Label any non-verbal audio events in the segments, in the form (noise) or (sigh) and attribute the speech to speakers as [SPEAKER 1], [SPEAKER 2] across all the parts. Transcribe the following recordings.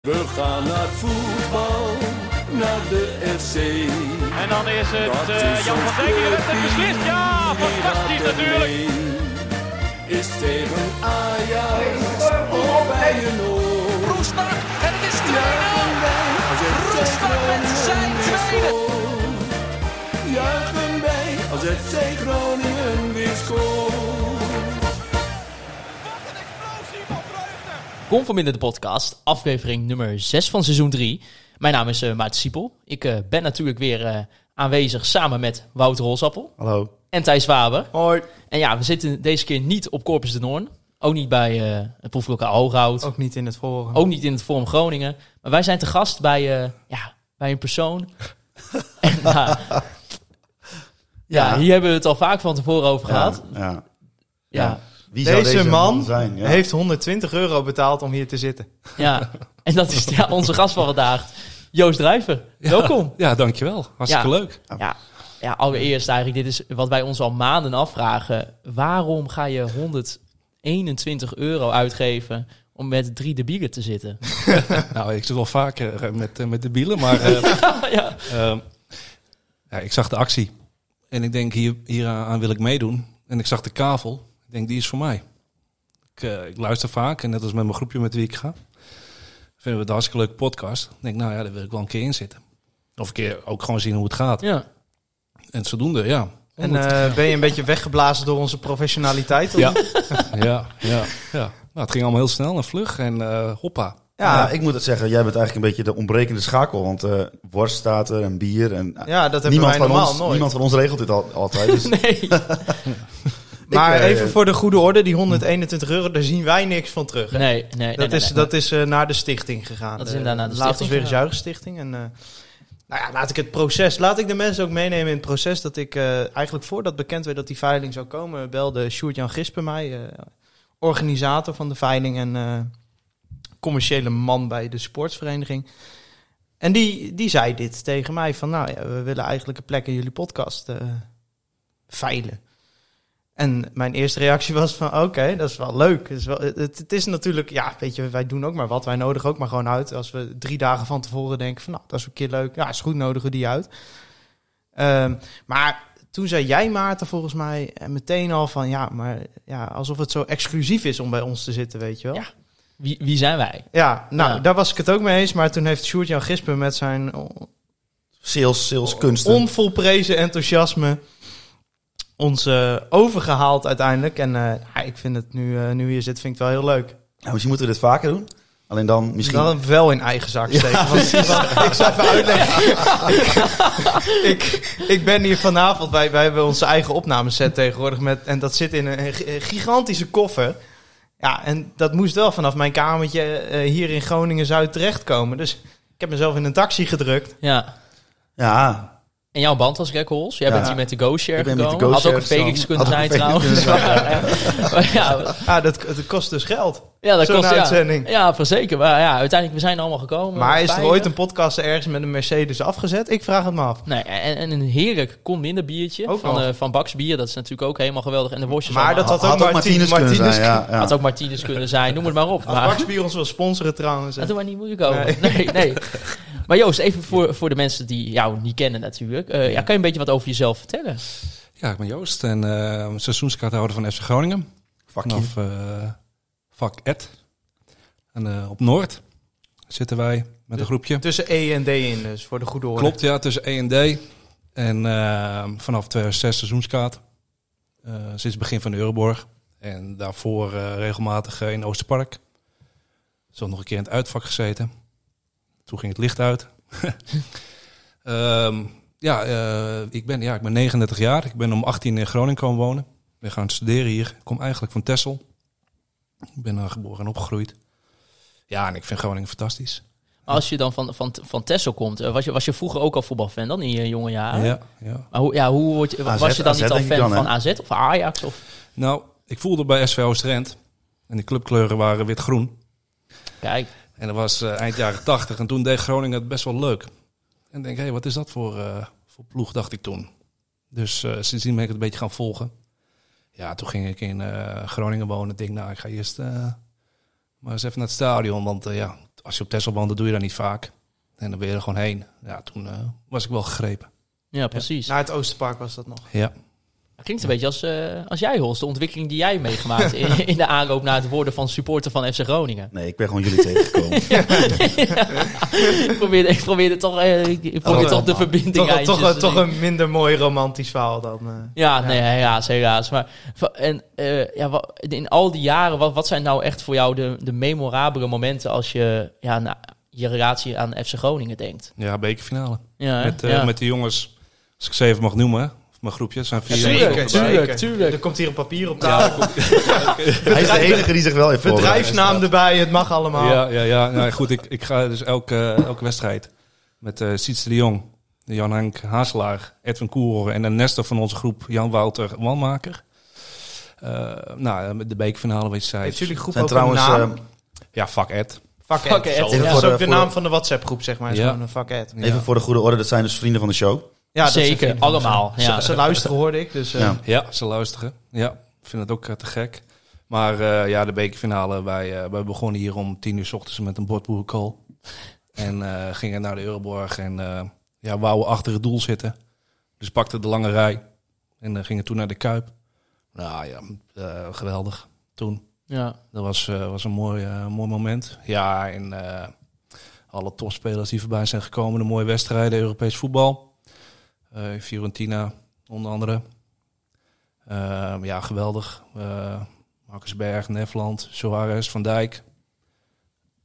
[SPEAKER 1] We gaan naar voetbal, naar de FC.
[SPEAKER 2] En dan is het
[SPEAKER 1] Dat
[SPEAKER 2] eh,
[SPEAKER 1] is
[SPEAKER 2] Jan
[SPEAKER 1] ons
[SPEAKER 2] van Dijk die redt het
[SPEAKER 1] clubje,
[SPEAKER 2] beslist. Ja,
[SPEAKER 1] die
[SPEAKER 2] fantastisch
[SPEAKER 1] laten
[SPEAKER 2] natuurlijk.
[SPEAKER 1] mee. Is tegen Ajax of bij een oor.
[SPEAKER 3] Roestak en het is 2-0.
[SPEAKER 1] Roestak
[SPEAKER 3] Roestak met zijn tweede.
[SPEAKER 1] Juichen wij als FC Groningen weer scoort.
[SPEAKER 4] Kom van Binnen de podcast, aflevering nummer 6 van seizoen 3. Mijn naam is eh Maarten Siepel. Ik eh, ben natuurlijk weer eh, aanwezig samen met Wouter Holsappel
[SPEAKER 5] Hallo.
[SPEAKER 4] en Thijs Waber.
[SPEAKER 5] Hoi.
[SPEAKER 4] En ja, we zitten deze keer niet op Corpus de Noorn. Ook niet bij eh, het proeflokaal Hooghout.
[SPEAKER 5] Ook niet in het voren.
[SPEAKER 4] Ook niet in het Forum Groningen. Maar wij zijn te gast bij, eh, ja, bij een
[SPEAKER 5] (laughs)
[SPEAKER 4] persoon. en, nou, ja. hier hebben we het al vaak van tevoren over gehad.
[SPEAKER 6] Ja, ja.
[SPEAKER 4] Ja, ja.
[SPEAKER 6] Wie zou
[SPEAKER 5] Deze, man,
[SPEAKER 6] zijn? Ja.
[SPEAKER 5] heeft 120 euro betaald om hier te zitten.
[SPEAKER 4] En dat is ja, onze gast van vandaag, Joost Drijver. Welkom.
[SPEAKER 7] Ja, dankjewel. Hartstikke
[SPEAKER 4] Ja.
[SPEAKER 7] leuk.
[SPEAKER 4] Ja, ja, allereerst eigenlijk, dit is wat wij ons al maanden afvragen. Waarom ga je 121 euro uitgeven om met drie debielen te zitten?
[SPEAKER 7] Nou, ik zit wel vaker eh, met, eh, met de bielen,
[SPEAKER 4] (laughs)
[SPEAKER 7] maar eh,
[SPEAKER 4] ja.
[SPEAKER 7] ehm, ja, ik zag de actie. En ik denk, hier, hieraan wil ik meedoen. En ik zag de kavel. Ik denk, die is voor mij. Ik, eh, ik luister vaak, en net als met mijn groepje met wie ik ga. Vinden we het een hartstikke leuke podcast. Ik denk, nou ja, daar wil ik wel een keer in zitten. Of een keer ook gewoon zien hoe het gaat.
[SPEAKER 4] ja.
[SPEAKER 7] En zodoende, ja.
[SPEAKER 5] En eh, ben je een beetje weggeblazen door onze professionaliteit? of
[SPEAKER 7] Ja.
[SPEAKER 5] niet?
[SPEAKER 7] ja, ja, ja. Nou, het ging allemaal heel snel en vlug. En eh, hoppa.
[SPEAKER 5] Ja,
[SPEAKER 6] Ja, ik moet het zeggen, jij bent eigenlijk een beetje de ontbrekende schakel. Want eh, worst staat er en bier. En, eh,
[SPEAKER 5] ja, dat hebben
[SPEAKER 6] niemand,
[SPEAKER 5] wij
[SPEAKER 6] van
[SPEAKER 5] normaal
[SPEAKER 6] ons,
[SPEAKER 5] nooit.
[SPEAKER 6] niemand van ons regelt dit al, altijd.
[SPEAKER 5] (laughs)
[SPEAKER 6] Dus
[SPEAKER 4] (laughs) Nee.
[SPEAKER 5] maar
[SPEAKER 6] Ik, eh,
[SPEAKER 5] even voor de goede orde, die 121 euro, daar zien wij niks van terug. hè?
[SPEAKER 4] Nee, nee, nee,
[SPEAKER 5] dat
[SPEAKER 4] nee,
[SPEAKER 5] is,
[SPEAKER 4] nee.
[SPEAKER 5] dat is eh, naar de stichting gegaan. Eh,
[SPEAKER 4] Dat is inderdaad naar de
[SPEAKER 5] Laat ons
[SPEAKER 4] stichting
[SPEAKER 5] weer een
[SPEAKER 4] gegaan.
[SPEAKER 5] zuigerstichting. En, eh, nou ja, laat ik het proces, laat ik de mensen ook meenemen in het proces. Dat ik eh, eigenlijk voordat bekend werd dat die veiling zou komen, belde Sjoerd-Jan Gispen mij, eh, organisator van de veiling en eh, commerciële man bij de sportsvereniging. En die, die zei dit tegen mij van, nou ja, we willen eigenlijk een plek in jullie podcast eh, veilen. En mijn eerste reactie was van, oké, dat is wel leuk. Het is, wel, het, het is natuurlijk, ja, weet je, wij doen ook maar wat. Wij nodigen ook maar gewoon uit. Als we drie dagen van tevoren denken van, nou, dat is een keer leuk. Ja, is goed, nodigen we die uit. Ehm, maar toen zei jij, Maarten, volgens mij eh, meteen al van, ja, maar ja, alsof het zo exclusief is om bij ons te zitten, weet je wel.
[SPEAKER 4] Ja. Wie, wie zijn wij?
[SPEAKER 5] Ja, nou,
[SPEAKER 4] Ja.
[SPEAKER 5] daar was ik het ook mee eens. Maar toen heeft Sjoerd-Jan Gispen met zijn on-
[SPEAKER 6] sales, sales, kunsten.
[SPEAKER 5] onvolprezen enthousiasme ons eh, overgehaald uiteindelijk. En eh, ja, ik vind het nu, eh, nu hier zit, vind ik het wel heel leuk.
[SPEAKER 6] Nou, misschien moeten we dit vaker doen. Alleen dan misschien...
[SPEAKER 5] Dan wel in eigen zak steken. want (laughs) ik zal even uitleggen. ik, ik ben hier vanavond, wij, wij hebben onze eigen opnameset tegenwoordig. Met, en dat zit in een, g- gigantische koffer. Ja, en dat moest wel vanaf mijn kamertje eh, hier in Groningen-Zuid terechtkomen. Dus ik heb mezelf in een taxi gedrukt.
[SPEAKER 4] Ja.
[SPEAKER 6] Ja,
[SPEAKER 4] En jouw band was Greg Hols. Jij
[SPEAKER 6] Ja.
[SPEAKER 4] bent hier met de Go-Share
[SPEAKER 6] Ik ben met de
[SPEAKER 4] gekomen.
[SPEAKER 6] Go
[SPEAKER 4] Had ook
[SPEAKER 6] Share
[SPEAKER 4] een Felix
[SPEAKER 6] gekomen.
[SPEAKER 4] kunnen
[SPEAKER 6] Had ook
[SPEAKER 4] zijn
[SPEAKER 6] een Felix
[SPEAKER 4] trouwens. Maar (laughs) ja,
[SPEAKER 5] Ah, dat, dat kost dus geld.
[SPEAKER 4] ja, dat
[SPEAKER 5] Zo'n
[SPEAKER 4] kost...
[SPEAKER 5] uitzending.
[SPEAKER 4] Ja, ja, voor zeker. Maar ja, uiteindelijk, we zijn allemaal gekomen.
[SPEAKER 5] Maar is er
[SPEAKER 4] Fijn,
[SPEAKER 5] ooit
[SPEAKER 4] hè?
[SPEAKER 5] een podcast ergens met een Mercedes afgezet? Ik vraag het me af.
[SPEAKER 4] Nee, en, en een heerlijk kon minder biertje
[SPEAKER 5] Ook
[SPEAKER 4] van,
[SPEAKER 5] nog.
[SPEAKER 4] eh van Baks bier. Dat is natuurlijk ook helemaal geweldig. En de worstjes
[SPEAKER 5] Maar
[SPEAKER 4] allemaal.
[SPEAKER 5] dat had ook
[SPEAKER 6] kunnen
[SPEAKER 5] Martinez Martinez
[SPEAKER 6] zijn. Ja, ja.
[SPEAKER 4] Had ook Martinez kunnen zijn, noem het maar op. (laughs)
[SPEAKER 5] Als
[SPEAKER 4] Maar
[SPEAKER 5] Baxbier ons wil sponsoren trouwens.
[SPEAKER 4] dat doen wij niet moeilijk over. Nee, nee. Maar Joost, even voor, voor de mensen die jou niet kennen natuurlijk. Eh, ja, kan je een beetje wat over jezelf vertellen?
[SPEAKER 7] Ja, ik ben Joost en eh seizoenskaarthouder van FC Groningen.
[SPEAKER 6] Fuck you.
[SPEAKER 7] vanaf eh vak Ed. En eh, op Noord zitten wij met een groepje.
[SPEAKER 5] Tussen E en D in dus, voor de goede orde.
[SPEAKER 7] Klopt, ja, tussen E en D. En eh, vanaf 2006 seizoenskaart. Eh, sinds het begin van de Euroborg. En daarvoor eh, regelmatig eh, in Oosterpark. Zo nog een keer in het uitvak gezeten. Toen ging het licht uit. (laughs) Ehm, ja, eh, ik ben, ja, ik ben 39 jaar. Ik ben om 18 in Groningen komen wonen. Ik ben gaan studeren hier. Ik kom eigenlijk van Texel. Ik ben daar geboren en opgegroeid. Ja, en ik vind Groningen fantastisch.
[SPEAKER 4] Als je dan van, van, van Tessel komt, eh, was, je, was je vroeger ook al voetbalfan dan in je jonge jaren?
[SPEAKER 7] Ja, ja.
[SPEAKER 4] Maar hoe, ja, hoe word je,
[SPEAKER 6] AZ,
[SPEAKER 4] was je dan
[SPEAKER 6] AZ
[SPEAKER 4] niet al
[SPEAKER 6] denk ik
[SPEAKER 4] fan
[SPEAKER 6] dan, hè?
[SPEAKER 4] van AZ of Ajax? Of,
[SPEAKER 7] Nou, ik voelde bij SV Oost-Rent. En de clubkleuren waren wit-groen.
[SPEAKER 4] kijk,
[SPEAKER 7] En dat was eh, eind jaren 80. En toen deed Groningen het best wel leuk. En ik denk, hé, hey, wat is dat voor, eh, voor ploeg, dacht ik toen. Dus eh, sindsdien ben ik het een beetje gaan volgen. Ja, toen ging ik in eh, Groningen wonen. Ik denk, nou, ik ga eerst eh, maar eens even naar het stadion. Want eh, ja, als je op Tesla wandelt, doe je dat niet vaak. En dan ben je er gewoon heen. Ja, toen eh, was ik wel gegrepen.
[SPEAKER 4] Ja, precies.
[SPEAKER 5] Naar het Oosterpark was dat nog.
[SPEAKER 7] Ja.
[SPEAKER 4] Klinkt een beetje als, eh, als jij, Hols. De ontwikkeling die jij meegemaakt
[SPEAKER 5] (laughs)
[SPEAKER 4] in, in de aanloop naar het worden van supporter van FC Groningen.
[SPEAKER 6] Nee, ik ben gewoon jullie
[SPEAKER 5] (laughs)
[SPEAKER 6] tegengekomen.
[SPEAKER 4] Ik probeerde, ik probeerde toch, eh, ik probeer
[SPEAKER 5] Oh,
[SPEAKER 4] toch de
[SPEAKER 5] man.
[SPEAKER 4] verbinding
[SPEAKER 5] Toch, toch,
[SPEAKER 4] eindjes
[SPEAKER 5] toch,
[SPEAKER 4] te zien.
[SPEAKER 5] een minder mooi romantisch verhaal dan. eh.
[SPEAKER 4] Ja, nee, helaas, helaas. Maar va- en, eh, ja, wa- in al die jaren, wat, wat zijn nou echt voor jou de, de memorabele momenten als je ja, na, je relatie aan FC Groningen denkt?
[SPEAKER 7] Ja, bekerfinale.
[SPEAKER 4] Ja, hè?
[SPEAKER 7] Met, eh,
[SPEAKER 4] ja.
[SPEAKER 7] met de jongens, als ik ze even mag noemen, hè, of mijn groepje, het zijn vier.
[SPEAKER 5] Tuurlijk,
[SPEAKER 4] tuurlijk, tuurlijk,
[SPEAKER 5] zeker.
[SPEAKER 4] tuurlijk.
[SPEAKER 5] Er komt hier een papier op tafel.
[SPEAKER 6] Hij is de enige die zich wel heeft voorbereid.
[SPEAKER 5] Bedrijfsnaam erbij, het mag allemaal.
[SPEAKER 7] Ja, ja, ja. Nou, goed, ik, ik ga dus elke, elke wedstrijd met eh Sietse de Jong, Jan Henk Haaselaar, Edwin Koer en de Nestor van onze groep, Jan Wouter Wanmaker. Eh, nou, eh, de beekfinale
[SPEAKER 5] Heeft
[SPEAKER 7] wedstrijd.
[SPEAKER 5] jullie groep
[SPEAKER 6] Zijn
[SPEAKER 5] ook
[SPEAKER 6] trouwens,
[SPEAKER 5] een naam?
[SPEAKER 6] eh,
[SPEAKER 7] Ja, fuck Ed.
[SPEAKER 5] Fuck
[SPEAKER 4] Fuck
[SPEAKER 5] it.
[SPEAKER 4] it.
[SPEAKER 5] Zo, Dat
[SPEAKER 6] Ja.
[SPEAKER 5] is
[SPEAKER 6] Voor
[SPEAKER 5] ook
[SPEAKER 6] de-
[SPEAKER 5] de
[SPEAKER 6] voor de-
[SPEAKER 5] naam van de WhatsApp groep, zeg maar. Is
[SPEAKER 7] Ja.
[SPEAKER 5] gewoon een fuck it.
[SPEAKER 6] even voor de goede orde, dat zijn dus vrienden van de show.
[SPEAKER 5] Ja, dat zijn
[SPEAKER 4] Zeker,
[SPEAKER 5] vrienden van
[SPEAKER 4] allemaal.
[SPEAKER 5] ze.
[SPEAKER 4] Ja.
[SPEAKER 5] Ze, ze luisteren, hoorde ik. Dus, eh,
[SPEAKER 6] Ja.
[SPEAKER 7] Ja, ze luisteren. Ja, ik vind het ook eh, te gek. Maar eh, ja, de bekerfinale, wij, eh, wij begonnen hier om tien uur 's ochtends met een bord boerenkool. En eh, gingen naar de Euroborg en eh ja, wouden achter het doel zitten. Dus pakten de lange rij en eh, gingen toen naar de Kuip. Nou ja, eh, geweldig toen.
[SPEAKER 4] Ja.
[SPEAKER 7] Dat was, eh, was een mooi, eh, mooi moment. Ja, en eh, alle topspelers die voorbij zijn gekomen. De mooie wedstrijden, Europees voetbal. Eh, Fiorentina, onder andere. Eh, ja, geweldig. Eh Marcus Berg, Nefland, Suarez, Van Dijk.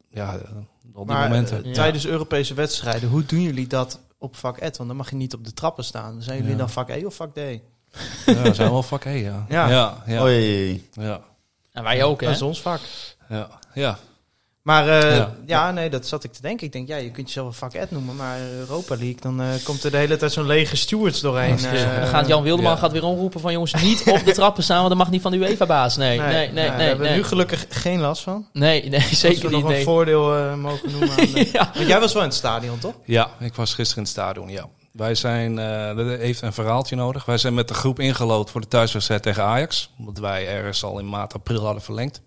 [SPEAKER 7] Ja, eh, al die
[SPEAKER 5] maar,
[SPEAKER 7] momenten.
[SPEAKER 5] eh, tijdens Europese wedstrijden, hoe doen jullie dat op vak Ed? Want dan mag je niet op de trappen staan. Zijn jullie
[SPEAKER 7] Ja.
[SPEAKER 5] dan vak E of vak D?
[SPEAKER 7] Ja, we zijn wel fuck hey, ja.
[SPEAKER 5] Ja. Oh
[SPEAKER 7] ja, ja, ja,
[SPEAKER 6] Oei.
[SPEAKER 7] ja,
[SPEAKER 4] En wij ook, hè?
[SPEAKER 5] Dat is ons vak.
[SPEAKER 7] ja, ja.
[SPEAKER 5] Maar eh, ja.
[SPEAKER 7] Ja.
[SPEAKER 5] nee, dat zat ik te denken. Ik denk, ja, je kunt jezelf een vak Ed noemen, maar Europa League, dan eh, komt er de hele tijd zo'n lege stewards doorheen.
[SPEAKER 4] Ja,
[SPEAKER 5] eh.
[SPEAKER 4] Dus, dan gaat Jan Wilderman
[SPEAKER 7] ja.
[SPEAKER 4] gaat weer omroepen van jongens, niet op de trappen staan, want dat mag niet van de UEFA-baas. Nee, nee, nee, nee.
[SPEAKER 5] daar
[SPEAKER 4] nee,
[SPEAKER 5] hebben we
[SPEAKER 4] nee.
[SPEAKER 5] nu gelukkig geen last van.
[SPEAKER 4] nee, nee,
[SPEAKER 5] Zeker
[SPEAKER 4] zeker niet.
[SPEAKER 5] we nog een
[SPEAKER 4] Nee.
[SPEAKER 5] voordeel eh, mogen noemen. Aan de-
[SPEAKER 4] (laughs) Ja.
[SPEAKER 5] Want jij was wel in het stadion, toch?
[SPEAKER 7] Ja, ik was gisteren in het stadion, ja. Wij zijn, eh, dat heeft een verhaaltje nodig. Wij zijn met de groep ingelood voor de thuiswedstrijd tegen Ajax. Omdat wij ergens al in maart, april hadden verlengd.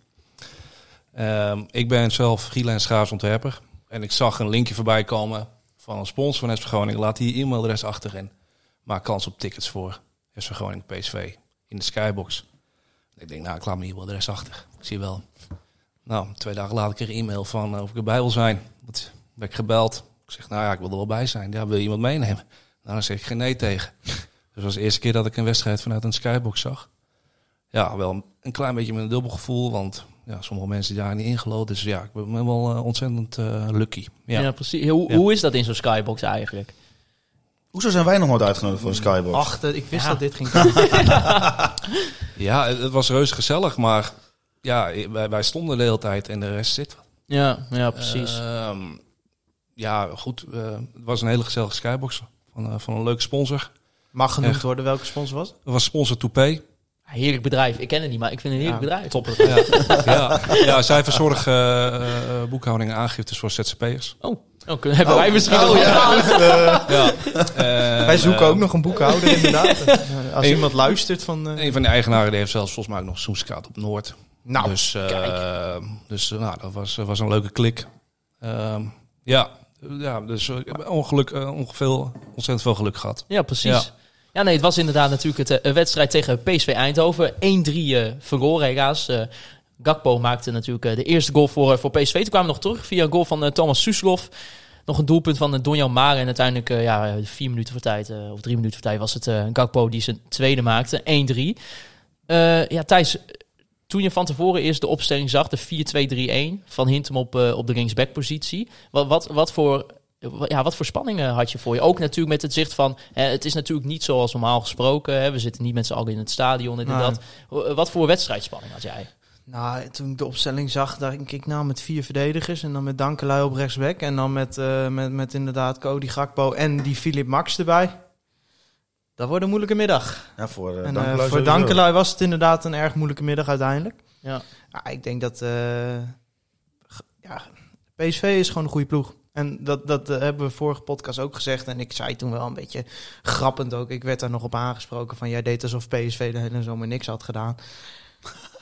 [SPEAKER 7] Ehm, ik ben zelf freelance graafs ontwerper. En ik zag een linkje voorbij komen van een sponsor van SV Groningen. Laat hier je e-mailadres achter en maak kans op tickets voor SV Groningen PSV in de Skybox. Ik denk, nou, ik laat mijn e-mailadres achter. Ik zie wel. Nou, twee dagen later kreeg ik een e-mail van eh, of ik erbij wil zijn. Dat werd ik gebeld. Ik zeg, nou ja, ik wil er wel bij zijn. Ja, wil je iemand meenemen? Nou, dan zeg ik geen nee tegen. Dus dat was de eerste keer dat ik een wedstrijd vanuit een skybox zag. Ja, wel een klein beetje met een dubbel gevoel, want ja, sommige mensen zijn daar niet ingelood. Dus ja, ik ben wel eh, ontzettend eh, lucky.
[SPEAKER 4] Ja.
[SPEAKER 7] Ja.
[SPEAKER 4] precies. Hoe,
[SPEAKER 7] Ja.
[SPEAKER 4] hoe is dat in zo'n skybox eigenlijk?
[SPEAKER 6] Hoezo zijn wij nog nooit uitgenodigd voor een skybox?
[SPEAKER 5] Ach, dat- ik wist
[SPEAKER 4] Ja.
[SPEAKER 5] dat dit ging komen.
[SPEAKER 7] Ja, het het was reuze gezellig, maar ja, wij, wij stonden de hele tijd en de rest zit.
[SPEAKER 4] Ja, ja precies.
[SPEAKER 5] Eh.
[SPEAKER 7] Ehm, ja, goed. eh, het was een hele gezellige skybox van, eh, van een leuke sponsor.
[SPEAKER 5] Mag genoemd
[SPEAKER 7] Echt.
[SPEAKER 5] worden welke
[SPEAKER 7] (laughs)
[SPEAKER 5] sponsor was het?
[SPEAKER 7] Dat was sponsor Toupé.
[SPEAKER 4] Ah, heerlijk bedrijf. Ik ken het niet, maar ik vind het een heerlijk
[SPEAKER 5] Ja,
[SPEAKER 4] bedrijf. Top.
[SPEAKER 7] Ja,
[SPEAKER 5] (laughs)
[SPEAKER 7] ja, ja, zij verzorgen eh, eh, boekhouding en aangiftes voor ZZP'ers.
[SPEAKER 4] Oh, oh, kunnen- hebben wij misschien nog wat aan?
[SPEAKER 7] Ja. En,
[SPEAKER 5] Eh, Wij zoeken
[SPEAKER 7] eh,
[SPEAKER 5] ook nog een boekhouder,
[SPEAKER 7] (laughs)
[SPEAKER 5] inderdaad. Eh, Als iemand luistert van... eh,
[SPEAKER 7] Een van de eigenaren die heeft zelfs volgens mij ook nog een seizoenskaart op Noord.
[SPEAKER 5] nou,
[SPEAKER 7] dus eh, dus eh, nou, dat was, was een leuke klik. Ehm, ja, ja, dus eh, ik heb ongeluk, eh, ongeveer, ontzettend veel geluk gehad.
[SPEAKER 4] Ja, precies. Ja.
[SPEAKER 7] Ja.
[SPEAKER 4] nee, het was inderdaad natuurlijk het, eh, een wedstrijd tegen PSV Eindhoven. 1-3 eh verloren helaas. Eh, Gakpo maakte natuurlijk eh, de eerste goal voor, eh, voor PSV. Toen kwamen we nog terug via een goal van eh, Thomas Suslov. Nog een doelpunt van eh, Donjan Mare. En uiteindelijk, eh, ja, eh, vier minuten voor tijd, eh, of drie minuten voor tijd, was het eh, Gakpo die zijn tweede maakte. 1-3. Eh, ja, Thijs, toen je van tevoren eerst de opstelling zag, de 4-2-3-1 van Hintem op, eh, op de linksback-positie. Wat, wat, wat, voor, ja, wat voor spanningen had je voor je? Ook natuurlijk met het zicht van, hè, het is natuurlijk niet zoals normaal gesproken. Hè, we zitten niet met z'n allen in het stadion en
[SPEAKER 5] Nee.
[SPEAKER 4] dat. Wa- Wat voor wedstrijdspanning had jij?
[SPEAKER 5] nou, toen ik de opstelling zag, dacht ik, nou, met vier verdedigers. En dan met Dankelui op rechtsback. En dan met, eh, met, met inderdaad Cody Gakpo en die Filip Max erbij. Dat wordt een moeilijke middag.
[SPEAKER 6] Ja, voor eh,
[SPEAKER 5] en eh,
[SPEAKER 6] Dankelui
[SPEAKER 5] voor
[SPEAKER 6] sowieso.
[SPEAKER 5] Dankelui was het inderdaad een erg moeilijke middag uiteindelijk.
[SPEAKER 4] Ja.
[SPEAKER 5] Ja, ik denk dat eh, g- ja, PSV is gewoon een goede ploeg. En dat, dat eh, hebben we vorige podcast ook gezegd. En ik zei toen wel een beetje (laughs) grappend ook. Ik werd daar nog op aangesproken van... jij deed alsof PSV de hele zomer niks had gedaan.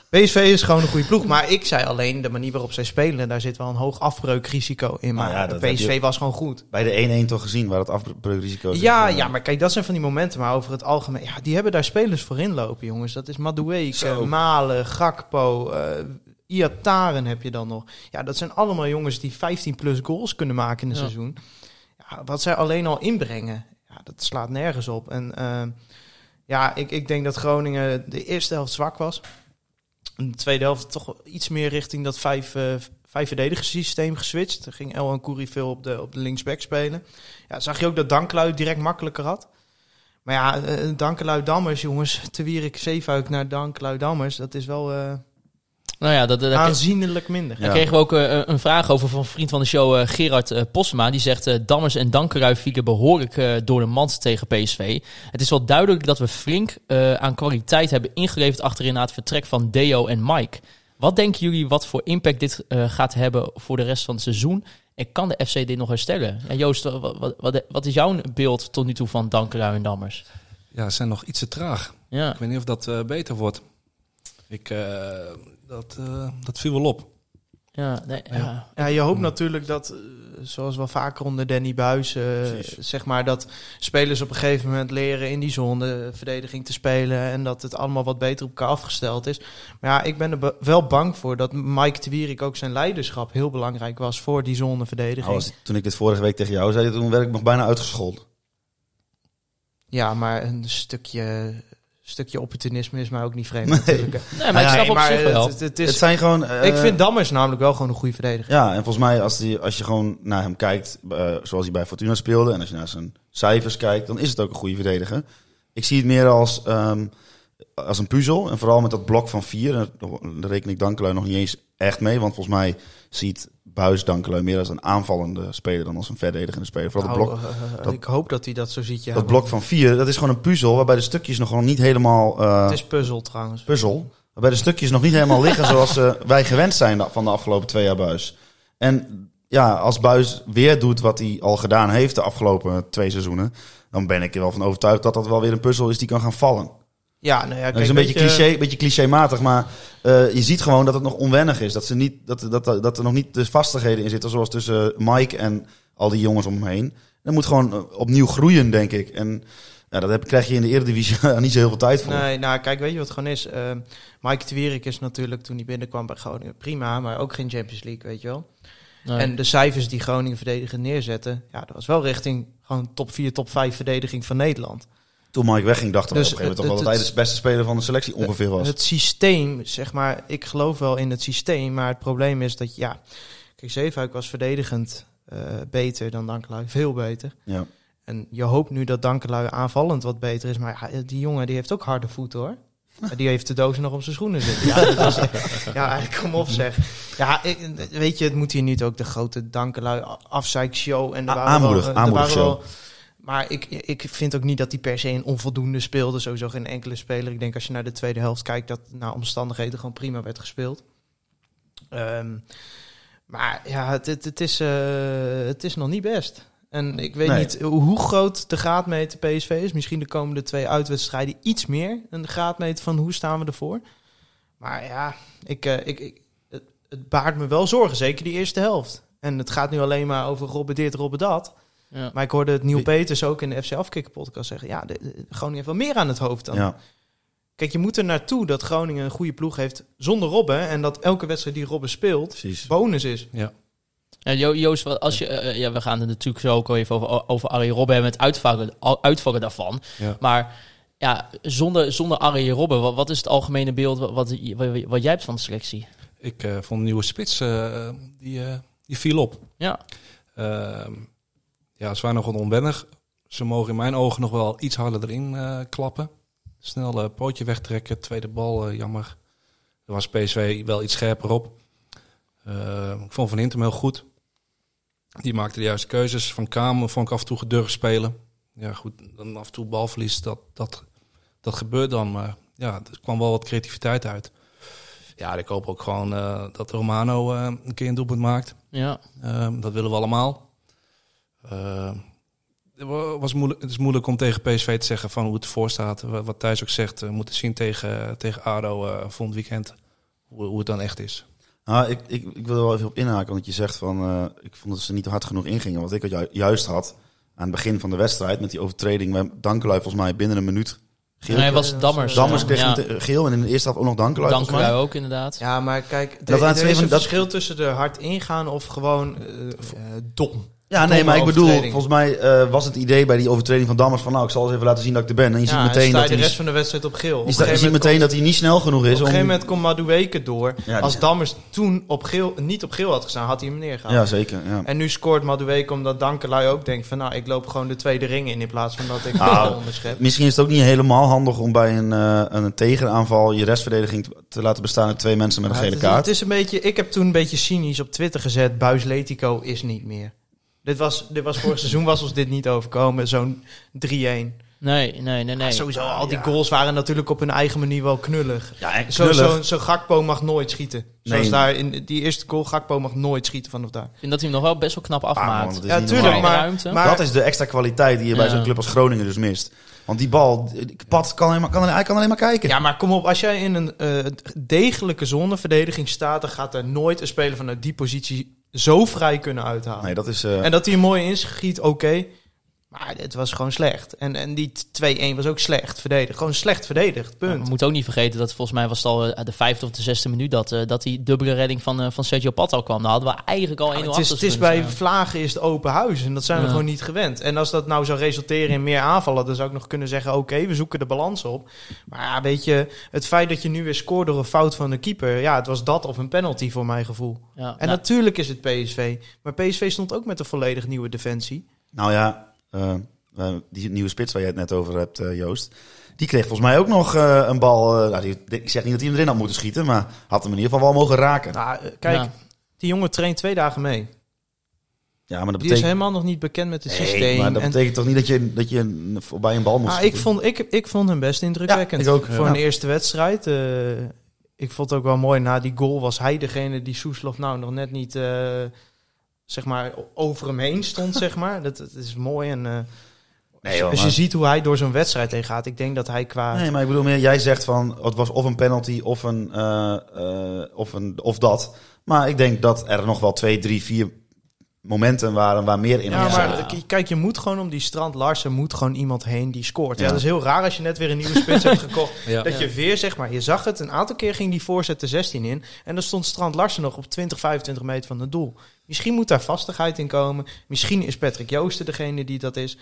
[SPEAKER 5] PSV is gewoon een goede ploeg. Maar ik zei alleen, de manier waarop zij spelen, daar zit wel een hoog afbreukrisico in. Maar
[SPEAKER 6] Nou ja, dat heb
[SPEAKER 5] PSV was gewoon goed.
[SPEAKER 6] Bij de 1-1 toch gezien waar het afbreukrisico zit.
[SPEAKER 5] Ja,
[SPEAKER 6] Eh,
[SPEAKER 5] ja, maar kijk, dat zijn van die momenten. Maar over het algemeen, ja, die hebben daar spelers voor inlopen, jongens. Dat is Madueke,
[SPEAKER 6] Zo.
[SPEAKER 5] Malen, Gakpo, eh Iataren heb je dan nog. Ja, dat zijn allemaal jongens die 15 plus goals kunnen maken in een
[SPEAKER 4] Ja.
[SPEAKER 5] seizoen. Ja, wat zij alleen al inbrengen, ja, dat slaat nergens op. En eh, ja, ik, ik denk dat Groningen de eerste helft zwak was. In de tweede helft toch wel iets meer richting dat vijf, eh vijf verdedigerssysteem geswitcht. Er ging El en Koeri veel op de, op de linksback spelen. Ja, zag je ook dat Dankelui direct makkelijker had. Maar ja, eh, Dankelui Dammers, jongens. Te Wierik Zeefuik naar Dankelui Dammers. Dat is wel eh,
[SPEAKER 4] Nou ja, dat, dat, dat-
[SPEAKER 5] aanzienlijk minder.
[SPEAKER 4] Daar kregen we ook eh, een vraag over van vriend van de show eh, Gerard eh, Postma. Die zegt, eh, Dammers en Dankerui vielen behoorlijk eh, door de mand tegen PSV. Het is wel duidelijk dat we flink eh, aan kwaliteit hebben ingeleverd achterin na het vertrek van Deo en Mike. Wat denken jullie wat voor impact dit eh, gaat hebben voor de rest van het seizoen? En kan de FC dit nog herstellen? Ja, Joost, wa- wa- wat, wat, is jouw beeld tot nu toe van Dankerui en Dammers?
[SPEAKER 7] Ja, ze zijn nog iets te traag.
[SPEAKER 4] Ja,
[SPEAKER 7] Ik weet niet of dat eh, beter wordt. Ik, eh, dat, eh, dat viel wel op.
[SPEAKER 4] ja, nee, ja.
[SPEAKER 5] Ja, je hoopt natuurlijk dat, eh, zoals wel vaker onder Danny Buis, eh, zeg maar dat spelers op een gegeven moment leren in die zone eh, verdediging te spelen en dat het allemaal wat beter op elkaar afgesteld is. Maar ja, ik ben er be- wel bang voor dat Mike de Wierik ook zijn leiderschap heel belangrijk was voor die
[SPEAKER 6] nou,
[SPEAKER 5] zoneverdediging.
[SPEAKER 6] als- toen ik dit vorige week tegen jou zei, toen werd ik nog bijna uitgescholden.
[SPEAKER 5] Ja, maar een stukje, stukje opportunisme is mij ook niet vreemd. natuurlijk.
[SPEAKER 4] Nee, maar ik snap op
[SPEAKER 5] maar
[SPEAKER 4] zich wel.
[SPEAKER 5] het- het- het is-
[SPEAKER 6] het zijn gewoon... eh,
[SPEAKER 5] Dus ik vind Dammers namelijk wel gewoon een goede verdediger.
[SPEAKER 6] Ja, en volgens mij als, die, als je gewoon naar hem kijkt, eh, zoals hij bij Fortuna speelde, en als je naar zijn cijfers kijkt, dan is het ook een goede verdediger. Ik zie het meer als, ehm, als een puzzel, en vooral met dat blok van vier, en daar reken ik Dankelui nog niet eens echt mee, want volgens mij ziet Buis Dankelui meer als een aanvallende speler dan als een verdedigende speler. Vooral dat
[SPEAKER 5] Nou,
[SPEAKER 6] blok,
[SPEAKER 5] eh, eh,
[SPEAKER 6] dat-
[SPEAKER 5] ik hoop dat hij dat zo ziet. Ja,
[SPEAKER 6] dat blok van vier, dat is gewoon een puzzel waarbij de stukjes nog gewoon niet helemaal... eh,
[SPEAKER 5] Het is puzzel trouwens.
[SPEAKER 6] puzzel. Waarbij de stukjes nog niet helemaal liggen zoals
[SPEAKER 5] (laughs)
[SPEAKER 6] eh, wij gewend zijn da- van de afgelopen twee jaar Buis. En ja, als Buis weer doet wat hij al gedaan heeft de afgelopen twee seizoenen. Dan ben ik er wel van overtuigd dat dat wel weer een puzzel is die kan gaan vallen.
[SPEAKER 5] Ja, nou ja, kijk,
[SPEAKER 6] dat is een
[SPEAKER 5] weet
[SPEAKER 6] beetje,
[SPEAKER 5] je-
[SPEAKER 6] cliché, beetje clichématig, maar eh, je ziet gewoon dat het nog onwennig is. Dat, ze niet, dat, dat, dat er nog niet de vastigheden in zitten zoals tussen Mike en al die jongens om hem heen. Dat moet gewoon eh, opnieuw groeien, denk ik. En ja, dat heb, krijg je in de Eredivisie (laughs) niet zo heel veel tijd voor.
[SPEAKER 5] Nee, nou kijk, weet je wat het gewoon is? Eh, Mike de Wierik is natuurlijk toen hij binnenkwam bij Groningen prima, maar ook geen Champions League, weet je wel.
[SPEAKER 4] Nee.
[SPEAKER 5] En de cijfers die Groningen verdedigen neerzetten, ja, dat was wel richting gewoon top 4, top 5 verdediging van Nederland.
[SPEAKER 6] Toen Mike wegging, dachten we
[SPEAKER 5] Dus
[SPEAKER 6] op een gegeven moment toch wel
[SPEAKER 5] het-
[SPEAKER 6] dat
[SPEAKER 5] het-
[SPEAKER 6] hij de beste speler van de selectie ongeveer was.
[SPEAKER 5] Het systeem, zeg maar, ik geloof wel in het systeem, maar het probleem is dat, ja, kijk, Zeefuik was verdedigend eh, beter dan Dankelui, veel beter.
[SPEAKER 6] ja.
[SPEAKER 5] En je hoopt nu dat Dankelui aanvallend wat beter is, maar ja, die jongen die heeft ook harde voeten hoor. Maar Die heeft de doos nog op zijn schoenen zitten. Ja, dat is, ja kom op zeg. Ja, ik- weet je, het moet hier niet ook de grote dankelui afzeikshow. En er
[SPEAKER 6] A-
[SPEAKER 5] waren wel-
[SPEAKER 6] aanmoedig-
[SPEAKER 5] er
[SPEAKER 6] aanmoedigshow.
[SPEAKER 5] waren wel- Maar ik, ik vind ook niet dat die per se een onvoldoende speelde. Sowieso geen enkele speler. Ik denk als je naar de tweede helft kijkt, dat naar omstandigheden gewoon prima werd gespeeld. Ehm, maar ja, het, het, het is, eh, het is nog niet best. En ik weet
[SPEAKER 6] Nee.
[SPEAKER 5] niet hoe groot de graadmeter PSV is. Misschien de komende twee uitwedstrijden iets meer. Een graadmeter van hoe staan we ervoor. Maar ja, ik, eh, ik, ik, het, het baart me wel zorgen. Zeker die eerste helft. En het gaat nu alleen maar over Robben dit, Robben dat.
[SPEAKER 4] Ja.
[SPEAKER 5] Maar ik hoorde het Nieuw
[SPEAKER 6] Wie-
[SPEAKER 5] Peters ook in de FC Afkikken podcast zeggen. Ja, de, de- Groningen heeft wel meer aan het hoofd dan.
[SPEAKER 6] Ja.
[SPEAKER 5] Kijk, je moet er naartoe dat Groningen een goede ploeg heeft zonder Robben. En dat elke wedstrijd die Robben speelt,
[SPEAKER 6] Precies.
[SPEAKER 5] bonus is.
[SPEAKER 4] Ja, Jo- Joost, wat als je, eh, ja, we gaan het natuurlijk zo ook al even over, over Arjen Robben hebben, het uitvallen, al- uitvallen daarvan.
[SPEAKER 7] Ja.
[SPEAKER 4] Maar ja, zonder, zonder Arjen Robben, wat, wat is het algemene beeld wat, wat, wat, wat jij hebt van de selectie?
[SPEAKER 7] Ik eh, vond een nieuwe spits, eh, die, eh, die viel op.
[SPEAKER 4] Ja,
[SPEAKER 7] Ehm, ja, ze waren nog wat onwennig. Ze mogen in mijn ogen nog wel iets harder erin eh, klappen. Snel eh, pootje wegtrekken, tweede bal, eh, jammer. Er was PSV wel iets scherper op. Eh, ik vond Van Hintem heel goed. Die maakte de juiste keuzes. Van Kamer vond ik af en toe gedurfd spelen. Ja, goed, dan af en toe balverlies, dat, dat, dat gebeurt dan. Maar ja, er kwam wel wat creativiteit uit. Ja, ik hoop ook gewoon eh, dat Romano eh, een keer een doelpunt maakt.
[SPEAKER 4] ja.
[SPEAKER 7] Ehm, dat willen we allemaal. Ehm, het wa- was moeilijk, het is moeilijk om tegen PSV te zeggen van hoe het ervoor staat. Wa- Wat Thijs ook zegt, we moeten zien tegen, tegen ADO eh volgend weekend hoe, hoe het dan echt is.
[SPEAKER 6] Ah, ik, ik, ik wil er wel even op inhaken, want je zegt van, eh, ik vond dat ze niet hard genoeg ingingen. Wat ik had ju- juist had aan het begin van de wedstrijd met die overtreding, waar Dankelui volgens mij binnen een minuut geel.
[SPEAKER 4] Nee, was Dammers.
[SPEAKER 6] Dammers kreeg
[SPEAKER 4] ja.
[SPEAKER 6] niet, eh, geel en in de eerste helft ook nog Dankelui. volgens mij.
[SPEAKER 4] Dankelui ook inderdaad.
[SPEAKER 5] Ja, maar kijk,
[SPEAKER 6] Dat
[SPEAKER 5] dat
[SPEAKER 6] waren
[SPEAKER 5] er
[SPEAKER 6] twee
[SPEAKER 5] is
[SPEAKER 6] van-
[SPEAKER 5] een
[SPEAKER 6] dat-
[SPEAKER 5] verschil tussen er hard ingaan of gewoon eh, eh, dom.
[SPEAKER 6] Ja, nee,
[SPEAKER 5] Domme
[SPEAKER 6] maar ik bedoel,
[SPEAKER 5] overtreding.
[SPEAKER 6] volgens mij eh, was het idee bij die overtreding van Dammers van, nou, ik zal eens even laten zien dat ik er ben. En je
[SPEAKER 5] ja,
[SPEAKER 6] ziet meteen
[SPEAKER 5] sta je
[SPEAKER 6] dat
[SPEAKER 5] de
[SPEAKER 6] hij,
[SPEAKER 5] rest van de wedstrijd op geel. Op
[SPEAKER 6] je
[SPEAKER 5] een
[SPEAKER 6] sta- je
[SPEAKER 5] gegeven
[SPEAKER 6] ziet
[SPEAKER 5] moment
[SPEAKER 6] meteen dat hij niet snel genoeg
[SPEAKER 5] Op
[SPEAKER 6] is
[SPEAKER 5] een
[SPEAKER 6] om...
[SPEAKER 5] gegeven moment komt Madueke door.
[SPEAKER 6] Ja,
[SPEAKER 5] Als
[SPEAKER 6] die-
[SPEAKER 5] Dammers toen op geel, niet op geel had gestaan, had hij hem neergehaald.
[SPEAKER 6] Ja, zeker. Ja.
[SPEAKER 5] En nu scoort Madueke omdat Dankelui ook denkt van... nou, ik loop gewoon de tweede ring in in plaats
[SPEAKER 6] (laughs)
[SPEAKER 5] van dat ik
[SPEAKER 6] Ah.
[SPEAKER 5] ah. onderschep.
[SPEAKER 6] Misschien is het ook niet helemaal handig om bij een, eh, een tegenaanval je restverdediging te, te laten bestaan uit twee mensen met een
[SPEAKER 5] Maar
[SPEAKER 6] gele
[SPEAKER 5] het is-
[SPEAKER 6] kaart.
[SPEAKER 5] Het is een beetje, ik heb toen een beetje cynisch op Twitter gezet. Buisletico is niet meer. Dit was, dit was vorig (laughs) seizoen was ons dit niet overkomen. Zo'n 3-1.
[SPEAKER 4] Nee, nee, nee, nee.
[SPEAKER 5] Ah, Sowieso, al die goals waren natuurlijk op hun eigen manier wel knullig.
[SPEAKER 6] Ah, Ja, en
[SPEAKER 5] Zo-
[SPEAKER 6] knullig.
[SPEAKER 5] Zo'n zo Gakpo mag nooit schieten. Zoals
[SPEAKER 6] Nee.
[SPEAKER 5] daar in die eerste goal, Gakpo mag nooit schieten vanaf daar.
[SPEAKER 4] Ik vind dat hij hem nog wel best wel knap
[SPEAKER 6] Ah,
[SPEAKER 4] afmaakt.
[SPEAKER 6] man, dat is
[SPEAKER 5] Ja,
[SPEAKER 6] niet
[SPEAKER 5] tuurlijk,
[SPEAKER 6] normaal.
[SPEAKER 4] Weinig
[SPEAKER 5] maar,
[SPEAKER 4] ruimte.
[SPEAKER 5] maar
[SPEAKER 6] dat is de extra kwaliteit die je bij
[SPEAKER 4] Ja.
[SPEAKER 6] zo'n club als Groningen dus mist. Want die bal, pad kan alleen maar, kan, hij kan alleen maar kijken.
[SPEAKER 5] Ja, maar kom op. Als jij in een eh, degelijke zonneverdediging staat... dan gaat er nooit een speler vanuit die positie zo vrij kunnen uithalen.
[SPEAKER 6] Nee, dat is. eh,
[SPEAKER 5] En dat hij mooi inschiet, oké. Maar het was gewoon slecht. En, en die 2-1 was ook slecht verdedigd. Gewoon slecht verdedigd,
[SPEAKER 4] Ja,
[SPEAKER 5] punt.
[SPEAKER 4] we moeten ook niet vergeten dat volgens mij was het al eh, de vijfde of de zesde minuut dat, eh, dat die dubbele redding van, eh, van Sergio Pat al kwam. Daar hadden we eigenlijk al 1-0
[SPEAKER 5] het
[SPEAKER 4] achter
[SPEAKER 5] is, het is
[SPEAKER 4] kunnen
[SPEAKER 5] bij
[SPEAKER 4] staan.
[SPEAKER 5] Vlagen is het open huis. En dat zijn we
[SPEAKER 4] Ja.
[SPEAKER 5] gewoon niet gewend. En als dat nou zou resulteren in meer aanvallen... dan zou ik nog kunnen zeggen, oké, we zoeken de balans op. Maar ja, weet je, het feit dat je nu weer scoort door een fout van de keeper... ja, het was dat of een penalty voor mijn gevoel.
[SPEAKER 4] Ja,
[SPEAKER 5] En
[SPEAKER 4] nou,
[SPEAKER 5] natuurlijk is het PSV. Maar PSV stond ook met een volledig nieuwe defensie.
[SPEAKER 6] Nou ja, eh, eh, die nieuwe spits waar jij het net over hebt, eh, Joost. Die kreeg volgens mij ook nog eh, een bal. eh, nou, die- ik zeg niet dat hij hem erin had moeten schieten, maar had hem in ieder geval wel mogen raken.
[SPEAKER 5] Nou, eh, kijk,
[SPEAKER 4] Ja.
[SPEAKER 5] die jongen traint twee dagen mee.
[SPEAKER 6] ja, maar dat
[SPEAKER 5] Die is
[SPEAKER 6] betekent.
[SPEAKER 5] helemaal nog niet bekend met het
[SPEAKER 6] Nee,
[SPEAKER 5] systeem.
[SPEAKER 6] maar dat
[SPEAKER 5] En-
[SPEAKER 6] betekent toch niet dat je, dat je een- voorbij een bal moet
[SPEAKER 5] Ah, ik,
[SPEAKER 6] schieten?
[SPEAKER 5] vond, ik, ik vond hem best indrukwekkend.
[SPEAKER 6] Ja, ik ook,
[SPEAKER 5] Voor
[SPEAKER 6] ja.
[SPEAKER 5] een eerste wedstrijd. eh, ik vond het ook wel mooi. Na die goal was hij degene die Soeslof nou nog net niet eh, zeg maar, over hem heen stond. (laughs) zeg maar. Dat, dat is mooi. En, eh,
[SPEAKER 6] Nee, joh,
[SPEAKER 5] als je
[SPEAKER 6] maar-
[SPEAKER 5] ziet hoe hij door zo'n wedstrijd heen gaat. Ik denk dat hij qua...
[SPEAKER 6] Nee, maar ik bedoel meer, jij zegt van het was of een penalty of, een, eh, eh, of, een, of dat. Maar ik denk dat er nog wel twee, drie, vier momenten waren waar meer in eh,
[SPEAKER 5] Ja,
[SPEAKER 6] had gezeten.
[SPEAKER 5] maar k- kijk, je moet gewoon om die strand Larsen moet gewoon iemand heen die scoort.
[SPEAKER 6] Ja.
[SPEAKER 5] En dat is heel raar als je net weer een nieuwe spits hebt gekocht.
[SPEAKER 7] Ja.
[SPEAKER 5] Dat je weer, zeg maar, je zag het, een aantal keer ging die voorzet de 16 in. En dan stond Strand Larsen nog op 20, 25 meter van het doel. Misschien moet daar vastigheid in komen. Misschien is Patrick Joosten degene die dat is.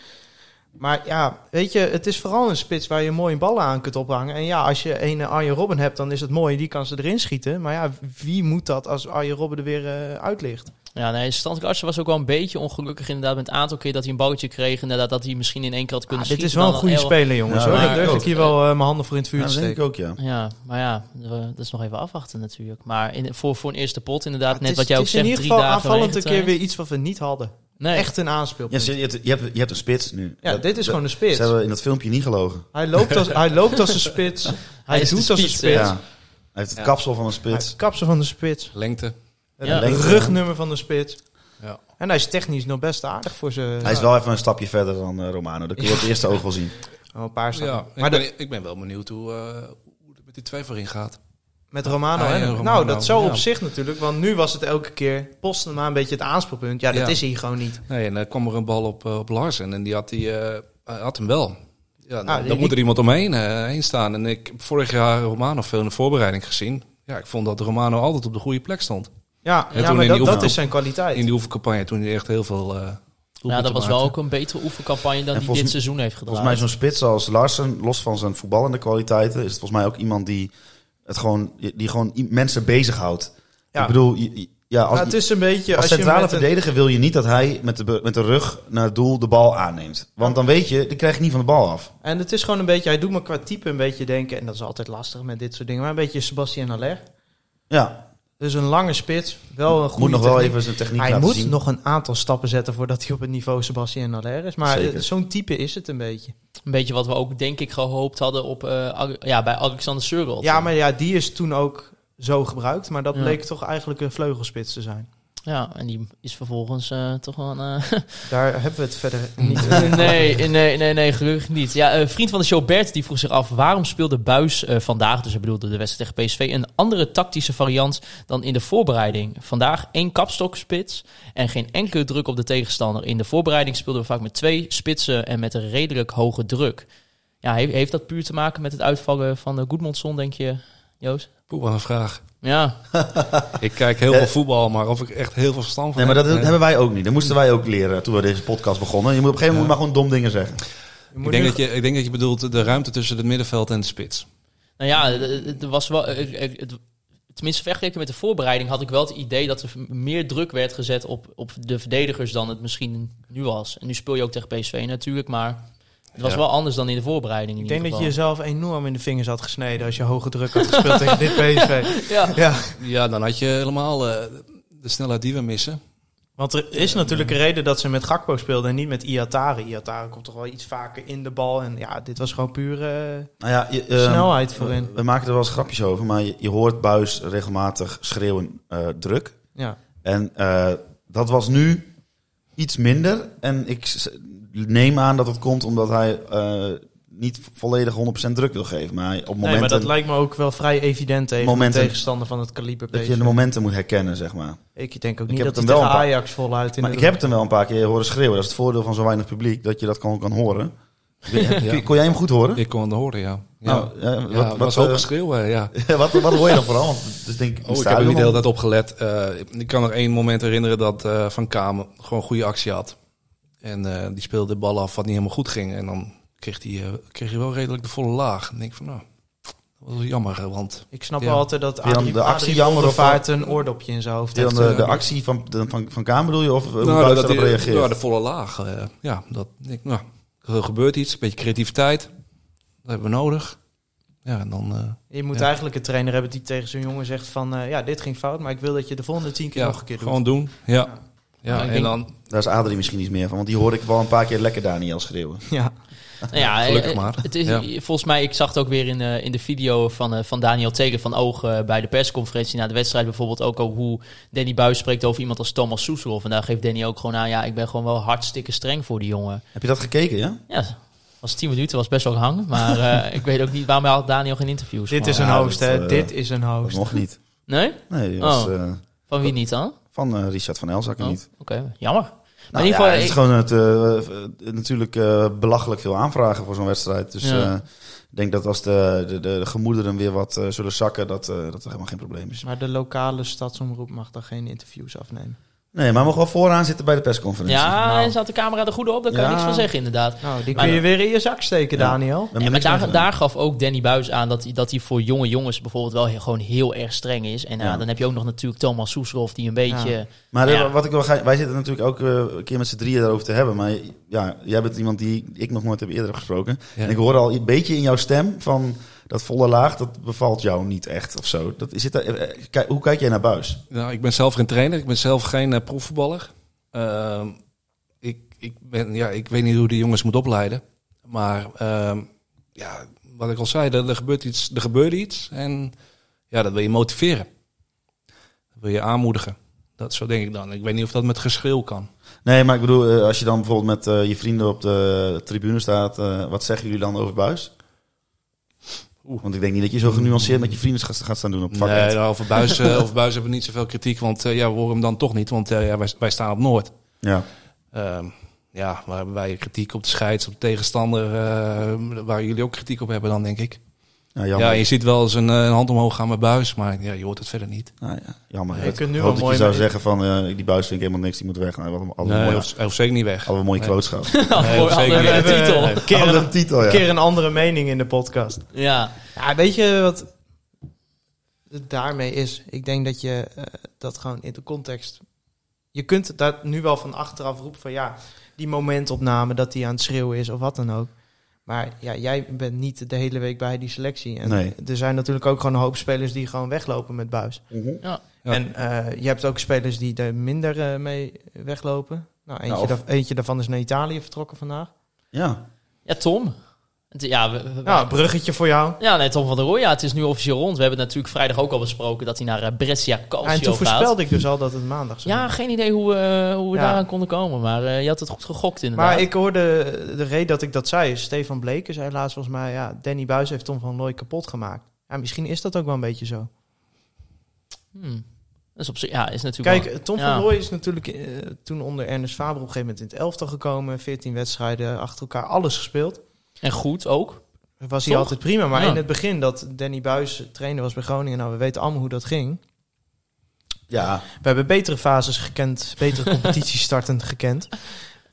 [SPEAKER 5] Maar ja, weet je, het is vooral een spits waar je mooie ballen aan kunt ophangen. En ja, als je een eh, Arjen Robben hebt, dan is het mooi. Die kan ze erin schieten. Maar ja, wie moet dat als Arjen Robben er weer eh, uit ligt?
[SPEAKER 4] ja, nee, Standkartsen was ook wel een beetje ongelukkig inderdaad met het aantal keer dat hij een balletje kreeg. Inderdaad, dat hij misschien in één keer had kunnen
[SPEAKER 5] Ah, dit
[SPEAKER 4] schieten.
[SPEAKER 5] is wel een
[SPEAKER 4] dan
[SPEAKER 5] goede
[SPEAKER 4] heel-
[SPEAKER 5] speler, jongens.
[SPEAKER 6] Ja,
[SPEAKER 5] hoor.
[SPEAKER 6] maar
[SPEAKER 5] Dan durf
[SPEAKER 6] ook.
[SPEAKER 5] ik hier wel eh, mijn handen voor in het vuur
[SPEAKER 6] Ja,
[SPEAKER 5] te
[SPEAKER 6] dat denk ik
[SPEAKER 5] steken.
[SPEAKER 6] ook, ja.
[SPEAKER 4] Ja, maar ja, eh, dat is nog even afwachten natuurlijk. Maar in, voor, voor een eerste pot inderdaad,
[SPEAKER 5] Ah, Het
[SPEAKER 4] net
[SPEAKER 5] is-
[SPEAKER 4] wat jij ook
[SPEAKER 5] het is
[SPEAKER 4] zegt,
[SPEAKER 5] in
[SPEAKER 4] drie
[SPEAKER 5] ieder geval
[SPEAKER 4] dagen
[SPEAKER 5] aanvallend een keer
[SPEAKER 4] meegetraind.
[SPEAKER 5] weer iets wat we niet hadden.
[SPEAKER 4] Nee,
[SPEAKER 5] Echt een
[SPEAKER 6] Ja,
[SPEAKER 5] aanspeelpunt.
[SPEAKER 6] ze- je, hebt, je, hebt, je hebt een spits nu.
[SPEAKER 5] Ja,
[SPEAKER 6] Dat-
[SPEAKER 5] dit is
[SPEAKER 6] dat-
[SPEAKER 5] gewoon een spits.
[SPEAKER 6] Ze hebben in dat filmpje niet gelogen.
[SPEAKER 5] Hij loopt als, hij loopt als een spits. Hij,
[SPEAKER 4] is de
[SPEAKER 5] doet als een
[SPEAKER 4] spits,
[SPEAKER 5] spits.
[SPEAKER 6] Ja. Hij heeft het kapsel van een
[SPEAKER 5] Hij heeft
[SPEAKER 6] spits.
[SPEAKER 5] het kapsel van de spits.
[SPEAKER 7] Lengte.
[SPEAKER 5] Het
[SPEAKER 4] Ja.
[SPEAKER 5] rugnummer van de spits.
[SPEAKER 7] Ja.
[SPEAKER 5] En hij is technisch nog best aardig voor zijn...
[SPEAKER 6] Hij is wel even een stapje verder dan eh, Romano. Dat kun je op het eerste oog
[SPEAKER 5] (laughs)
[SPEAKER 6] wel zien.
[SPEAKER 5] Oh, een paar stappen.
[SPEAKER 7] Ja,
[SPEAKER 5] Maar
[SPEAKER 7] ik,
[SPEAKER 5] de-
[SPEAKER 7] ben, ik ben wel benieuwd hoe, eh, hoe het met die twee voorin gaat.
[SPEAKER 5] met Romano,
[SPEAKER 7] Ah, ja,
[SPEAKER 5] hè?
[SPEAKER 7] Romano,
[SPEAKER 5] Nou, dat zo
[SPEAKER 7] ja.
[SPEAKER 5] op zich natuurlijk. Want nu was het elke keer posten maar een beetje het aanspeelpunt. Ja, dat
[SPEAKER 7] Ja.
[SPEAKER 5] is hij gewoon niet.
[SPEAKER 7] Nee, en dan kwam er een bal op, eh, op Larsen en die had, die, eh, hij had hem wel. Ja, dan
[SPEAKER 5] die-
[SPEAKER 7] dan
[SPEAKER 5] die-
[SPEAKER 7] moet er iemand omheen eh, heen staan. En ik heb vorig jaar Romano veel in de voorbereiding gezien. Ja, ik vond dat Romano altijd op de goede plek stond.
[SPEAKER 5] Ja,
[SPEAKER 7] En toen
[SPEAKER 5] ja
[SPEAKER 7] in
[SPEAKER 5] maar
[SPEAKER 7] die
[SPEAKER 5] dat, dat
[SPEAKER 7] oefening-
[SPEAKER 5] is zijn kwaliteit.
[SPEAKER 7] In die oefencampagne toen hij echt heel veel... eh
[SPEAKER 4] ja, Nou, dat
[SPEAKER 7] doelpunten
[SPEAKER 4] was wel
[SPEAKER 7] maakte.
[SPEAKER 4] ook een betere oefencampagne dan
[SPEAKER 6] En
[SPEAKER 4] die dit
[SPEAKER 6] volgens-
[SPEAKER 4] seizoen heeft gedaan.
[SPEAKER 6] Volgens mij zo'n spits als Larsen, los van zijn voetballende kwaliteiten, is het volgens mij ook iemand die, het gewoon, die gewoon i- mensen bezighoudt.
[SPEAKER 5] Ja.
[SPEAKER 6] Ik bedoel, je- je- ja, als,
[SPEAKER 5] Nou, het is een beetje...
[SPEAKER 6] als
[SPEAKER 5] je
[SPEAKER 6] centrale
[SPEAKER 5] met een-
[SPEAKER 6] verdediger wil je niet dat hij met de, be- met de rug naar het doel de bal aanneemt. Want dan weet je, die krijg je niet van de bal af.
[SPEAKER 5] En het is gewoon een beetje, hij doet me qua type een beetje denken, en dat is altijd lastig met dit soort dingen, maar een beetje Sebastian Haller.
[SPEAKER 6] Ja,
[SPEAKER 5] Dus een lange spits, wel een goede
[SPEAKER 6] moet nog wel
[SPEAKER 5] techniek.
[SPEAKER 6] even zijn techniek
[SPEAKER 5] Hij
[SPEAKER 6] laten
[SPEAKER 5] moet
[SPEAKER 6] zien.
[SPEAKER 5] nog een aantal stappen zetten voordat hij op het niveau Sebastian Haller is. Maar
[SPEAKER 6] Zeker.
[SPEAKER 5] eh, zo'n type is het een beetje.
[SPEAKER 4] Een beetje wat we ook, denk ik, gehoopt hadden op, eh, Ale- ja, bij Alexander Surgel.
[SPEAKER 5] Ja, maar ja, die is toen ook zo gebruikt, maar dat
[SPEAKER 4] Ja.
[SPEAKER 5] bleek toch eigenlijk een vleugelspits te zijn.
[SPEAKER 4] Ja, en die is vervolgens eh, toch wel... een, eh,
[SPEAKER 5] Daar hebben we het (laughs) verder niet
[SPEAKER 4] nee, nee, nee, nee, gelukkig niet. Ja, eh, vriend van de show Bert die vroeg zich af... waarom speelde Buis vandaag, dus hij bedoelde de wedstrijd tegen PSV... een andere tactische variant dan in de voorbereiding. Vandaag één kapstokspits en geen enkele druk op de tegenstander. In de voorbereiding speelden we vaak met twee spitsen... en met een redelijk hoge druk. Ja, he- heeft dat puur te maken met het uitvallen van uh, Goedmondson, denk je, Joost?
[SPEAKER 7] Poeh, wat een vraag.
[SPEAKER 4] Ja,
[SPEAKER 7] Ik kijk heel
[SPEAKER 6] Eh,
[SPEAKER 7] veel voetbal, maar of ik echt heel veel verstand van
[SPEAKER 6] Nee, maar dat
[SPEAKER 7] heb, nee.
[SPEAKER 6] hebben wij ook niet. Dat moesten wij ook leren toen we deze podcast begonnen. Je moet op een gegeven moment maar gewoon dom dingen zeggen.
[SPEAKER 7] Ik denk, dat je, ik denk dat je bedoelt de ruimte tussen het middenveld en de spits.
[SPEAKER 4] Nou ja, het- het was wel. het- het- het- Tenminste, vergeleken met de voorbereiding had ik wel het idee dat er meer druk werd gezet op, op de verdedigers dan het misschien nu was. En nu speel je ook tegen PSV natuurlijk, maar het was
[SPEAKER 7] Ja.
[SPEAKER 4] wel anders dan in de voorbereiding. In
[SPEAKER 5] Ik denk dat
[SPEAKER 4] ieder
[SPEAKER 5] je
[SPEAKER 4] geval.
[SPEAKER 5] jezelf enorm in de vingers had gesneden als je hoge druk had gespeeld tegen dit (laughs) PSV.
[SPEAKER 4] Ja.
[SPEAKER 5] Ja,
[SPEAKER 7] Ja, dan had je helemaal eh, de snelheid die we missen.
[SPEAKER 5] want er is natuurlijk een reden dat ze met Gakpo speelden en niet met Iatare. Iatare komt toch wel iets vaker in de bal en ja, dit was gewoon puur eh,
[SPEAKER 6] Nou ja, je, ehm,
[SPEAKER 5] snelheid voorin.
[SPEAKER 6] We maken er wel eens grapjes over, maar je, je hoort Buis regelmatig schreeuwen eh, druk.
[SPEAKER 5] Ja.
[SPEAKER 6] En eh, dat was nu iets minder. En ik s- neem aan dat het komt omdat hij eh, niet volledig 100% druk wil geven. Maar hij op momenten
[SPEAKER 5] Nee, maar dat lijkt me ook wel vrij evident tegen
[SPEAKER 6] Momenten.
[SPEAKER 5] de tegenstander van het kaliber
[SPEAKER 6] dat
[SPEAKER 5] PSV.
[SPEAKER 6] je de momenten moet herkennen, zeg maar.
[SPEAKER 5] Ik denk ook
[SPEAKER 6] Ik
[SPEAKER 5] niet
[SPEAKER 6] heb het
[SPEAKER 5] dat het
[SPEAKER 6] hem wel
[SPEAKER 5] tegen
[SPEAKER 6] een paar-
[SPEAKER 5] Ajax voluit in
[SPEAKER 6] Maar
[SPEAKER 5] de
[SPEAKER 6] ik heb het hem wel een paar keer horen schreeuwen. Dat is het voordeel van zo weinig publiek, dat je dat gewoon kan horen.
[SPEAKER 5] (laughs)
[SPEAKER 6] Kon- Kon jij hem goed horen?
[SPEAKER 7] Ik kon het horen, ja. Ja,
[SPEAKER 6] Nou, eh, wat,
[SPEAKER 7] Ja, het
[SPEAKER 6] wat,
[SPEAKER 7] was
[SPEAKER 6] eh,
[SPEAKER 7] hoog geschreeuw, eh, ja.
[SPEAKER 6] (laughs) wat, wat hoor je dan vooral? Want het is denk ik,
[SPEAKER 7] Oh, ik heb er
[SPEAKER 6] stadion
[SPEAKER 7] niet de
[SPEAKER 6] al-
[SPEAKER 7] hele tijd op gelet. Eh, ik kan nog één moment herinneren dat eh, Van Kamer gewoon goede actie had. En eh, die speelde de bal af wat niet helemaal goed ging. En dan kreeg hij, eh, kreeg hij wel redelijk de volle laag. En ik denk van, nou, dat was wel jammer. eh, Want
[SPEAKER 5] Ik snap
[SPEAKER 7] Ja.
[SPEAKER 5] wel altijd dat
[SPEAKER 6] Vind je dan
[SPEAKER 5] Adrie,
[SPEAKER 6] de actie
[SPEAKER 5] Adrie
[SPEAKER 6] jammer of-
[SPEAKER 5] Bondervaart een oordopje in zijn hoofd
[SPEAKER 6] Dan
[SPEAKER 5] heeft.
[SPEAKER 6] de, de
[SPEAKER 7] eh,
[SPEAKER 6] actie van, de- van, van Kamer bedoel je? Of eh, hoe
[SPEAKER 7] nou,
[SPEAKER 6] Buis
[SPEAKER 7] dat
[SPEAKER 6] daarop
[SPEAKER 7] hij-
[SPEAKER 6] reageert?
[SPEAKER 7] ja, de volle laag. eh, ja, dat, ik, denk, nou, er gebeurt iets. Een beetje creativiteit. Dat hebben we nodig. Ja, en dan... eh,
[SPEAKER 5] Je moet
[SPEAKER 7] Ja.
[SPEAKER 5] eigenlijk een trainer hebben die tegen zo'n jongen zegt van... eh, ja, dit ging fout, maar ik wil dat je de volgende tien keer
[SPEAKER 7] ja,
[SPEAKER 5] nog een keer doet.
[SPEAKER 7] gewoon doen. Ja.
[SPEAKER 4] Ja,
[SPEAKER 7] Ja,
[SPEAKER 4] ik
[SPEAKER 7] en
[SPEAKER 4] denk-
[SPEAKER 7] dan
[SPEAKER 6] Daar is Adrie misschien iets meer van, want die hoor ik wel een paar keer lekker Daniel schreeuwen.
[SPEAKER 5] Ja.
[SPEAKER 4] Nou ja,
[SPEAKER 7] (laughs) Gelukkig
[SPEAKER 4] eh,
[SPEAKER 7] maar.
[SPEAKER 4] Het is,
[SPEAKER 7] Ja.
[SPEAKER 4] Volgens mij, ik zag het ook weer in, eh, in de video van, eh, van Daniel Tegen van Oog eh, bij de persconferentie na de wedstrijd. Bijvoorbeeld ook al hoe Danny Buis spreekt over iemand als Thomas Soeslof. En daar geeft Danny ook gewoon aan, ja, ik ben gewoon wel hartstikke streng voor die jongen.
[SPEAKER 6] Heb je dat gekeken, ja?
[SPEAKER 4] Ja, was 10 minuten, was best wel hang. Maar
[SPEAKER 6] (laughs)
[SPEAKER 4] eh, ik weet ook niet waarom had Daniel geen interviews.
[SPEAKER 5] Dit
[SPEAKER 4] gewoon.
[SPEAKER 5] is een
[SPEAKER 6] Ja,
[SPEAKER 5] host,
[SPEAKER 6] dat,
[SPEAKER 5] hè.
[SPEAKER 6] eh,
[SPEAKER 5] dit is een
[SPEAKER 6] Dat
[SPEAKER 5] host.
[SPEAKER 6] nog niet.
[SPEAKER 4] Nee?
[SPEAKER 6] Nee, die was,
[SPEAKER 4] Oh.
[SPEAKER 6] eh,
[SPEAKER 4] Van wie niet dan?
[SPEAKER 6] van eh, Richard van Elzakker
[SPEAKER 4] Oh,
[SPEAKER 6] niet.
[SPEAKER 4] Oké, jammer. Maar
[SPEAKER 6] Nou,
[SPEAKER 4] in ieder
[SPEAKER 6] ja,
[SPEAKER 4] geval,
[SPEAKER 6] het is
[SPEAKER 4] ik-
[SPEAKER 6] gewoon het, eh, eh, natuurlijk eh, belachelijk veel aanvragen voor zo'n wedstrijd. Dus
[SPEAKER 4] Ja.
[SPEAKER 6] eh, ik denk dat als de, de, de gemoederen weer wat eh, zullen zakken, dat, eh, dat er helemaal geen probleem is.
[SPEAKER 5] Maar de lokale stadsomroep mag daar geen interviews afnemen.
[SPEAKER 6] Nee, maar we mogen wel vooraan zitten bij de persconferentie.
[SPEAKER 4] ja,
[SPEAKER 5] Nou.
[SPEAKER 4] en zat de camera er goed op, daar kan
[SPEAKER 6] Ja.
[SPEAKER 4] ik niks van zeggen inderdaad.
[SPEAKER 5] Nou, die
[SPEAKER 4] Maar-
[SPEAKER 5] kun je weer in je zak steken,
[SPEAKER 6] Ja.
[SPEAKER 5] Daniel.
[SPEAKER 6] We hebben
[SPEAKER 4] Nee, maar
[SPEAKER 6] niks meer
[SPEAKER 4] daar,
[SPEAKER 6] gedaan.
[SPEAKER 4] daar gaf ook Danny Buis aan dat hij, dat hij voor jonge jongens bijvoorbeeld wel heel, gewoon heel erg streng is. En ja,
[SPEAKER 6] Ja.
[SPEAKER 4] dan heb je ook nog natuurlijk Thomas Soeslof die een beetje...
[SPEAKER 5] Ja.
[SPEAKER 6] Maar
[SPEAKER 4] Ja.
[SPEAKER 6] eh, wat ik wel ga, wij zitten natuurlijk ook eh, een keer met z'n drieën daarover te hebben. Maar ja, jij bent iemand die ik nog nooit heb eerder heb gesproken.
[SPEAKER 7] Ja.
[SPEAKER 6] En ik hoor al een beetje in jouw stem van dat volle laag, dat bevalt jou niet echt of zo. Dat, is het, eh, eh, kijk, hoe kijk jij naar buis?
[SPEAKER 7] Nou, ik ben zelf geen trainer. Ik ben zelf geen eh, profvoetballer. Ehm, ik, ik, ben, ja, ik weet niet hoe die jongens moet opleiden. Maar ehm, ja, wat ik al zei, er, er gebeurt iets, er gebeurde iets. En ja, dat wil je motiveren. Dat wil je aanmoedigen. Dat zo denk ik dan. Ik weet niet of dat met geschreeuw kan.
[SPEAKER 6] Nee, maar ik bedoel, eh, als je dan bijvoorbeeld met eh, je vrienden op de tribune staat, eh, wat zeggen jullie dan over buis? Want ik denk niet dat je zo genuanceerd met je vrienden gaat, gaat staan doen op vak.
[SPEAKER 7] nee,
[SPEAKER 6] Ed.
[SPEAKER 7] nou, over buizen (laughs) over buizen hebben we niet zoveel kritiek. Want eh, ja, we horen hem dan toch niet. Want eh, ja, wij, wij staan op Noord.
[SPEAKER 6] Ja.
[SPEAKER 7] Ehm, ja, waar hebben wij kritiek op de scheids, op de tegenstander, eh, waar jullie ook kritiek op hebben dan, denk ik.
[SPEAKER 6] Ja,
[SPEAKER 7] Ja,
[SPEAKER 6] jammer.
[SPEAKER 7] je ziet wel eens een, eh, een hand omhoog gaan met buis, maar ja, je hoort het verder niet.
[SPEAKER 6] Nou ja, jammer.
[SPEAKER 5] Je
[SPEAKER 6] Ed.
[SPEAKER 5] kunt nu
[SPEAKER 6] Ik
[SPEAKER 5] al
[SPEAKER 6] hoop dat je
[SPEAKER 5] mooi
[SPEAKER 6] zou
[SPEAKER 5] met-
[SPEAKER 6] zeggen van, eh, die buis vind ik helemaal niks, die moet weg. Nou, wat een, wat een mooie,
[SPEAKER 7] of, of zeker niet weg.
[SPEAKER 6] wat een mooie
[SPEAKER 7] Nee.
[SPEAKER 6] quotes gehad.
[SPEAKER 5] (laughs)
[SPEAKER 4] (laughs) Mooi,
[SPEAKER 7] zeker
[SPEAKER 4] andere
[SPEAKER 7] niet.
[SPEAKER 5] We hebben
[SPEAKER 4] titel.
[SPEAKER 5] een keer
[SPEAKER 6] Andere
[SPEAKER 5] een,
[SPEAKER 6] titel, ja.
[SPEAKER 5] keer een andere mening in de podcast.
[SPEAKER 4] Ja.
[SPEAKER 5] Ja, weet je wat het daarmee is? Ik denk dat je eh, dat gewoon in de context... Je kunt daar nu wel van achteraf roepen van ja, die momentopname dat hij aan het schreeuwen is of wat dan ook. Maar ja, jij bent niet de hele week bij die selectie. En
[SPEAKER 6] Nee.
[SPEAKER 5] er zijn natuurlijk ook gewoon een hoop spelers die gewoon weglopen met buis.
[SPEAKER 7] Ja.
[SPEAKER 5] En eh, je hebt ook spelers die er minder eh, mee weglopen. Nou, eentje,
[SPEAKER 6] Nou, of-
[SPEAKER 5] daar- eentje daarvan is naar Italië vertrokken vandaag.
[SPEAKER 6] Ja.
[SPEAKER 4] ja, Tom. Het- Ja, we- we-
[SPEAKER 5] Nou, bruggetje voor jou.
[SPEAKER 4] ja nee, Tom van der Rooij, ja, het is nu officieel rond. We hebben het natuurlijk vrijdag ook al besproken dat hij naar eh, Brescia Calcio
[SPEAKER 5] en toen
[SPEAKER 4] gaat.
[SPEAKER 5] voorspelde ik dus al dat het maandag zou
[SPEAKER 4] Ja, geen idee hoe, eh, hoe we
[SPEAKER 5] Ja.
[SPEAKER 4] daaraan konden komen. Maar eh, je had het goed gegokt inderdaad.
[SPEAKER 5] Maar ik hoorde de reden dat ik dat zei. is Stefan Bleken zei laatst volgens mij: ja, Danny Buis heeft Tom van Looy kapot gemaakt. Ja, misschien is dat ook wel een beetje zo.
[SPEAKER 4] Hmm. Dat is op zich, ja, is natuurlijk wel-
[SPEAKER 5] Kijk, eh, Tom
[SPEAKER 4] Ja.
[SPEAKER 5] van Looy is natuurlijk eh, toen onder Ernest Faber op een gegeven moment in het elftal gekomen. 14 wedstrijden achter elkaar, alles gespeeld.
[SPEAKER 4] En goed ook.
[SPEAKER 5] Was hij
[SPEAKER 4] Toch?
[SPEAKER 5] altijd prima. Maar
[SPEAKER 4] Ja.
[SPEAKER 5] in het begin dat Danny Buis trainer was bij Groningen, nou, we weten allemaal hoe dat ging.
[SPEAKER 6] Ja,
[SPEAKER 5] We hebben betere fases gekend, betere competitiestarten gekend.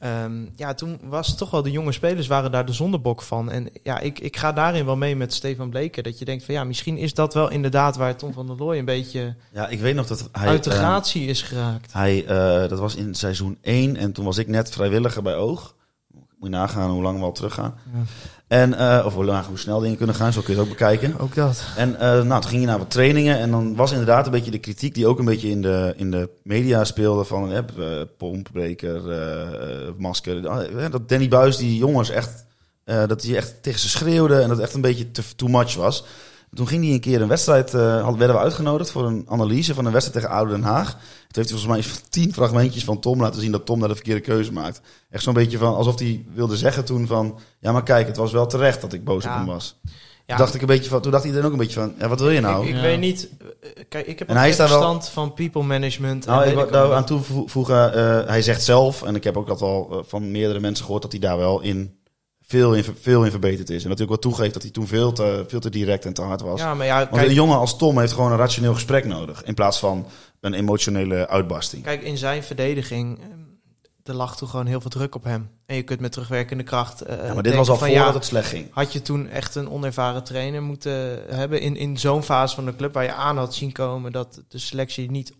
[SPEAKER 5] Ehm, ja, toen was het toch wel de jonge spelers waren daar de zondebok van. En ja, ik, ik ga daarin wel mee met Stefan Bleken. Dat je denkt van ja, misschien is dat wel inderdaad waar Tom van der Looy een beetje
[SPEAKER 6] ja, ik weet nog dat hij...
[SPEAKER 5] uit de
[SPEAKER 6] eh,
[SPEAKER 5] gratie is geraakt.
[SPEAKER 6] Hij, eh, dat was in seizoen 1 en toen was ik net vrijwilliger bij Oog. Moet je nagaan hoe lang we al teruggaan.
[SPEAKER 5] Ja.
[SPEAKER 6] En, eh, of hoe, lang, hoe snel dingen kunnen gaan, zo kun je het ook bekijken.
[SPEAKER 5] Ook dat.
[SPEAKER 6] En eh, nou, toen ging je naar wat trainingen en dan was inderdaad een beetje de kritiek die ook een beetje in de, in de media speelde van hè, eh, pompbreker, eh, eh, masker. Eh, dat Danny Buis die jongens echt, eh, dat hij echt tegen ze schreeuwde en dat het echt een beetje te, too much was. Toen ging hij een keer een wedstrijd, eh, had, werden we uitgenodigd voor een analyse van een wedstrijd tegen Oude Den Haag. Toen heeft hij volgens mij (laughs) iets van tien fragmentjes van Tom laten zien dat Tom daar de verkeerde keuze maakt. Echt zo'n beetje van, alsof hij wilde zeggen toen van, ja maar kijk, het was wel terecht dat ik boos
[SPEAKER 5] Ja.
[SPEAKER 6] op hem was.
[SPEAKER 5] Ja,
[SPEAKER 6] Toen dacht ik een beetje van, toen dacht iedereen ook een beetje van, ja, wat wil je nou?
[SPEAKER 5] ik, ik
[SPEAKER 4] Ja.
[SPEAKER 5] weet niet. eh, Kijk, ik heb
[SPEAKER 6] En
[SPEAKER 5] een
[SPEAKER 6] hij is daar wel-
[SPEAKER 5] verstand van people management. en
[SPEAKER 6] nou, ik
[SPEAKER 5] weet
[SPEAKER 6] wou
[SPEAKER 5] ik allemaal
[SPEAKER 6] daar aan toevoegen, eh, hij zegt zelf, en ik heb ook dat al eh, van meerdere mensen gehoord, dat hij daar wel in veel in, ver- veel in verbeterd is. En natuurlijk wel toegeeft dat hij toen veel te, veel te direct en te hard was.
[SPEAKER 5] niet. Ja, maar ja,
[SPEAKER 6] Want
[SPEAKER 5] kijk,
[SPEAKER 6] een jongen als Tom heeft gewoon een rationeel gesprek nodig, in plaats van een emotionele uitbarsting.
[SPEAKER 5] Kijk, in zijn verdediging, ehm, er lag toen gewoon heel veel druk op hem. En je kunt met terugwerkende kracht.
[SPEAKER 6] ja,
[SPEAKER 5] eh,
[SPEAKER 6] maar dit
[SPEAKER 5] denken
[SPEAKER 6] was al
[SPEAKER 5] van,
[SPEAKER 6] voordat
[SPEAKER 5] ja,
[SPEAKER 6] het slecht ging.
[SPEAKER 5] Had je toen echt een onervaren trainer moeten hebben in, in zo'n fase van de club waar je aan had zien komen dat de selectie niet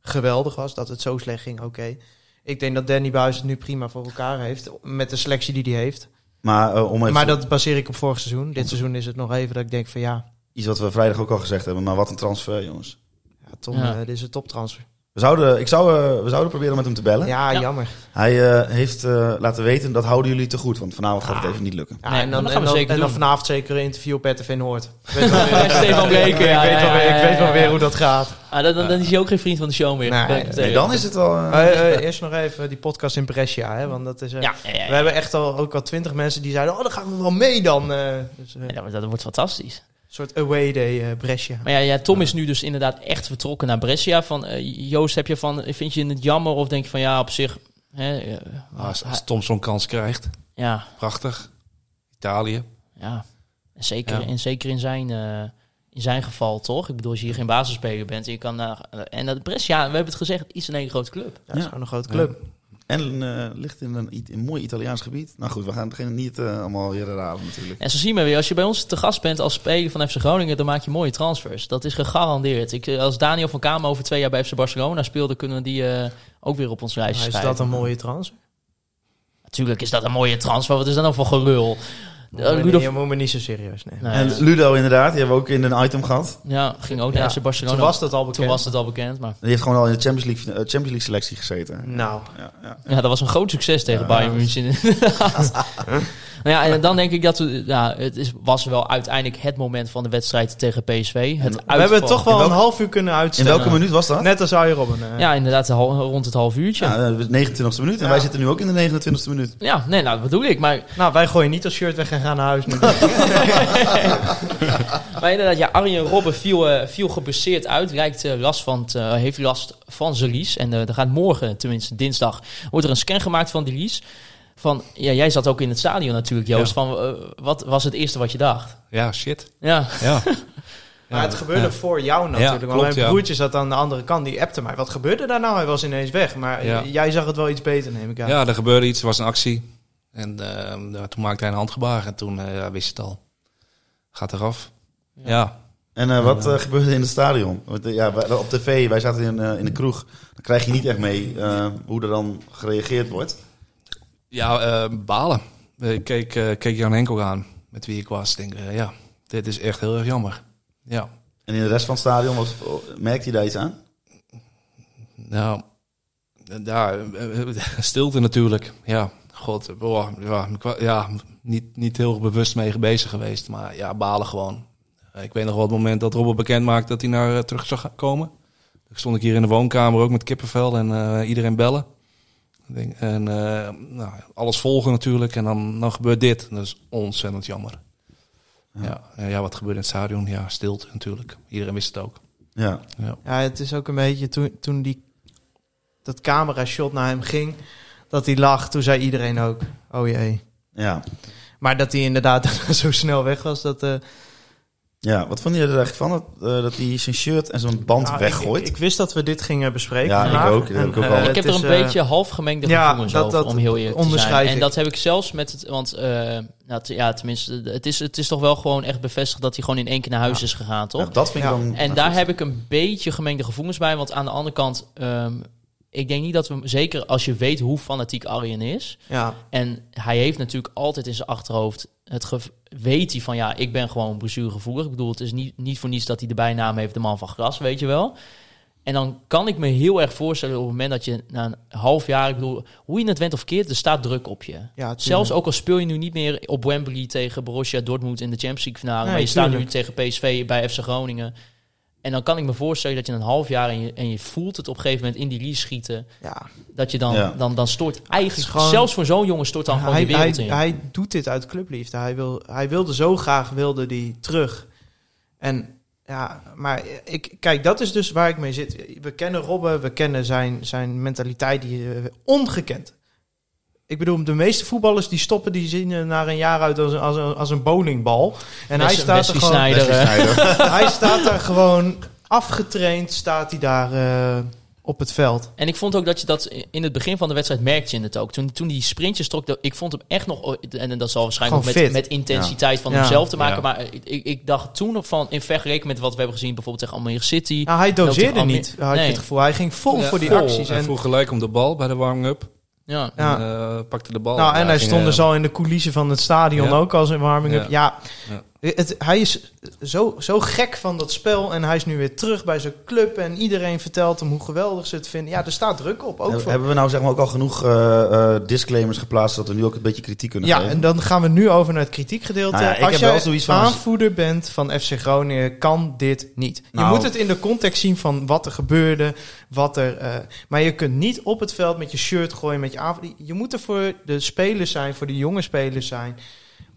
[SPEAKER 5] geweldig was, dat het zo slecht ging, oké. Ik denk dat Danny Buis het nu prima voor elkaar heeft met de selectie die hij heeft.
[SPEAKER 6] Maar eh, om even
[SPEAKER 5] Maar dat baseer ik op vorig seizoen. Dit seizoen is het nog even dat ik denk van ja,
[SPEAKER 6] iets wat we vrijdag ook al gezegd hebben, maar wat een transfer, jongens.
[SPEAKER 5] ja Tom,
[SPEAKER 4] Ja.
[SPEAKER 5] eh, dit is een toptransfer.
[SPEAKER 6] We zouden, ik zou, eh, we zouden proberen met hem te bellen.
[SPEAKER 5] Ja,
[SPEAKER 4] Ja.
[SPEAKER 5] jammer.
[SPEAKER 6] Hij eh, heeft eh, laten weten, dat houden jullie te goed, want vanavond gaat
[SPEAKER 5] Ah.
[SPEAKER 6] het even niet lukken.
[SPEAKER 5] Ja,
[SPEAKER 4] Nee,
[SPEAKER 5] en
[SPEAKER 4] maar dat
[SPEAKER 5] dan,
[SPEAKER 4] gaan
[SPEAKER 5] en,
[SPEAKER 4] we
[SPEAKER 5] dan,
[SPEAKER 4] zeker
[SPEAKER 5] en dan
[SPEAKER 4] doen.
[SPEAKER 5] vanavond zeker een interview op RTV Noord. Ik weet wel weer-
[SPEAKER 4] Ja, (laughs) Stefan Breken, ja,
[SPEAKER 5] ik weet wel
[SPEAKER 4] eh, ja,
[SPEAKER 5] weer-
[SPEAKER 4] ja,
[SPEAKER 5] ik weet wel
[SPEAKER 4] ja,
[SPEAKER 5] weer
[SPEAKER 4] ja.
[SPEAKER 5] hoe dat gaat.
[SPEAKER 4] Ah, dan, dan, dan is hij ook geen vriend van de show meer.
[SPEAKER 5] Nee,
[SPEAKER 4] Ben ik het
[SPEAKER 6] Nee,
[SPEAKER 4] tegen.
[SPEAKER 6] dan is het wel... eh,
[SPEAKER 5] Eh, eh, eerst nog even die podcast in Brescia, hè, want dat is... eh,
[SPEAKER 4] Ja, ja, ja, ja.
[SPEAKER 5] We hebben echt al ook al twintig mensen die zeiden: Oh, dan gaan we wel mee dan. eh. dus, eh,
[SPEAKER 4] Ja, maar dat wordt fantastisch.
[SPEAKER 5] Een soort away day eh Brescia.
[SPEAKER 4] Maar ja, ja, Tom is nu dus inderdaad echt vertrokken naar Brescia. Van, eh, Joost, heb je van, eh, vind je het jammer of denk je van ja, op zich... Hè, eh,
[SPEAKER 7] Ah, als,
[SPEAKER 4] hij-
[SPEAKER 7] als Tom zo'n kans krijgt,
[SPEAKER 4] ja,
[SPEAKER 7] prachtig. Italië.
[SPEAKER 4] ja. En zeker,
[SPEAKER 7] Ja.
[SPEAKER 4] En zeker in, zijn, eh, in zijn geval, toch? Ik bedoel, als je hier geen basisspeler bent, je kan naar... eh, en dat Brescia, we hebben het gezegd, is in één grote club.
[SPEAKER 5] Ja, dat is
[SPEAKER 6] Ja.
[SPEAKER 5] gewoon een grote club. Nou,
[SPEAKER 6] En eh, ligt in een, It- een mooi Italiaans gebied. Nou goed, we gaan het geen- niet eh, allemaal weer herhalen natuurlijk.
[SPEAKER 4] En zo zien we weer, als je bij ons te gast bent als speler van FC Groningen, dan maak je mooie transfers. Dat is gegarandeerd. Ik, eh, als Daniel van Kamer over twee jaar bij FC Barcelona speelde, kunnen we die eh, ook weer op ons lijstje
[SPEAKER 5] Maar is
[SPEAKER 4] schrijven.
[SPEAKER 5] dat een mooie trans?
[SPEAKER 4] Natuurlijk is dat een mooie transfer, wat is dat nou voor gelul? Eh,
[SPEAKER 5] Moet me
[SPEAKER 4] Rudolf-
[SPEAKER 5] niet- moet me niet zo serieus nemen.
[SPEAKER 4] Nee.
[SPEAKER 6] En Ludo inderdaad, die hebben we ook in een item gehad.
[SPEAKER 4] Ja, ging ook naar
[SPEAKER 5] Ja,
[SPEAKER 4] FC Barcelona.
[SPEAKER 5] Toen was dat al bekend.
[SPEAKER 4] Toen was het al bekend, maar
[SPEAKER 6] Die heeft gewoon al in de Champions League, eh, Champions League selectie gezeten.
[SPEAKER 5] Nou,
[SPEAKER 6] Ja, ja.
[SPEAKER 4] ja, dat was een groot succes tegen Bayern München. inderdaad. (laughs) nou ja, en dan denk ik dat we, ja, het is, was wel uiteindelijk het moment van de wedstrijd tegen PSV. Het
[SPEAKER 5] we hebben het toch wel
[SPEAKER 6] In welk-
[SPEAKER 5] een half uur kunnen
[SPEAKER 6] In
[SPEAKER 5] uitstellen.
[SPEAKER 6] welke minuut was dat?
[SPEAKER 5] Net als Arjen Robben. eh.
[SPEAKER 4] Ja, inderdaad, hal- rond het half uurtje. Ja,
[SPEAKER 6] Ja, eh, 29e minuut. En
[SPEAKER 5] Ja.
[SPEAKER 6] wij zitten nu ook in de 29e minuut.
[SPEAKER 4] nee, nou, dat bedoel ik. Maar,
[SPEAKER 5] Nou, wij gooien niet als shirt weg en gaan naar huis. nu.
[SPEAKER 4] maar inderdaad, ja, Arjen Robben viel, eh, viel geblesseerd uit. Lijkt, eh, last van het, eh, heeft last van zijn lies. En eh er gaat morgen, tenminste dinsdag, wordt er een scan gemaakt van die lies. Van, ja, jij zat ook in het stadion natuurlijk, Joost.
[SPEAKER 7] Ja.
[SPEAKER 4] Van, eh, wat was het eerste wat je dacht?
[SPEAKER 7] Ja, shit.
[SPEAKER 4] Ja.
[SPEAKER 7] Ja.
[SPEAKER 5] maar het gebeurde voor jou natuurlijk.
[SPEAKER 7] Ja,
[SPEAKER 5] want
[SPEAKER 7] klopt,
[SPEAKER 5] mijn
[SPEAKER 7] ja.
[SPEAKER 5] broertje zat aan de andere kant. Die appte mij. Wat gebeurde daar nou? Hij was ineens weg. Maar
[SPEAKER 7] Ja.
[SPEAKER 5] j- jij zag het wel iets beter, neem ik aan.
[SPEAKER 7] (laughs) Ja, er gebeurde iets, er was een actie. En ehm, ja, toen maakte hij een handgebaar en toen eh, ja, wist je het al. Gaat eraf. Ja. ja.
[SPEAKER 6] En eh, wat eh, gebeurde in het stadion? Want, eh, ja, wij- op tv, wij zaten in, eh, in de kroeg. Dan krijg je niet echt mee eh, hoe er dan gereageerd wordt.
[SPEAKER 7] eh, balen. Eh, Ik keek, eh, keek Jan Henkel aan, met wie ik was. Ik Denk, eh, ja, dit is echt heel erg jammer. Ja.
[SPEAKER 6] En in de rest van het stadion was, merkte je daar iets aan?
[SPEAKER 7] (laughs) Nou, eh, daar, eh, eh, stilte natuurlijk. Ja, God, boah, ja, ik wa- ja, niet, niet heel bewust mee bezig geweest. Maar ja, balen gewoon. Eh, Ik weet nog wel het moment dat Robert bekend maakte dat hij naar eh, terug zou gaan komen. Toen stond ik hier in de woonkamer ook met kippenvel en eh, iedereen bellen. Ik denk, En eh, nou, alles volgen natuurlijk. En dan, dan gebeurt dit. Dat is ontzettend jammer. Ja. Ja, en ja, wat gebeurde in het stadion? Ja, stilte natuurlijk. Iedereen wist het ook.
[SPEAKER 6] Ja,
[SPEAKER 5] Ja, het is ook een beetje toen, toen die, dat camera-shot naar hem ging, dat hij lag, toen zei iedereen ook, oh jee.
[SPEAKER 6] ja.
[SPEAKER 5] Maar dat hij inderdaad (laughs) daarna zo snel weg was, dat... eh,
[SPEAKER 6] ja. Wat vond je er echt van? Dat, eh, dat hij zijn shirt en zijn band
[SPEAKER 5] nou, ik-
[SPEAKER 6] weggooit?
[SPEAKER 5] Ik, ik wist dat we dit gingen bespreken.
[SPEAKER 6] Ja, ik
[SPEAKER 5] vandaag.
[SPEAKER 6] ook. Dat heb ik ook
[SPEAKER 5] eh,
[SPEAKER 6] al.
[SPEAKER 5] het
[SPEAKER 6] Ik
[SPEAKER 4] Ik heb
[SPEAKER 5] is,
[SPEAKER 4] er een
[SPEAKER 5] eh,
[SPEAKER 4] beetje half gemengde
[SPEAKER 5] ja,
[SPEAKER 4] gevoelens
[SPEAKER 5] dat-
[SPEAKER 4] over,
[SPEAKER 5] dat
[SPEAKER 4] om heel eerlijk te
[SPEAKER 5] onderschrijf
[SPEAKER 4] zijn. En
[SPEAKER 5] ik.
[SPEAKER 4] dat heb ik zelfs met het... Want, eh, nou, t- ja, tenminste, het is, het is toch wel gewoon echt bevestigd dat hij gewoon in één keer naar huis is gegaan, toch?
[SPEAKER 6] Nou, dat vind ik
[SPEAKER 5] Ja.
[SPEAKER 6] dan...
[SPEAKER 4] En
[SPEAKER 6] nou,
[SPEAKER 4] daar
[SPEAKER 6] goed.
[SPEAKER 4] heb ik een beetje gemengde gevoelens bij. Want aan de andere kant, ehm, ik denk niet dat we... hem- Zeker als je weet hoe fanatiek Arjen is.
[SPEAKER 5] eh, Ja,
[SPEAKER 4] En hij heeft natuurlijk altijd in zijn achterhoofd... Het gev- weet hij van, ja, ik ben gewoon blessuregevoelig. Ik bedoel, het is niet, niet voor niets dat hij de bijnaam heeft... de man van gras, weet je wel. En dan kan ik me heel erg voorstellen op het moment dat je na een half jaar... Ik bedoel, hoe je het went of keert, er staat druk op je.
[SPEAKER 5] ja tuurlijk.
[SPEAKER 4] Zelfs ook al speel je nu niet meer op Wembley tegen Borussia Dortmund in de Champions League finale,
[SPEAKER 5] Nee,
[SPEAKER 4] maar je staat nu
[SPEAKER 5] tuurlijk.
[SPEAKER 4] tegen PSV bij FC Groningen. En dan kan ik me voorstellen dat je een half jaar en je, en je voelt het op een gegeven moment in die lease schieten,
[SPEAKER 5] Ja.
[SPEAKER 4] dat je dan,
[SPEAKER 6] Ja.
[SPEAKER 4] dan, dan stort
[SPEAKER 5] Het is
[SPEAKER 4] eigenlijk,
[SPEAKER 5] gewoon-
[SPEAKER 4] zelfs voor zo'n jongen stort dan gewoon
[SPEAKER 5] hij,
[SPEAKER 4] je wereld
[SPEAKER 5] hij,
[SPEAKER 4] in.
[SPEAKER 5] hij doet dit uit clubliefde. Hij, wil, hij wilde zo graag, wilde die terug. En ja, maar ik, kijk, dat is dus waar ik mee zit. We kennen Robben, we kennen zijn, zijn mentaliteit, die eh, ongekend. Ik bedoel, de meeste voetballers die stoppen, die zien er na een jaar uit als een, als een, als een bowlingbal. En hij
[SPEAKER 4] Wes-
[SPEAKER 5] staat, er
[SPEAKER 4] Wesley
[SPEAKER 5] gewoon,
[SPEAKER 4] Sneijder, eh,
[SPEAKER 5] (laughs)
[SPEAKER 4] (laughs)
[SPEAKER 5] hij staat daar gewoon afgetraind, staat hij daar eh, op het veld.
[SPEAKER 4] En ik vond ook dat je dat in het begin van de wedstrijd merkte je het ook. Toen, toen die sprintjes trok, dat- ik vond hem echt nog. En en dat zal waarschijnlijk ook
[SPEAKER 5] Gewoon
[SPEAKER 4] met,
[SPEAKER 5] fit.
[SPEAKER 4] met intensiteit van
[SPEAKER 5] Ja.
[SPEAKER 4] hemzelf te maken.
[SPEAKER 7] Ja.
[SPEAKER 4] Maar ik, ik, ik dacht toen nog van, in vergelijking met wat we hebben gezien, bijvoorbeeld tegen Almere City.
[SPEAKER 5] Nou, hij doseerde
[SPEAKER 4] Almere-
[SPEAKER 5] niet, had
[SPEAKER 4] Nee.
[SPEAKER 5] ik het gevoel. Hij ging vol
[SPEAKER 7] Ja,
[SPEAKER 5] voor die
[SPEAKER 7] vol.
[SPEAKER 5] acties.
[SPEAKER 7] Hij
[SPEAKER 5] En,
[SPEAKER 7] vroeg gelijk om de bal bij de warm-up.
[SPEAKER 4] Ja.
[SPEAKER 5] ja.
[SPEAKER 7] En, eh, pakte de bal.
[SPEAKER 5] Nou, en
[SPEAKER 7] Ja,
[SPEAKER 5] hij
[SPEAKER 7] ging,
[SPEAKER 5] stond
[SPEAKER 7] eh,
[SPEAKER 5] dus al in de coulissen van het stadion
[SPEAKER 7] Ja.
[SPEAKER 5] ook als een warming-up. Ja,
[SPEAKER 7] Ja.
[SPEAKER 5] Het, hij is zo, zo gek van dat spel en hij is nu weer terug bij zijn club. En iedereen vertelt hem hoe geweldig ze het vinden. Ja, er staat druk op, ook
[SPEAKER 6] Heb-
[SPEAKER 5] voor...
[SPEAKER 6] Hebben we nou zeg maar ook al genoeg eh, eh, disclaimers geplaatst... dat we nu ook een beetje kritiek kunnen
[SPEAKER 5] Ja,
[SPEAKER 6] geven?
[SPEAKER 5] en dan gaan we nu over naar het kritiekgedeelte.
[SPEAKER 6] Nou ja, ik
[SPEAKER 5] als
[SPEAKER 6] heb
[SPEAKER 5] jij
[SPEAKER 6] wel zoiets van-
[SPEAKER 5] aanvoerder bent van FC Groningen, kan dit niet.
[SPEAKER 6] Nou.
[SPEAKER 5] Je moet het in de context zien van wat er gebeurde, wat er... eh, maar je kunt niet op het veld met je shirt gooien, met je aanvoerder. Je moet er voor de spelers zijn, voor de jonge spelers zijn,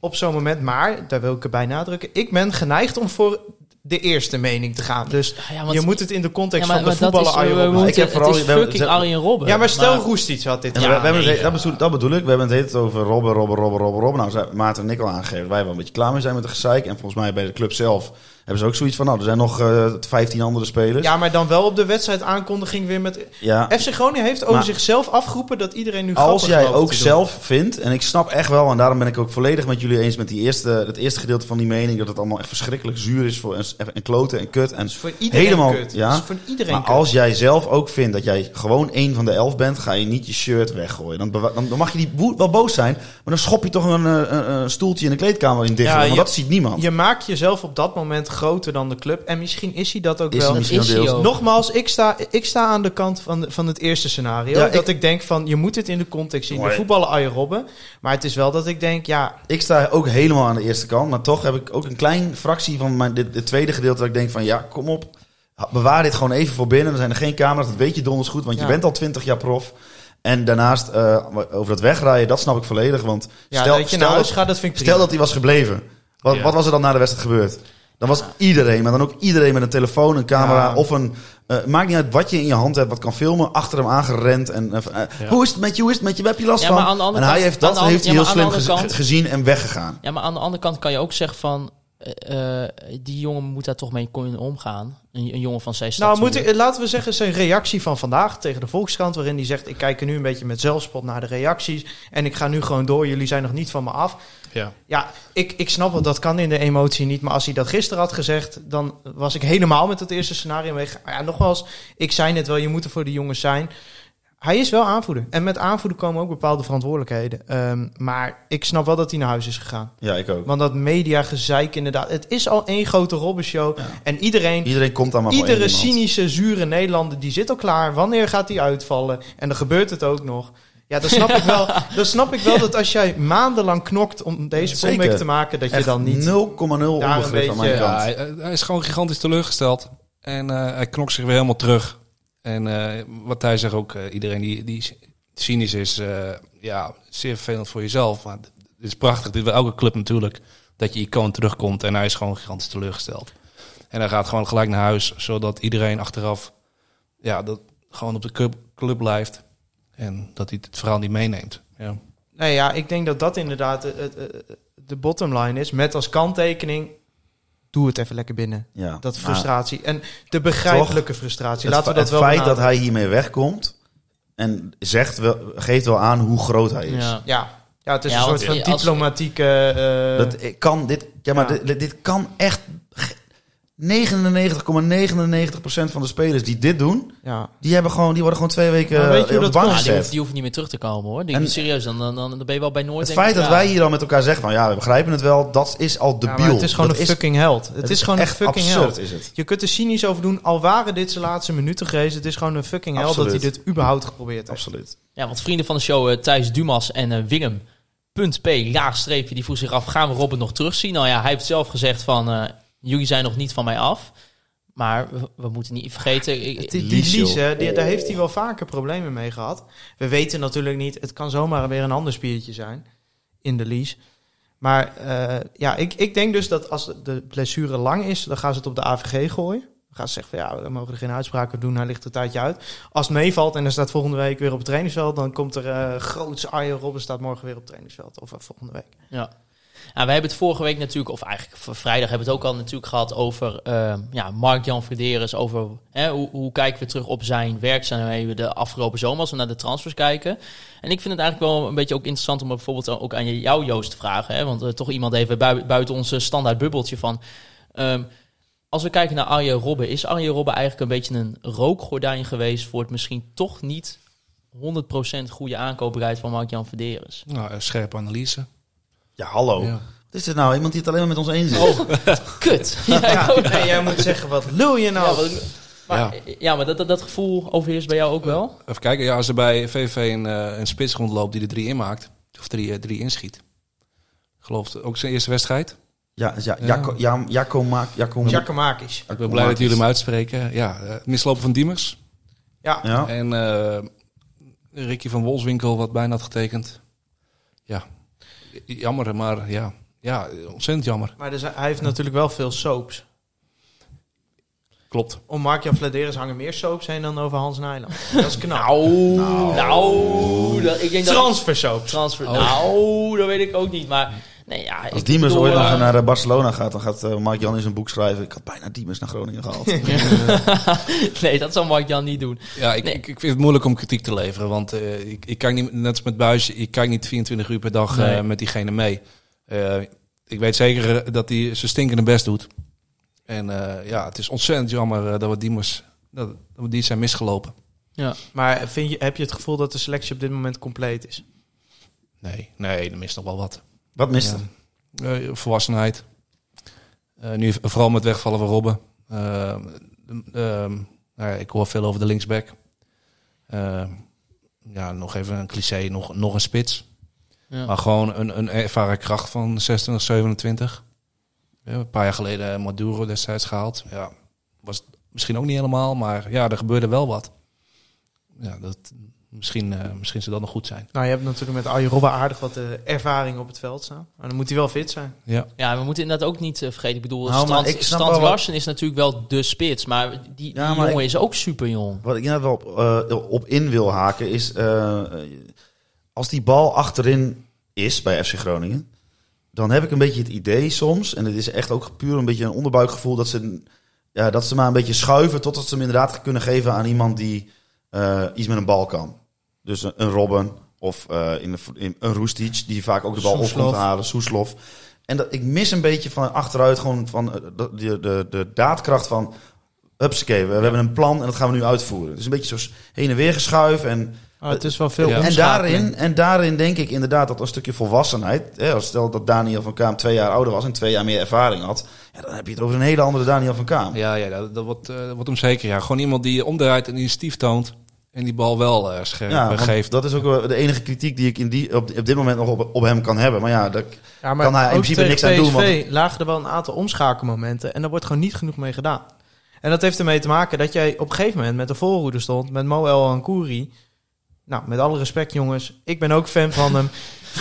[SPEAKER 5] op zo'n moment. Maar, daar wil ik erbij nadrukken, ik ben geneigd om voor de eerste mening te gaan. Dus
[SPEAKER 4] Ja, want-
[SPEAKER 5] je moet het in de context
[SPEAKER 4] Ja, maar-
[SPEAKER 5] van de
[SPEAKER 4] maar dat
[SPEAKER 5] voetballer
[SPEAKER 4] is, eh,
[SPEAKER 5] Arjen
[SPEAKER 4] we
[SPEAKER 5] Robben.
[SPEAKER 4] moeten-
[SPEAKER 6] Ik heb vooral-
[SPEAKER 4] het is
[SPEAKER 6] we hebben-
[SPEAKER 4] fucking
[SPEAKER 6] ze-
[SPEAKER 4] Arjen Robben.
[SPEAKER 5] Ja, maar stel Roestic had dit
[SPEAKER 6] Ja, maar
[SPEAKER 5] gedaan.
[SPEAKER 6] we hebben het-
[SPEAKER 4] nee,
[SPEAKER 6] dat, bedoel, dat bedoel ik. We hebben het heet over Robben, Robben, Robben, Robben, Robben. Nou, zei Maarten en ik al aangegeven dat wij wel een beetje klaar mee zijn met de gezeik. En volgens mij bij de club zelf hebben ze ook zoiets van... nou, er zijn nog eh 15 andere spelers.
[SPEAKER 5] Ja, maar dan wel op de wedstrijd aankondiging weer met
[SPEAKER 6] Ja.
[SPEAKER 5] FC Groningen heeft over
[SPEAKER 6] Maar-
[SPEAKER 5] zichzelf afgeroepen dat iedereen nu
[SPEAKER 6] Als
[SPEAKER 5] grappig
[SPEAKER 6] jij
[SPEAKER 5] loopt
[SPEAKER 6] ook
[SPEAKER 5] te doen.
[SPEAKER 6] zelf vindt, en ik snap echt wel... en daarom ben ik ook volledig met jullie eens met die eerste, het eerste gedeelte van die mening... dat het allemaal echt verschrikkelijk zuur is voor, en, en kloten en kut. En,
[SPEAKER 5] voor iedereen
[SPEAKER 6] helemaal,
[SPEAKER 5] kut.
[SPEAKER 6] ja.
[SPEAKER 5] Dat is voor iedereen
[SPEAKER 6] maar
[SPEAKER 5] kut.
[SPEAKER 6] als jij zelf ook vindt dat jij gewoon één van de elf bent... ga je niet je shirt weggooien. Dan, bewa- dan, dan mag je die woe- wel boos zijn... maar dan schop je toch een, eh, een, een stoeltje in de kleedkamer in dicht.
[SPEAKER 5] Ja,
[SPEAKER 6] want
[SPEAKER 5] je-
[SPEAKER 6] dat ziet niemand.
[SPEAKER 5] je maakt jezelf op dat moment groter dan de club en misschien is hij dat ook
[SPEAKER 6] Is
[SPEAKER 5] wel.
[SPEAKER 6] hij misschien
[SPEAKER 4] is
[SPEAKER 6] wel
[SPEAKER 4] hij
[SPEAKER 6] deels.
[SPEAKER 4] ook.
[SPEAKER 5] Nogmaals, ik sta, ik sta aan de kant van, de- van het eerste scenario.
[SPEAKER 6] Ja,
[SPEAKER 5] dat ik... denk van, je moet dit in de context zien. De
[SPEAKER 6] Mooi.
[SPEAKER 5] voetballen Arjen Robben. Maar het is wel dat ik denk, ja,
[SPEAKER 6] Ik sta ook helemaal aan de eerste kant. Maar toch heb ik ook een klein fractie van mijn, dit, dit tweede gedeelte... dat ik denk van ja, kom op. ha- Bewaar dit gewoon even voor binnen. Er zijn er geen camera's. Dat weet je donders goed. Want
[SPEAKER 5] Ja.
[SPEAKER 6] je bent al twintig jaar prof. En daarnaast eh, over dat wegrijden, dat snap ik volledig. Want
[SPEAKER 5] ja
[SPEAKER 6] stel,
[SPEAKER 5] dat je
[SPEAKER 6] stel,
[SPEAKER 5] naar
[SPEAKER 6] dat-
[SPEAKER 5] huis gaat, dat vind ik prima.
[SPEAKER 6] stel dat hij was gebleven. Wat,
[SPEAKER 7] Ja.
[SPEAKER 6] wat was er dan na de wedstrijd gebeurd? Dan was iedereen, maar dan ook iedereen met een telefoon, een camera
[SPEAKER 5] Ja.
[SPEAKER 6] of een... eh, maakt niet uit wat je in je hand hebt, wat kan filmen. Achter hem aangerend. En, eh, van, eh, Hoe is het met je? Hoe is het met je? Waar heb je last
[SPEAKER 4] Ja,
[SPEAKER 6] van?
[SPEAKER 4] maar aan de andere
[SPEAKER 6] en hij
[SPEAKER 4] kant-
[SPEAKER 6] heeft
[SPEAKER 4] aan
[SPEAKER 6] dat
[SPEAKER 4] de an-
[SPEAKER 6] heeft hij
[SPEAKER 4] ja,
[SPEAKER 6] heel
[SPEAKER 4] maar aan
[SPEAKER 6] slim
[SPEAKER 4] de
[SPEAKER 6] geze-
[SPEAKER 4] andere kant-
[SPEAKER 6] gezien en weggegaan.
[SPEAKER 4] Ja, maar aan de andere kant kan je ook zeggen van... eh, eh, die jongen moet daar toch mee kunnen omgaan. Een, een jongen van zijn
[SPEAKER 5] Nou,
[SPEAKER 4] statuur.
[SPEAKER 5] moet ik, laten we zeggen, zijn reactie van vandaag tegen de Volkskrant, waarin hij zegt: Ik kijk er nu een beetje met zelfspot naar de reacties. En ik ga nu gewoon door, jullie zijn nog niet van me af.
[SPEAKER 7] Ja.
[SPEAKER 5] Ja, ik, ik snap wel, dat kan in de emotie niet. Maar als hij dat gisteren had gezegd, dan was ik helemaal met dat eerste scenario weg. Maar ja, nogmaals, ik zei net wel, je moet er voor de jongens zijn. Hij is wel aanvoerder. En met aanvoerder komen ook bepaalde verantwoordelijkheden. Ehm, maar ik snap wel dat hij naar huis is gegaan.
[SPEAKER 6] Ja, ik ook.
[SPEAKER 5] Want dat mediagezeik inderdaad. Het is al één grote robbenshow. En iedereen
[SPEAKER 6] Iedereen komt daar maar voor
[SPEAKER 5] Iedere
[SPEAKER 6] één iemand.
[SPEAKER 5] cynische, zure Nederlander die zit al klaar. Wanneer gaat hij uitvallen? En dan gebeurt het ook nog. Ja, dat snap ik
[SPEAKER 6] (laughs)
[SPEAKER 5] wel. Dat snap ik wel dat als jij maandenlang knokt om deze
[SPEAKER 6] Zeker.
[SPEAKER 5] comeback te maken, dat je
[SPEAKER 6] Echt
[SPEAKER 5] dan niet...
[SPEAKER 6] 0,0
[SPEAKER 5] daar een
[SPEAKER 6] onbegrip aan mijn
[SPEAKER 5] beetje-
[SPEAKER 6] kant.
[SPEAKER 7] Ja, hij, eh, hij is gewoon gigantisch teleurgesteld. En eh, hij knokt zich weer helemaal terug. En eh, wat hij zegt ook, eh, iedereen die, die cynisch is, eh, ja, zeer vervelend voor jezelf. Maar het is prachtig, dit wil elke club natuurlijk, dat je icoon terugkomt. En hij is gewoon gigantisch teleurgesteld. En hij gaat gewoon gelijk naar huis, zodat iedereen achteraf ja, dat gewoon op de club, club blijft. En dat hij het verhaal niet meeneemt. Ja.
[SPEAKER 5] Nee, ja, ik denk dat dat inderdaad het- het- het- de bottom line is. Met als kanttekening, doe het even lekker binnen.
[SPEAKER 6] Ja.
[SPEAKER 5] Dat
[SPEAKER 6] Nou,
[SPEAKER 5] frustratie. En de begrijpelijke frustratie.
[SPEAKER 6] het
[SPEAKER 5] Laten we
[SPEAKER 6] fe-
[SPEAKER 5] dat wel
[SPEAKER 6] het feit dat
[SPEAKER 5] benadrukken.
[SPEAKER 6] hij hiermee wegkomt en zegt wel, geeft wel aan hoe groot hij is.
[SPEAKER 4] Ja.
[SPEAKER 5] Ja. ja, het is
[SPEAKER 4] Ja,
[SPEAKER 5] een soort
[SPEAKER 4] want
[SPEAKER 5] van
[SPEAKER 4] als-
[SPEAKER 5] diplomatieke... eh,
[SPEAKER 6] Dat ik kan dit, ja, maar
[SPEAKER 5] Ja.
[SPEAKER 6] Dit, dit kan echt 99,99% van de spelers die dit doen,
[SPEAKER 5] ja.
[SPEAKER 6] die hebben gewoon, die worden gewoon twee weken
[SPEAKER 5] Maar
[SPEAKER 6] eh,
[SPEAKER 5] weet je
[SPEAKER 6] op
[SPEAKER 5] hoe
[SPEAKER 6] de
[SPEAKER 5] dat
[SPEAKER 6] bank
[SPEAKER 5] komt?
[SPEAKER 4] Ah, die,
[SPEAKER 6] gezet.
[SPEAKER 4] hoeft, die hoeft niet meer terug te komen hoor. Die
[SPEAKER 6] En-
[SPEAKER 4] serieus, dan, dan, dan ben je wel bij Noord.
[SPEAKER 6] Het
[SPEAKER 4] denk
[SPEAKER 6] feit
[SPEAKER 4] ik.
[SPEAKER 6] dat
[SPEAKER 4] Ja.
[SPEAKER 6] wij hier dan met elkaar zeggen van ja, we begrijpen het wel, dat is al
[SPEAKER 5] Ja,
[SPEAKER 6] debiel.
[SPEAKER 5] maar het is gewoon
[SPEAKER 6] Dat
[SPEAKER 5] een fucking held. Het, is, gewoon
[SPEAKER 6] echt
[SPEAKER 5] een fucking
[SPEAKER 6] absurd
[SPEAKER 5] held.
[SPEAKER 6] is het.
[SPEAKER 5] Je kunt er cynisch over doen, al waren dit zijn laatste minuten geweest. Het is gewoon een fucking held dat
[SPEAKER 6] Absoluut.
[SPEAKER 5] hij dit überhaupt geprobeerd heeft.
[SPEAKER 6] Absoluut.
[SPEAKER 4] Ja, want vrienden van de show eh, Thijs Dumas en eh Willem. Punt P, laagstreepje, die vroeg zich af, gaan we Robin nog terugzien? Nou ja, hij heeft zelf gezegd van, eh, jullie zijn nog niet van mij af. Maar we, we moeten niet vergeten... ik-
[SPEAKER 5] Die, die
[SPEAKER 6] Lies, joh.
[SPEAKER 5] Lies, hè, die- daar heeft hij wel vaker problemen mee gehad. We weten natuurlijk niet, het kan zomaar weer een ander spiertje zijn in de Lies. Maar eh, ja, ik, ik denk dus dat als de blessure lang is, dan gaan ze het op de AVG gooien. Dan gaan ze zeggen van ja, we mogen er geen uitspraken doen, hij ligt een tijdje uit. Als het meevalt en hij staat volgende week weer op het trainingsveld, dan komt er eh groots Arjen Robben staat morgen weer op het trainingsveld. Of eh, volgende week.
[SPEAKER 4] Ja. Nou, we hebben het vorige week natuurlijk, of eigenlijk v- vrijdag hebben we het ook al natuurlijk gehad over eh, ja, Mark-Jan Verderes. Over hè, hoe, hoe kijken we terug op zijn werkzaamheden de afgelopen zomer als we naar de transfers kijken. En ik vind het eigenlijk wel een beetje ook interessant om bijvoorbeeld ook aan jou Joost te vragen. Hè, want eh, toch iemand even bui- buiten onze standaard bubbeltje van... ehm, als we kijken naar Arjen Robben, is Arjen Robben eigenlijk een beetje een rookgordijn geweest voor het misschien toch niet 100% goede aankoopbereid van Mark-Jan Verderes?
[SPEAKER 7] Nou, eh, scherpe analyse.
[SPEAKER 6] Ja, hallo.
[SPEAKER 7] Ja.
[SPEAKER 6] Wat is dit nou? Iemand die het alleen maar met ons eens is.
[SPEAKER 5] Oh.
[SPEAKER 4] (laughs) Kut! Ja, ik
[SPEAKER 5] Ja,
[SPEAKER 4] hoop-
[SPEAKER 5] nee, jij moet zeggen, wat lul je nou?
[SPEAKER 4] Ja, wat- maar, eh, ja. maar dat, dat, dat gevoel overheerst bij jou ook wel?
[SPEAKER 7] Even kijken, ja, als er bij VV een, eh, een spits rondloopt die er drie inmaakt, of drie, eh, drie inschiet. Geloof het, ook zijn eerste wedstrijd.
[SPEAKER 6] Ja, ja,
[SPEAKER 7] Ja.
[SPEAKER 6] Jaco, ja, Jaco maakt... Jaco,
[SPEAKER 5] Giacomakis.
[SPEAKER 7] Ik ben blij dat jullie hem uitspreken. Ja, eh, het mislopen van Diemers.
[SPEAKER 5] Ja,
[SPEAKER 6] Ja.
[SPEAKER 7] En eh, Ricky van Wolfswinkel, wat bijna had getekend. Ja, jammer, maar ja, ja ontzettend jammer.
[SPEAKER 5] maar dus, hij heeft natuurlijk wel veel soaps.
[SPEAKER 7] Klopt.
[SPEAKER 5] Om Mark-Jan Vladeres hangen meer soaps heen dan over Hans Nijland. Dat is knap.
[SPEAKER 4] Nou, nou, dat, ik denk dat...
[SPEAKER 5] Transfersoaps.
[SPEAKER 4] Transfer. Nou, dat weet ik ook niet, maar... Nee, ja,
[SPEAKER 6] Als
[SPEAKER 4] ik
[SPEAKER 6] Diemers
[SPEAKER 4] bedoel,
[SPEAKER 6] ooit nog
[SPEAKER 4] eh,
[SPEAKER 6] naar eh, Barcelona gaat, dan gaat eh, Mark Jan in zijn boek schrijven... Ik had bijna Diemers naar Groningen gehaald.
[SPEAKER 5] (laughs)
[SPEAKER 4] (laughs) nee, dat zal Mark-Jan niet doen.
[SPEAKER 7] Ja, ik,
[SPEAKER 4] Nee.
[SPEAKER 7] ik, ik vind het moeilijk om kritiek te leveren. Want eh, ik, ik kijk niet, net als met Buis, ik kijk niet 24 uur per dag eh,
[SPEAKER 4] Nee.
[SPEAKER 7] met diegene mee. Eh, ik weet zeker eh, dat hij zijn stinkende best doet. En eh, ja, het is ontzettend jammer eh, dat we die, moest, dat, dat we die zijn misgelopen.
[SPEAKER 5] Maar vind je, heb je het gevoel dat de selectie op dit moment compleet is?
[SPEAKER 7] Nee, nee, er mist nog wel wat.
[SPEAKER 6] Wat mist
[SPEAKER 7] Ja.
[SPEAKER 6] er?
[SPEAKER 7] Eh, volwassenheid. Eh, nu vooral met wegvallen van Robben. Eh, ehm, nou ja, ik hoor veel over de linksback. Eh, ja, nog even een cliché, nog, nog een spits.
[SPEAKER 4] Ja.
[SPEAKER 7] Maar gewoon een, een ervaren kracht van 26, 27. Ja, een paar jaar geleden Maduro destijds gehaald. Ja, was het misschien ook niet helemaal, maar ja, er gebeurde wel wat. Ja, dat, misschien, eh, misschien ze dan nog goed zijn.
[SPEAKER 5] Nou, je hebt natuurlijk met Arjen Robben aardig wat eh, ervaring op het veld staan. Maar dan moet hij wel fit zijn.
[SPEAKER 7] Ja.
[SPEAKER 4] Ja, we moeten inderdaad ook niet eh, vergeten. Ik bedoel,
[SPEAKER 6] Nou, maar
[SPEAKER 4] Strand,
[SPEAKER 6] ik snap
[SPEAKER 4] Strand
[SPEAKER 6] wel wat-
[SPEAKER 4] Larsen is natuurlijk wel de spits, maar die, die
[SPEAKER 6] Ja, maar
[SPEAKER 4] jongen
[SPEAKER 6] ik-
[SPEAKER 4] is ook super jong.
[SPEAKER 6] Wat ik inderdaad wel op, eh, op in wil haken is... eh, als die bal achterin is bij FC Groningen... dan heb ik een beetje het idee soms... en het is echt ook puur een beetje een onderbuikgevoel... dat ze, ja, dat ze maar een beetje schuiven... totdat ze hem inderdaad kunnen geven aan iemand die eh, iets met een bal kan. Dus een, een Robben of eh, in de, vo- in, een Roestic... die vaak ook de bal op
[SPEAKER 5] Soeslof.
[SPEAKER 6] komt halen, Soeslof... En dat, ik mis een beetje van achteruit gewoon van eh, de, de, de, de daadkracht van... Hupsakee, we, we hebben een plan en dat gaan we nu uitvoeren. Het is een beetje zo heen en weer geschuif. En,
[SPEAKER 5] Oh, het is wel veel
[SPEAKER 7] Ja.
[SPEAKER 6] en,
[SPEAKER 5] omschakeling.
[SPEAKER 6] daarin, en daarin denk ik inderdaad dat een stukje volwassenheid... Hè, als stel dat Daniel van Kaam twee jaar ouder was en twee jaar meer ervaring had... Ja, dan heb je het over een hele andere Daniel van Kaam.
[SPEAKER 7] Ja, ja dat, dat wordt, eh, dat wordt hem zeker. Ja. Gewoon iemand die omdraait en initiatief toont. En En die bal wel eh, scherp
[SPEAKER 6] Ja,
[SPEAKER 7] eh,
[SPEAKER 6] want
[SPEAKER 7] geeft.
[SPEAKER 6] dat is ook wel de enige kritiek die ik in die, op, op dit moment nog op, op hem kan hebben. Maar ja, dat,
[SPEAKER 5] Ja, maar
[SPEAKER 6] Kan hij in
[SPEAKER 5] ook
[SPEAKER 6] principe
[SPEAKER 5] tegen
[SPEAKER 6] niks aan doen,
[SPEAKER 5] PSV lagen er wel een aantal omschakelmomenten. En daar wordt gewoon niet genoeg mee gedaan. En dat heeft ermee te maken dat jij op een gegeven moment met de voorhoede stond. Met Mo El Ankouri. Nou, met alle respect jongens. Ik ben ook fan
[SPEAKER 6] (laughs)
[SPEAKER 5] van hem.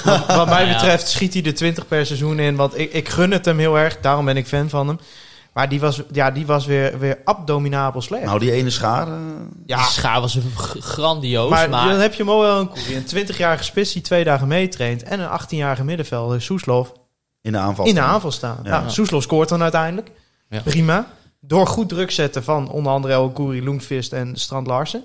[SPEAKER 5] wat, wat mij
[SPEAKER 4] Ja.
[SPEAKER 5] betreft schiet hij de 20 per seizoen in. Want ik, ik gun het hem heel erg. Daarom ben ik fan van hem. Maar die was, ja, die was weer, weer abdominabel slecht.
[SPEAKER 6] nou die ene schaar. eh,
[SPEAKER 4] Die
[SPEAKER 5] ja,
[SPEAKER 4] schaar was g- grandioos, maar...
[SPEAKER 5] maar, dan heb je Mo El Ankouri. Een 20-jarige spits die twee dagen meetraint. En een 18-jarige middenvelder, Soeslof.
[SPEAKER 6] in de aanval.
[SPEAKER 5] in de aanval staan.
[SPEAKER 6] Ja.
[SPEAKER 5] Nou, Soeslof scoort dan uiteindelijk.
[SPEAKER 4] Ja.
[SPEAKER 5] Prima. Door goed druk zetten van onder andere El Koeri, Loenvist en Strand Larsen.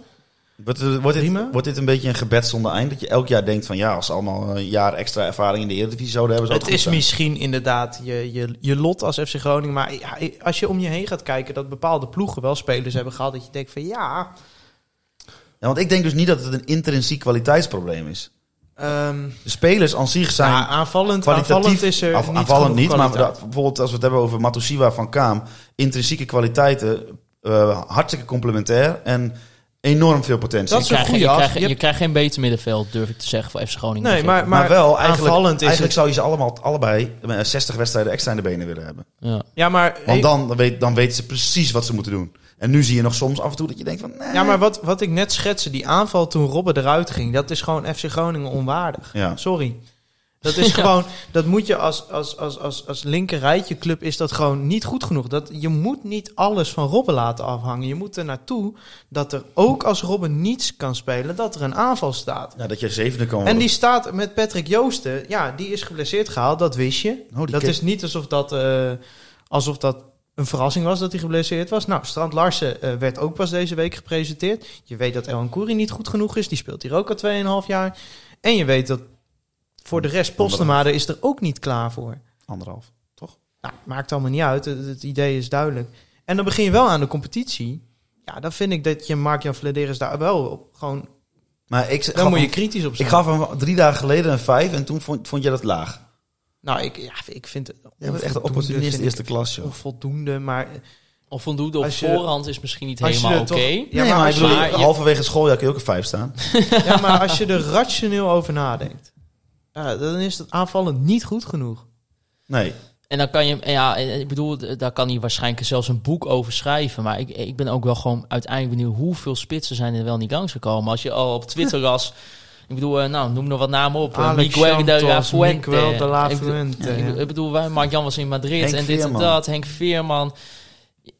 [SPEAKER 6] Wordt, eh, wordt,
[SPEAKER 5] Prima.
[SPEAKER 6] dit, wordt dit een beetje een gebed zonder eind? Dat je elk jaar denkt van ja, als ze allemaal eh, een jaar extra ervaring in de Eredivisie zouden hebben, zou
[SPEAKER 5] Het
[SPEAKER 6] het,
[SPEAKER 5] is
[SPEAKER 6] goed zijn.
[SPEAKER 5] misschien inderdaad je, je, je lot als FC Groningen. Maar ja, als je om je heen gaat kijken dat bepaalde ploegen wel spelers hebben gehad. Dat je denkt van ja,
[SPEAKER 6] Ja, want ik denk dus niet dat het een intrinsiek kwaliteitsprobleem is.
[SPEAKER 5] ehm,
[SPEAKER 6] De spelers aan zich zijn
[SPEAKER 5] ja, aanvallend,
[SPEAKER 6] kwalitatief...
[SPEAKER 5] Nou, aanvallend is er
[SPEAKER 6] af-
[SPEAKER 5] niet
[SPEAKER 6] aanvallend
[SPEAKER 5] genoeg
[SPEAKER 6] niet, maar
[SPEAKER 5] kwaliteit.
[SPEAKER 6] dat- bijvoorbeeld als we het hebben over Matosiwa van Kaam. Intrinsieke kwaliteiten, eh, hartstikke complementair en enorm veel potentie.
[SPEAKER 5] Dat
[SPEAKER 4] je,
[SPEAKER 5] is een
[SPEAKER 4] krijgt,
[SPEAKER 5] goede
[SPEAKER 4] je,
[SPEAKER 5] af.
[SPEAKER 4] krijgt,
[SPEAKER 5] Je hebt-
[SPEAKER 4] je krijgt geen beter middenveld, durf ik te zeggen, voor FC Groningen.
[SPEAKER 5] Nee, maar, maar,
[SPEAKER 6] maar, wel, eigenlijk,
[SPEAKER 5] aanvallend is
[SPEAKER 6] eigenlijk
[SPEAKER 5] het.
[SPEAKER 6] zou je ze allemaal, allebei eh, 60 wedstrijden extra in de benen willen hebben.
[SPEAKER 4] Ja.
[SPEAKER 5] Ja, maar
[SPEAKER 6] Want dan, dan, weet, dan weten ze precies wat ze moeten doen. En nu zie je nog soms af en toe dat je denkt van... Nee.
[SPEAKER 5] Ja, maar wat, wat ik net schetste, die aanval toen Robben eruit ging, dat is gewoon FC Groningen onwaardig.
[SPEAKER 6] Ja.
[SPEAKER 5] Sorry. Dat is gewoon, dat moet je als, als, als, als, als linker rijtje club is dat gewoon niet goed genoeg. Dat, je moet niet alles van Robben laten afhangen. Je moet er naartoe dat er ook als Robben niets kan spelen, dat er een aanval staat.
[SPEAKER 6] Ja, Nou, dat je zevende kan
[SPEAKER 5] En
[SPEAKER 6] worden.
[SPEAKER 5] die staat met Patrick Joosten, ja, die is geblesseerd gehaald, dat wist je.
[SPEAKER 6] Oh, die
[SPEAKER 5] dat
[SPEAKER 6] ken-
[SPEAKER 5] is niet alsof dat, eh, alsof dat een verrassing was dat hij geblesseerd was. Nou, Strand Larsen eh, werd ook pas deze week gepresenteerd. Je weet dat Elan Koeri niet goed genoeg is, die speelt hier ook al 2,5 jaar. En je weet dat voor de rest Postema er is er ook niet klaar voor.
[SPEAKER 6] Anderhalf, toch?
[SPEAKER 5] Nou, maakt allemaal niet uit, het, het idee is duidelijk. En dan begin je wel aan de competitie. Ja, dan vind ik dat je Mark-Jan Flederis daar wel op gewoon...
[SPEAKER 6] Maar ik, gaf
[SPEAKER 5] Dan moet je
[SPEAKER 6] hem-
[SPEAKER 5] kritisch op zijn.
[SPEAKER 6] ik gaf hem drie dagen geleden een vijf en toen vond, vond je dat laag.
[SPEAKER 5] Nou, ik, ja, ik vind het...
[SPEAKER 6] Je bent echt een
[SPEAKER 5] onvoldoende,
[SPEAKER 6] opportunist
[SPEAKER 5] vind ik.
[SPEAKER 6] eerste klas, joh.
[SPEAKER 5] onvoldoende, maar
[SPEAKER 4] Of voldoende op
[SPEAKER 5] Als je-
[SPEAKER 4] voorhand is misschien niet
[SPEAKER 5] als je
[SPEAKER 4] helemaal
[SPEAKER 5] er
[SPEAKER 4] oké.
[SPEAKER 5] toch-
[SPEAKER 6] Ja,
[SPEAKER 5] Ja,
[SPEAKER 6] maar,
[SPEAKER 5] maar
[SPEAKER 6] ik bedoel,
[SPEAKER 4] maar je-
[SPEAKER 6] halverwege het schooljaar kun je ook een vijf staan.
[SPEAKER 5] ja, maar als je er rationeel over nadenkt, ja, dan is het aanvallend niet goed genoeg.
[SPEAKER 6] Nee.
[SPEAKER 4] En dan kan je, en ja, en ik bedoel, d- daar kan hij waarschijnlijk zelfs een boek over schrijven. Maar ik, ik ben ook wel gewoon uiteindelijk benieuwd hoeveel spitsen zijn er wel niet langsgekomen. Als je al op
[SPEAKER 5] (laughs)
[SPEAKER 4] Twitter las, ik bedoel, eh, nou, noem nog wat namen op. Eh,
[SPEAKER 5] Alex
[SPEAKER 4] Miguel de la
[SPEAKER 5] Santos,
[SPEAKER 4] Fuente.
[SPEAKER 5] Miguel de la
[SPEAKER 4] Ik bedoel-
[SPEAKER 5] Fuente,
[SPEAKER 4] ik bedoel-
[SPEAKER 5] ja.
[SPEAKER 4] Ik bedoel, wij- Mark-Jan was in Madrid
[SPEAKER 6] Henk
[SPEAKER 4] en dit
[SPEAKER 6] Veerman.
[SPEAKER 4] en dat. Henk Veerman.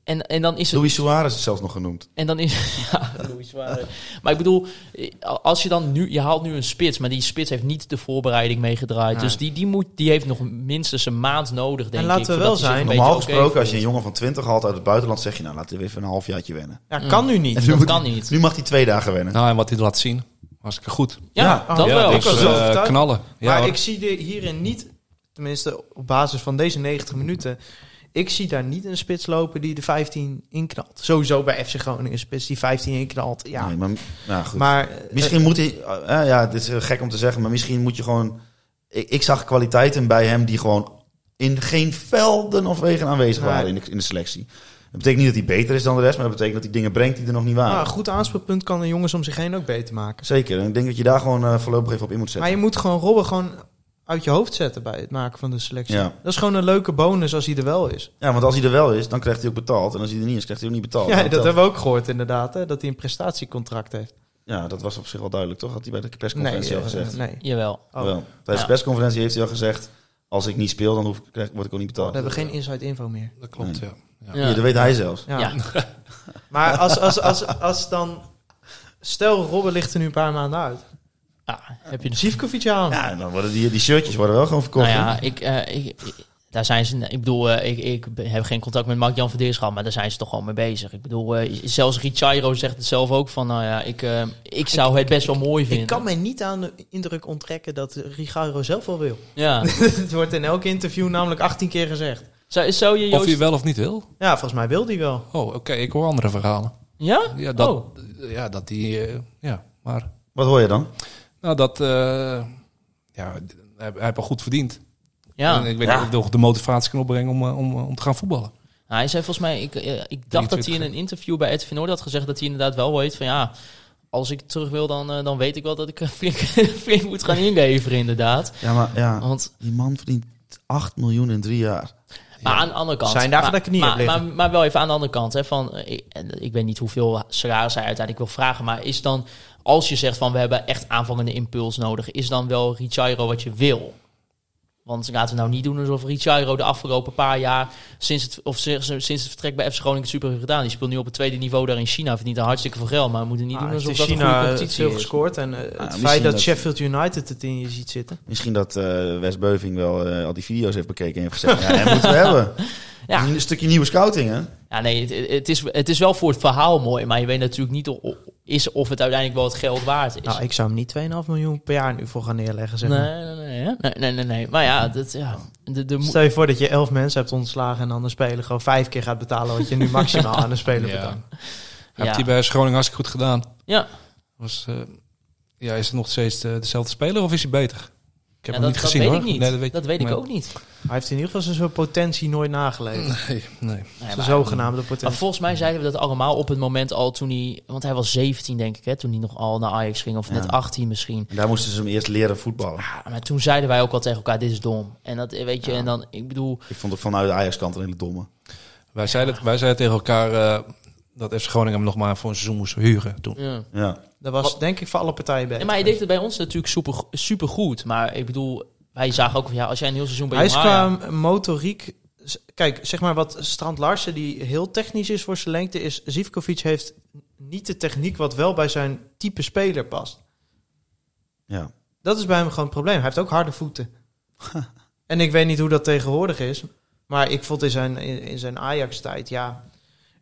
[SPEAKER 4] En, en dan is het
[SPEAKER 6] Luis Suarez is zelfs nog genoemd.
[SPEAKER 4] en dan is. (laughs) Ja, Louis Suarez. Maar ik bedoel, eh, als je dan nu. Je haalt nu een spits, maar die spits heeft niet de voorbereiding meegedraaid. Dus die, die, moet, die heeft nog minstens een maand nodig, denk
[SPEAKER 5] En laten
[SPEAKER 4] ik.
[SPEAKER 5] we
[SPEAKER 4] voordat
[SPEAKER 5] wel
[SPEAKER 4] hij zich
[SPEAKER 5] zijn,
[SPEAKER 4] een
[SPEAKER 6] Normaal
[SPEAKER 4] beetje oké
[SPEAKER 6] gesproken, als je een
[SPEAKER 4] voelt.
[SPEAKER 6] jongen van 20 haalt uit het buitenland, zeg je nou, laat hij even een halfjaartje wennen.
[SPEAKER 5] Ja, kan nu niet.
[SPEAKER 6] En nu moet-
[SPEAKER 4] kan niet.
[SPEAKER 6] Nu mag hij twee dagen wennen.
[SPEAKER 7] Nou, en wat hij laat zien, hartstikke goed.
[SPEAKER 4] Ja,
[SPEAKER 5] Ja,
[SPEAKER 4] dat
[SPEAKER 5] ja,
[SPEAKER 4] wel.
[SPEAKER 5] ik was
[SPEAKER 7] eh,
[SPEAKER 5] wel overtuigd.
[SPEAKER 7] knallen. Ja,
[SPEAKER 5] maar
[SPEAKER 7] hoor.
[SPEAKER 5] ik zie de- hierin niet, tenminste op basis van deze 90 minuten, ik zie daar niet een spits lopen die de 15 inknalt. Sowieso bij FC Groningen een spits die 15 inknalt, ja.
[SPEAKER 6] Nee, maar, nou, goed.
[SPEAKER 5] maar
[SPEAKER 6] Misschien moet hij, eh, eh, ja, het is eh, gek om te zeggen, maar misschien moet je gewoon. Ik, ik zag kwaliteiten bij hem die gewoon in geen velden of wegen aanwezig
[SPEAKER 5] Nee.
[SPEAKER 6] waren in de, in de selectie. Dat betekent niet dat hij beter is dan de rest, maar dat betekent dat hij dingen brengt die er nog niet
[SPEAKER 5] eh,
[SPEAKER 6] waren.
[SPEAKER 5] nou, een goed aanspeelpunt kan de jongens om zich heen ook beter maken.
[SPEAKER 6] Zeker. En ik denk dat je daar gewoon eh, voorlopig even op in moet
[SPEAKER 5] Maar
[SPEAKER 6] zetten.
[SPEAKER 5] je moet gewoon Robben gewoon uit je hoofd zetten bij het maken van de selectie.
[SPEAKER 6] Ja.
[SPEAKER 5] Dat is gewoon een leuke bonus als hij er wel is.
[SPEAKER 6] Ja, want als hij er wel is, dan krijgt hij ook betaald. En als hij er niet is, krijgt hij ook niet betaald.
[SPEAKER 5] Ja,
[SPEAKER 6] Nou,
[SPEAKER 5] dat
[SPEAKER 6] telt-
[SPEAKER 5] hebben we ook gehoord inderdaad, hè, dat hij een prestatiecontract heeft.
[SPEAKER 6] ja, dat was op zich wel duidelijk, toch? Had hij bij de persconferentie al
[SPEAKER 5] eh,
[SPEAKER 6] gezegd.
[SPEAKER 5] nee.
[SPEAKER 4] Jawel.
[SPEAKER 6] Wel.
[SPEAKER 5] Oh,
[SPEAKER 6] Tijdens de
[SPEAKER 4] Ja.
[SPEAKER 6] persconferentie heeft hij al gezegd, als ik niet speel, dan hoef, ik- krijg, word ik ook niet
[SPEAKER 5] we
[SPEAKER 6] betaald.
[SPEAKER 5] hebben geen inside info meer.
[SPEAKER 7] dat klopt, ja. Ja.
[SPEAKER 6] Ja,
[SPEAKER 4] Ja.
[SPEAKER 6] dat weet hij zelfs.
[SPEAKER 5] Ja.
[SPEAKER 4] Ja.
[SPEAKER 5] (laughs) maar als, als, als, als dan... Stel, Robben ligt er nu een paar maanden uit.
[SPEAKER 4] Ja, Ah, heb je de
[SPEAKER 5] Zivkovic aan.
[SPEAKER 6] Ja, en dan worden die, die shirtjes worden wel gewoon verkocht.
[SPEAKER 4] Nou
[SPEAKER 6] hè?
[SPEAKER 4] ja, ik, eh, ik, ik- daar zijn ze. Ik bedoel, eh, ik, ik ben- heb geen contact met Mark-Jan Verdeers gehad, maar daar zijn ze toch gewoon mee bezig. Ik bedoel, eh, zelfs Richairo zegt het zelf ook van, nou ja, ik, eh, ik zou het best wel mooi vinden.
[SPEAKER 5] Ik kan mij niet aan de indruk onttrekken dat Rigaro zelf wel wil.
[SPEAKER 4] Ja.
[SPEAKER 5] (laughs) Het wordt in elk interview namelijk 18 keer gezegd.
[SPEAKER 4] Zou, zou je
[SPEAKER 7] Of
[SPEAKER 4] Joost...
[SPEAKER 7] hij wel of niet wil.
[SPEAKER 5] Ja, volgens mij wil die wel.
[SPEAKER 7] Oh, oké, ik hoor andere verhalen.
[SPEAKER 4] Ja?
[SPEAKER 7] Ja, dat,
[SPEAKER 4] Oh.
[SPEAKER 7] ja, dat die... eh, ja, maar...
[SPEAKER 6] Wat hoor je dan?
[SPEAKER 7] Nou, dat... eh, ja, hij, hij heeft al goed verdiend.
[SPEAKER 4] Ja.
[SPEAKER 7] En ik weet niet of ik de motivatie kan opbrengen om, eh, om, eh, om te gaan voetballen.
[SPEAKER 4] Nou, hij zei volgens mij, ik, eh, ik dacht dat hij in een interview bij Ed Noord had gezegd dat hij inderdaad wel weet van ja, als ik terug wil, dan, eh, dan weet ik wel dat ik eh, (laughs) flink, flink moet gaan inleveren, inderdaad.
[SPEAKER 6] Ja, maar ja,
[SPEAKER 4] Want
[SPEAKER 6] die man verdient 8 miljoen in drie jaar.
[SPEAKER 4] Maar aan de andere kant.
[SPEAKER 5] Zijn daar
[SPEAKER 4] maar,
[SPEAKER 5] van de knieën
[SPEAKER 4] maar,
[SPEAKER 5] liggen.
[SPEAKER 4] maar, maar wel even aan de andere kant. Hè, van, eh, ik, en ik weet niet hoeveel salaris hij uiteindelijk wil vragen. Maar is dan, als je zegt van we hebben echt aanvangende impuls nodig, is dan wel Richairo wat je wil? Want laten we nou niet doen alsof Richairo de afgelopen paar jaar, sinds het, of sinds sinds het vertrek bij FC Groningen het super heeft gedaan. Die speelt nu op het tweede niveau daar in China. Verdient daar hartstikke veel geld. Maar we moeten niet
[SPEAKER 5] Ah,
[SPEAKER 4] doen
[SPEAKER 5] het
[SPEAKER 4] alsof
[SPEAKER 5] is
[SPEAKER 4] dat een
[SPEAKER 5] China
[SPEAKER 4] goede
[SPEAKER 5] eh,
[SPEAKER 4] competitie
[SPEAKER 5] veel
[SPEAKER 4] is.
[SPEAKER 5] gescoord. En eh, het
[SPEAKER 6] misschien
[SPEAKER 5] feit dat,
[SPEAKER 6] dat-
[SPEAKER 5] Sheffield United het in je ziet zitten.
[SPEAKER 6] Misschien dat eh Wes Beuving wel eh, al die video's heeft bekeken en heeft gezegd, ja, hem moeten we hebben.
[SPEAKER 5] (laughs)
[SPEAKER 4] Ja.
[SPEAKER 6] Dat is Een stukje nieuwe scouting, hè?
[SPEAKER 4] Ja, nee, het, het, is, het is wel voor het verhaal mooi. Maar je weet natuurlijk niet of, is of het uiteindelijk wel het geld waard is.
[SPEAKER 5] Nou, ik zou hem niet 2,5 miljoen per jaar nu voor gaan neerleggen. Zeg maar.
[SPEAKER 4] Nee, nee, nee, hè? nee, nee, nee, nee. Maar ja, dat, ja. De, de mo-
[SPEAKER 5] Stel je voor dat je 11 mensen hebt ontslagen en dan een speler gewoon vijf keer gaat betalen wat je nu maximaal aan een
[SPEAKER 4] (laughs)
[SPEAKER 5] speler
[SPEAKER 7] Ja.
[SPEAKER 5] betaalt.
[SPEAKER 7] Hij
[SPEAKER 4] Ja.
[SPEAKER 7] heeft hij bij Groningen hartstikke goed gedaan.
[SPEAKER 4] ja,
[SPEAKER 7] Was, eh, ja, is het nog steeds eh, dezelfde speler of is hij beter? Ik heb
[SPEAKER 4] ja,
[SPEAKER 7] hem
[SPEAKER 4] dat,
[SPEAKER 7] niet
[SPEAKER 4] dat
[SPEAKER 7] gezien
[SPEAKER 4] weet
[SPEAKER 7] hoor.
[SPEAKER 4] ik niet. dat weet, ik ook niet.
[SPEAKER 5] Hij heeft in ieder geval zijn soort potentie nooit
[SPEAKER 7] (laughs)
[SPEAKER 5] nageleefd.
[SPEAKER 7] Nee, nee.
[SPEAKER 4] Nee,
[SPEAKER 5] Zijn
[SPEAKER 4] maar,
[SPEAKER 5] zogenaamde
[SPEAKER 4] maar
[SPEAKER 5] potentie.
[SPEAKER 4] volgens mij zeiden we dat allemaal op het moment al toen hij... Want hij was 17 denk ik, hè, toen hij nog al naar Ajax ging. Of
[SPEAKER 6] Ja.
[SPEAKER 4] net 18 misschien.
[SPEAKER 6] En daar moesten ze hem eerst leren voetballen.
[SPEAKER 4] Ja, maar toen zeiden wij ook al tegen elkaar, dit is dom. En dat, eh, weet je, en dan, ik bedoel...
[SPEAKER 6] Ik vond het vanuit de Ajax-kant een hele domme.
[SPEAKER 7] Wij, zeiden, wij zeiden tegen elkaar eh, dat FC Groningen hem nog maar voor een seizoen moest huren toen.
[SPEAKER 4] Ja.
[SPEAKER 6] Ja.
[SPEAKER 5] Dat was denk ik voor alle partijen bij.
[SPEAKER 4] Nee, maar hij deed het bij ons natuurlijk super, super goed. Maar ik bedoel, wij zagen ook van ja, als jij een heel seizoen bij
[SPEAKER 5] Hij is
[SPEAKER 4] Jong Ajax-
[SPEAKER 5] qua motoriek. z- Kijk, zeg maar wat Strand Larsen, die heel technisch is voor zijn lengte, is Zivkovic heeft niet de techniek wat wel bij zijn type speler past.
[SPEAKER 6] Ja.
[SPEAKER 5] Dat is bij hem gewoon het probleem. Hij heeft ook harde
[SPEAKER 6] (laughs)
[SPEAKER 5] voeten. en ik weet niet hoe dat tegenwoordig is. Maar ik vond in zijn, in, in zijn Ajax-tijd, ja.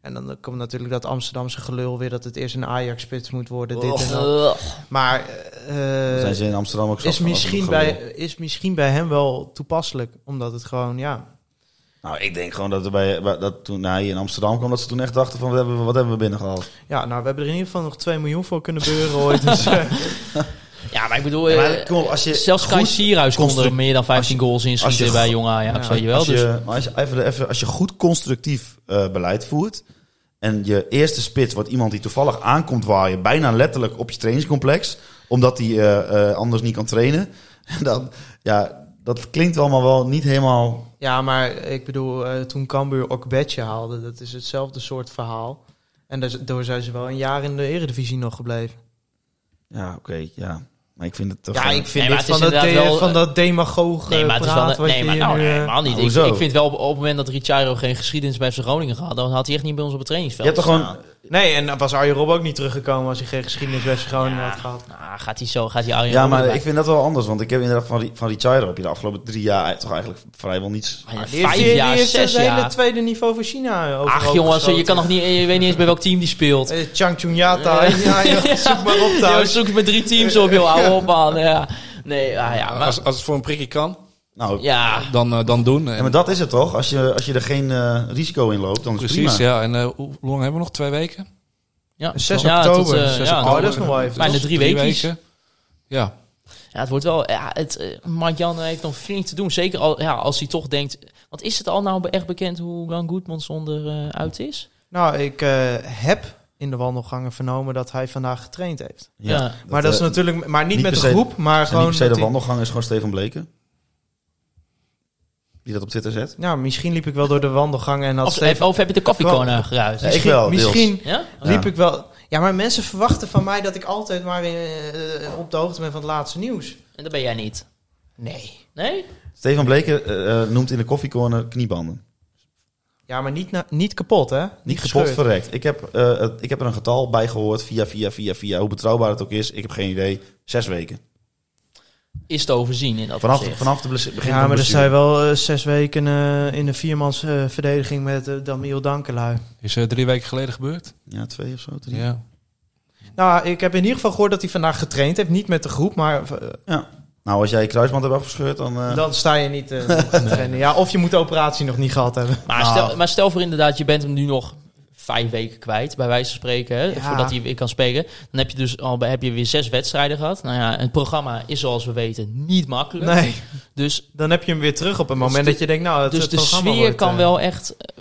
[SPEAKER 5] En dan komt natuurlijk dat Amsterdamse gelul weer dat het eerst een Ajax-spits moet worden. Dit en dat.
[SPEAKER 4] Ugh.
[SPEAKER 5] Maar eh,
[SPEAKER 6] Zijn ze in Amsterdam ook zo-
[SPEAKER 5] is, misschien
[SPEAKER 6] ook-
[SPEAKER 5] bij, is misschien bij hem wel toepasselijk. Omdat het gewoon, ja.
[SPEAKER 6] Nou, ik denk gewoon dat, er bij, bij- dat toen hij in Amsterdam kwam, dat ze toen echt dachten van, wat hebben we, wat hebben we binnengehaald?
[SPEAKER 5] Ja, nou, we hebben er in ieder geval nog 2 miljoen voor kunnen beuren ooit.
[SPEAKER 4] (laughs)
[SPEAKER 5] Dus, eh,
[SPEAKER 4] Ja, maar ik bedoel,
[SPEAKER 6] Ja, maar
[SPEAKER 4] eh,
[SPEAKER 6] kom op, als je
[SPEAKER 4] zelfs Kai
[SPEAKER 6] goed
[SPEAKER 4] Sierhuis kon er
[SPEAKER 6] construct-
[SPEAKER 4] meer dan 15 goals in
[SPEAKER 6] als
[SPEAKER 4] schieten
[SPEAKER 6] je
[SPEAKER 4] bij
[SPEAKER 6] go-
[SPEAKER 4] Jong Ajax,
[SPEAKER 5] Ja.
[SPEAKER 4] weet je wel.
[SPEAKER 6] als
[SPEAKER 4] Dus
[SPEAKER 6] je, maar als je, even, even, als je goed constructief eh, beleid voert en je eerste spits wordt iemand die toevallig aankomt waaien, bijna letterlijk op je trainingscomplex, omdat hij eh, eh, anders niet kan trainen, (laughs) dan, ja, dat klinkt allemaal wel niet helemaal...
[SPEAKER 5] ja, maar ik bedoel, eh, toen Cambuur Okbetje haalde, dat is hetzelfde soort verhaal. En daardoor zijn ze wel een jaar in de eredivisie nog gebleven.
[SPEAKER 6] Ja, oké, ja. Maar ik vind het toch...
[SPEAKER 5] Ja,
[SPEAKER 6] eh,
[SPEAKER 5] ik vind
[SPEAKER 4] maar
[SPEAKER 5] dit
[SPEAKER 4] het is
[SPEAKER 5] van dat,
[SPEAKER 4] inderdaad
[SPEAKER 5] de-
[SPEAKER 4] wel,
[SPEAKER 5] van
[SPEAKER 4] eh,
[SPEAKER 5] dat demagoog
[SPEAKER 4] Nee, maar het is wel...
[SPEAKER 5] praat
[SPEAKER 4] een-
[SPEAKER 5] wat
[SPEAKER 4] Nee,
[SPEAKER 5] je
[SPEAKER 4] maar
[SPEAKER 5] hier
[SPEAKER 4] nou,
[SPEAKER 5] nu, eh,
[SPEAKER 4] helemaal niet. Ik,
[SPEAKER 6] hoezo?
[SPEAKER 4] ik vind wel op, op het moment dat Ricciardo geen geschiedenis bij FC Groningen had... dan had hij echt niet bij ons op het
[SPEAKER 6] je
[SPEAKER 4] trainingsveld
[SPEAKER 6] hebt er
[SPEAKER 4] gestaan.
[SPEAKER 6] gewoon...
[SPEAKER 5] Nee, en dan was Arjen Rob ook niet teruggekomen als hij geen geschiedenis bij Groningen had gehad.
[SPEAKER 4] Nou, gaat hij zo, gaat hij Arjen
[SPEAKER 6] Ja,
[SPEAKER 4] Robben
[SPEAKER 6] maar
[SPEAKER 4] erbij.
[SPEAKER 6] ik vind dat wel anders. Want ik heb inderdaad van, Ri- van Richard heb je de afgelopen drie jaar toch eigenlijk vrijwel niets.
[SPEAKER 4] Maar ja,
[SPEAKER 5] Die heeft-
[SPEAKER 4] Vijf
[SPEAKER 5] die
[SPEAKER 4] jaar,
[SPEAKER 5] heeft
[SPEAKER 4] zes
[SPEAKER 5] het hele
[SPEAKER 4] jaar.
[SPEAKER 5] tweede niveau voor China overhoop
[SPEAKER 4] Ach jongens, je
[SPEAKER 5] geschoten.
[SPEAKER 4] kan nog niet, je weet niet eens bij welk team die speelt.
[SPEAKER 5] Eh, Chang Chunyata, (laughs)
[SPEAKER 6] (laughs)
[SPEAKER 5] ja, joh, zoek maar op
[SPEAKER 4] (laughs) Ja,
[SPEAKER 5] thuis.
[SPEAKER 4] zoek het met drie teams op, joh.
[SPEAKER 5] (laughs)
[SPEAKER 4] Hou op, man. Ja. Nee, ah, ja, maar...
[SPEAKER 7] als, als het voor een prikje kan,
[SPEAKER 6] Nou, ja.
[SPEAKER 4] Ja,
[SPEAKER 7] dan, eh, dan doen. En-
[SPEAKER 6] maar dat is het toch? Als je, als je er geen eh, risico in loopt, dan is het
[SPEAKER 7] precies,
[SPEAKER 6] prima.
[SPEAKER 7] ja. En eh, hoe lang hebben we nog? Twee weken?
[SPEAKER 4] ja.
[SPEAKER 5] 6
[SPEAKER 4] Ja, tot,
[SPEAKER 5] oktober.
[SPEAKER 4] eh,
[SPEAKER 5] 6
[SPEAKER 4] ja.
[SPEAKER 5] oktober. Oh, dat is nog wel even.
[SPEAKER 4] Bijna
[SPEAKER 7] Toch?
[SPEAKER 4] drie weekjes.
[SPEAKER 7] Ja,
[SPEAKER 4] Ja, het wordt wel. Ja, het, eh, Mark-Jan heeft nog flink te doen. Zeker al, ja, als hij toch denkt. Want is het al nou echt bekend hoe lang Goedmans onderuit uit is?
[SPEAKER 5] Nou, ik eh, heb in de wandelgangen vernomen dat hij vandaag getraind heeft.
[SPEAKER 6] Ja.
[SPEAKER 4] Ja.
[SPEAKER 5] maar dat is
[SPEAKER 6] eh,
[SPEAKER 5] natuurlijk, maar niet,
[SPEAKER 6] niet
[SPEAKER 5] met de
[SPEAKER 6] per se-
[SPEAKER 5] groep, maar
[SPEAKER 6] En niet
[SPEAKER 5] gewoon.
[SPEAKER 6] per se
[SPEAKER 5] dat
[SPEAKER 6] de
[SPEAKER 5] hij-
[SPEAKER 6] wandelgang is gewoon Stefan Bleken. Die dat op Twitter zet.
[SPEAKER 5] nou, misschien liep ik wel door de wandelgangen en had
[SPEAKER 4] Of,
[SPEAKER 5] Steven.
[SPEAKER 4] of heb je de koffiecona geruid?
[SPEAKER 6] Ja, ik
[SPEAKER 5] Misschien,
[SPEAKER 6] wel, deels.
[SPEAKER 5] misschien
[SPEAKER 4] Ja?
[SPEAKER 5] liep
[SPEAKER 6] Ja.
[SPEAKER 5] ik wel. Ja, maar mensen verwachten van mij dat ik altijd maar eh, eh, op de hoogte ben van het laatste nieuws.
[SPEAKER 4] En dat ben jij niet.
[SPEAKER 5] Nee.
[SPEAKER 4] Nee?
[SPEAKER 6] Stefan Bleken eh, eh, noemt in de koffiecorner kniebanden.
[SPEAKER 5] Ja, maar niet, na- niet kapot, hè? Niet,
[SPEAKER 6] Niet kapot
[SPEAKER 5] gescheurd.
[SPEAKER 6] verrekt. Ik heb, eh, het- ik heb er een getal bij gehoord via, via, via, via. Hoe betrouwbaar het ook is, ik heb geen idee. Zes weken.
[SPEAKER 4] Is te overzien in dat
[SPEAKER 6] Vanaf,
[SPEAKER 4] opzicht.
[SPEAKER 6] vanaf de blessu- begin
[SPEAKER 5] Ja,
[SPEAKER 6] van
[SPEAKER 5] maar
[SPEAKER 6] de
[SPEAKER 5] er
[SPEAKER 6] blessure.
[SPEAKER 5] zijn wel eh, zes weken eh, in de viermans eh, verdediging met eh, Damiel Dankelui.
[SPEAKER 7] is eh, drie weken geleden gebeurd.
[SPEAKER 6] Ja, twee of zo, drie.
[SPEAKER 7] Ja.
[SPEAKER 5] Nou, ik heb in ieder geval gehoord dat hij vandaag getraind heeft. Niet met de groep, maar eh,
[SPEAKER 6] Nou, als jij je kruisband hebt afgescheurd, dan... eh,
[SPEAKER 5] dan sta je niet eh, nog te trainen. Ja, of je moet de operatie nog niet gehad hebben.
[SPEAKER 4] Maar, stel, maar stel voor inderdaad, je bent hem nu nog vijf weken kwijt, bij wijze van spreken, hè,
[SPEAKER 5] Ja.
[SPEAKER 4] voordat hij weer kan spelen. Dan heb je dus al bij- heb je weer zes wedstrijden gehad. Nou ja, het programma is zoals we weten niet makkelijk.
[SPEAKER 5] Nee,
[SPEAKER 4] Dus,
[SPEAKER 5] dan heb je hem weer terug op het moment
[SPEAKER 4] de-
[SPEAKER 5] dat je denkt, nou, het,
[SPEAKER 4] dus
[SPEAKER 5] het
[SPEAKER 4] de
[SPEAKER 5] programma
[SPEAKER 4] sfeer
[SPEAKER 5] wordt,
[SPEAKER 4] kan
[SPEAKER 5] eh,
[SPEAKER 4] wel echt eh,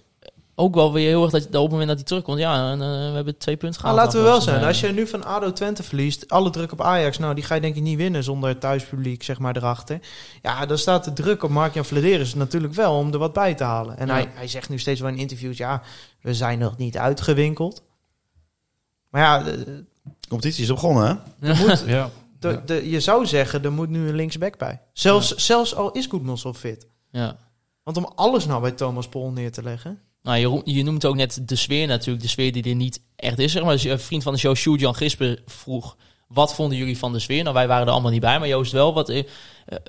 [SPEAKER 4] ook wel weer heel erg dat je- dat op het moment dat hij terugkomt, ja, en, eh, we hebben twee punten
[SPEAKER 5] Maar
[SPEAKER 4] gehaald.
[SPEAKER 5] laten we
[SPEAKER 4] Nou,
[SPEAKER 5] wel
[SPEAKER 4] volgens
[SPEAKER 5] zijn. Als
[SPEAKER 4] mij.
[SPEAKER 5] je nu van ADO Twente verliest, alle druk op Ajax, nou die ga je denk ik niet winnen zonder het thuispubliek zeg maar erachter. Ja, dan staat de druk op Mark-Jan Flederis natuurlijk wel om er wat bij te halen. En
[SPEAKER 4] Ja.
[SPEAKER 5] hij, hij zegt nu steeds wel in interviews, ja, we zijn nog niet uitgewinkeld. Maar ja, eh, de-
[SPEAKER 6] De competitie is begonnen, hè?
[SPEAKER 7] Ja.
[SPEAKER 5] de- de- je zou zeggen, er moet nu een linksback bij. Zelfs, zelfs al is Goedmansson fit.
[SPEAKER 4] Ja.
[SPEAKER 5] Want om alles nou bij Thomas Pol neer te leggen.
[SPEAKER 4] Nou, je, roemt- je noemt ook net de sfeer natuurlijk. De sfeer die er niet echt is. Zeg maar. Dus, eh, vriend van de show, Sjoerd Jan Gisper, vroeg... Wat vonden jullie van de sfeer? Nou, wij waren er allemaal niet bij, maar Joost wel. Wat, eh, eh,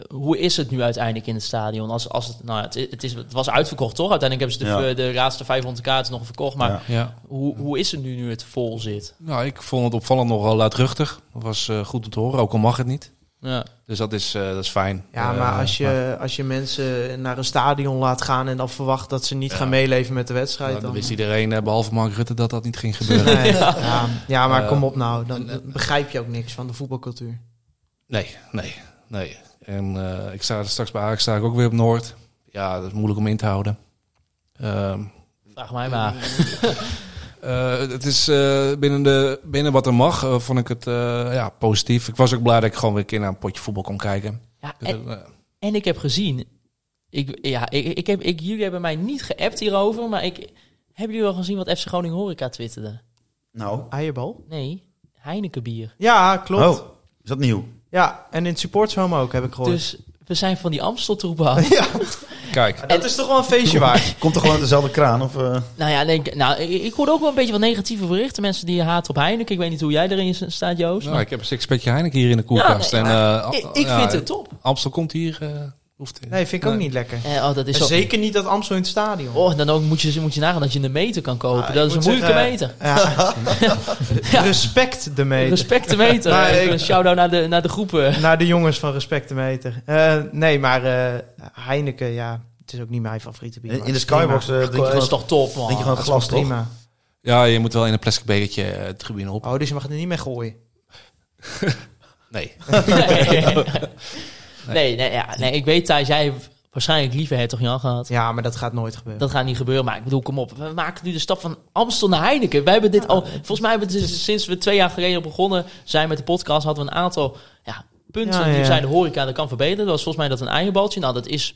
[SPEAKER 4] hoe is het nu uiteindelijk in het stadion? Als, als het, nou, het, het, is, het was uitverkocht, toch? Uiteindelijk hebben ze de,
[SPEAKER 6] Ja.
[SPEAKER 4] de laatste 500 kaarten nog verkocht. Maar
[SPEAKER 6] Ja.
[SPEAKER 7] ja.
[SPEAKER 4] hoe, hoe is het nu, nu het vol zit?
[SPEAKER 7] Nou, ik vond het opvallend nogal luidruchtig. Dat was eh, goed om te horen, ook al mag het niet.
[SPEAKER 4] Ja.
[SPEAKER 7] Dus dat is, eh, dat is fijn.
[SPEAKER 5] Ja,
[SPEAKER 7] Eh,
[SPEAKER 5] maar als je, als je mensen naar een stadion laat gaan en dan verwacht dat ze niet gaan meeleven met de wedstrijd.
[SPEAKER 7] nou, dan
[SPEAKER 5] dan-
[SPEAKER 7] wist iedereen, eh, behalve Mark Rutte, dat dat niet ging
[SPEAKER 5] (laughs)
[SPEAKER 7] gebeuren.
[SPEAKER 5] Nee, ja. ja, maar
[SPEAKER 7] Eh,
[SPEAKER 5] kom op nou. Dan dan begrijp je ook niks van de voetbalcultuur.
[SPEAKER 7] Nee, nee, nee. En eh, ik sta straks bij Ajax sta ik ook weer op Noord. Ja, dat is moeilijk om in te houden. Ehm,
[SPEAKER 4] Vraag mij maar.
[SPEAKER 7] eh, het is eh, binnen, de, binnen wat er mag, eh, vond ik het eh, ja, positief. Ik was ook blij dat ik gewoon weer een keer naar een potje voetbal kon kijken.
[SPEAKER 4] Ja,
[SPEAKER 7] Dus,
[SPEAKER 4] en-
[SPEAKER 7] eh,
[SPEAKER 4] En ik heb gezien. Ik, ja, ik, ik heb, ik, jullie hebben mij niet geappt hierover. Maar ik, hebben jullie wel gezien wat FC Groningen Horeca twitterde?
[SPEAKER 6] Nou,
[SPEAKER 5] Eierbal?
[SPEAKER 4] Nee, Heineken bier.
[SPEAKER 5] Ja, klopt.
[SPEAKER 6] oh, is dat nieuw?
[SPEAKER 5] Ja, en in het supportshome ook heb ik gehoord.
[SPEAKER 4] Dus we zijn van die Amsteltroepen
[SPEAKER 5] (laughs)
[SPEAKER 4] af.
[SPEAKER 7] kijk,
[SPEAKER 5] dat is toch wel een feestje waard.
[SPEAKER 6] Komt er gewoon uit dezelfde kraan? Of, eh?
[SPEAKER 4] nou ja, nee, ik- nou, ik, ik hoorde ook wel een beetje wat negatieve berichten. Mensen die haat op Heineken. Ik weet niet hoe jij erin s- staat, Joost.
[SPEAKER 7] nou,
[SPEAKER 4] maar-
[SPEAKER 7] ik heb een sixpackje Heineken hier in de koelkast.
[SPEAKER 4] Ja, nee,
[SPEAKER 7] en, eh,
[SPEAKER 4] ik
[SPEAKER 7] Am-
[SPEAKER 4] ik
[SPEAKER 7] ja,
[SPEAKER 4] vind het top.
[SPEAKER 7] Amstel komt hier. eh, hoeft
[SPEAKER 5] Nee, vind ik ook niet lekker.
[SPEAKER 4] Eh, oh, dat is
[SPEAKER 5] En
[SPEAKER 4] zo...
[SPEAKER 5] Zeker niet dat Amstel in het
[SPEAKER 4] (laughs)
[SPEAKER 5] stadion.
[SPEAKER 4] Oh, dan ook moet je, moet je nagaan dat je een meter kan kopen.
[SPEAKER 5] Ah, ik
[SPEAKER 4] dat is een
[SPEAKER 5] moet
[SPEAKER 4] moeilijke meter.
[SPEAKER 5] zeggen, Ja.
[SPEAKER 4] Ja.
[SPEAKER 5] Respect de meter.
[SPEAKER 4] Respect de meter.
[SPEAKER 5] (laughs) Maar
[SPEAKER 4] Even
[SPEAKER 5] ik-
[SPEAKER 4] een shout-out naar de, naar de
[SPEAKER 5] (laughs)
[SPEAKER 4] groepen.
[SPEAKER 5] Naar de jongens van Respect de meter. Eh, nee, maar eh, Heineken, ja, het is ook niet mijn favoriete bier.
[SPEAKER 6] in,
[SPEAKER 5] maar
[SPEAKER 6] in de
[SPEAKER 5] het is prima.
[SPEAKER 6] skybox eh, drink, je
[SPEAKER 4] Dat is
[SPEAKER 6] gewoon,
[SPEAKER 4] toch top, man.
[SPEAKER 6] drink je gewoon het glas, toch?
[SPEAKER 5] Prima.
[SPEAKER 7] Ja, je moet wel in een plastic bekertje eh, het tribune op.
[SPEAKER 5] Oh, dus je mag er niet mee gooien.
[SPEAKER 7] Nee.
[SPEAKER 4] nee, nee, nee, ja, nee, ik weet Thijs, jij hebt waarschijnlijk liever Hertog Jan gehad.
[SPEAKER 5] Ja, maar dat gaat nooit gebeuren.
[SPEAKER 4] Dat gaat niet gebeuren, maar ik bedoel, kom op. We maken nu de stap van Amstel naar Heineken. Wij hebben dit al, volgens mij hebben we dit sinds we twee jaar geleden begonnen zijn met de podcast, hadden we een aantal ja, punten
[SPEAKER 5] Ja,
[SPEAKER 4] die
[SPEAKER 5] ja.
[SPEAKER 4] we zeiden, horeca, dat kan verbeteren. Dat was volgens mij dat een eierbaltje. Nou, dat is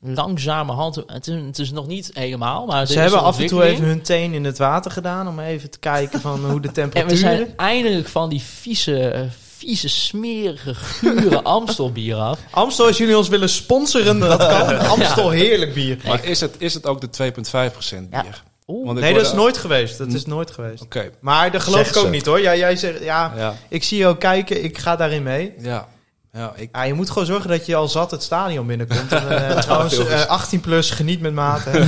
[SPEAKER 4] langzamerhand, het is, het is nog niet helemaal, maar er
[SPEAKER 5] Ze
[SPEAKER 4] is
[SPEAKER 5] hebben
[SPEAKER 4] een
[SPEAKER 5] af en toe
[SPEAKER 4] ontwikkeling.
[SPEAKER 5] even hun teen in het water gedaan om even te kijken van eh, hoe de
[SPEAKER 4] En we
[SPEAKER 5] temperaturen...
[SPEAKER 4] zijn eindelijk van die vieze, eh, vieze smerige,
[SPEAKER 5] (laughs)
[SPEAKER 4] gure Amstelbier af.
[SPEAKER 5] Amstel, als jullie ons willen sponsoren, dat kan. Amstel, heerlijk bier.
[SPEAKER 7] Maar is het, is het ook de 2,5%
[SPEAKER 4] Ja.
[SPEAKER 7] bier?
[SPEAKER 4] Oeh.
[SPEAKER 7] Want ik
[SPEAKER 5] Nee,
[SPEAKER 7] hoorde-
[SPEAKER 5] dat is nooit geweest. Dat is nooit geweest.
[SPEAKER 7] Oké.
[SPEAKER 5] Maar dat geloof
[SPEAKER 6] Zegt
[SPEAKER 5] ik ook
[SPEAKER 6] ze.
[SPEAKER 5] niet hoor. Ja, jij zegt, ja,
[SPEAKER 7] Ja.
[SPEAKER 5] ik zie jou kijken, ik ga daarin mee.
[SPEAKER 7] Ja. Ja, ik,
[SPEAKER 5] Ja, je moet gewoon zorgen dat je al zat het stadion binnenkomt. En, eh, trouwens,
[SPEAKER 7] veel
[SPEAKER 5] eh, 18 plus, geniet met maat. hè.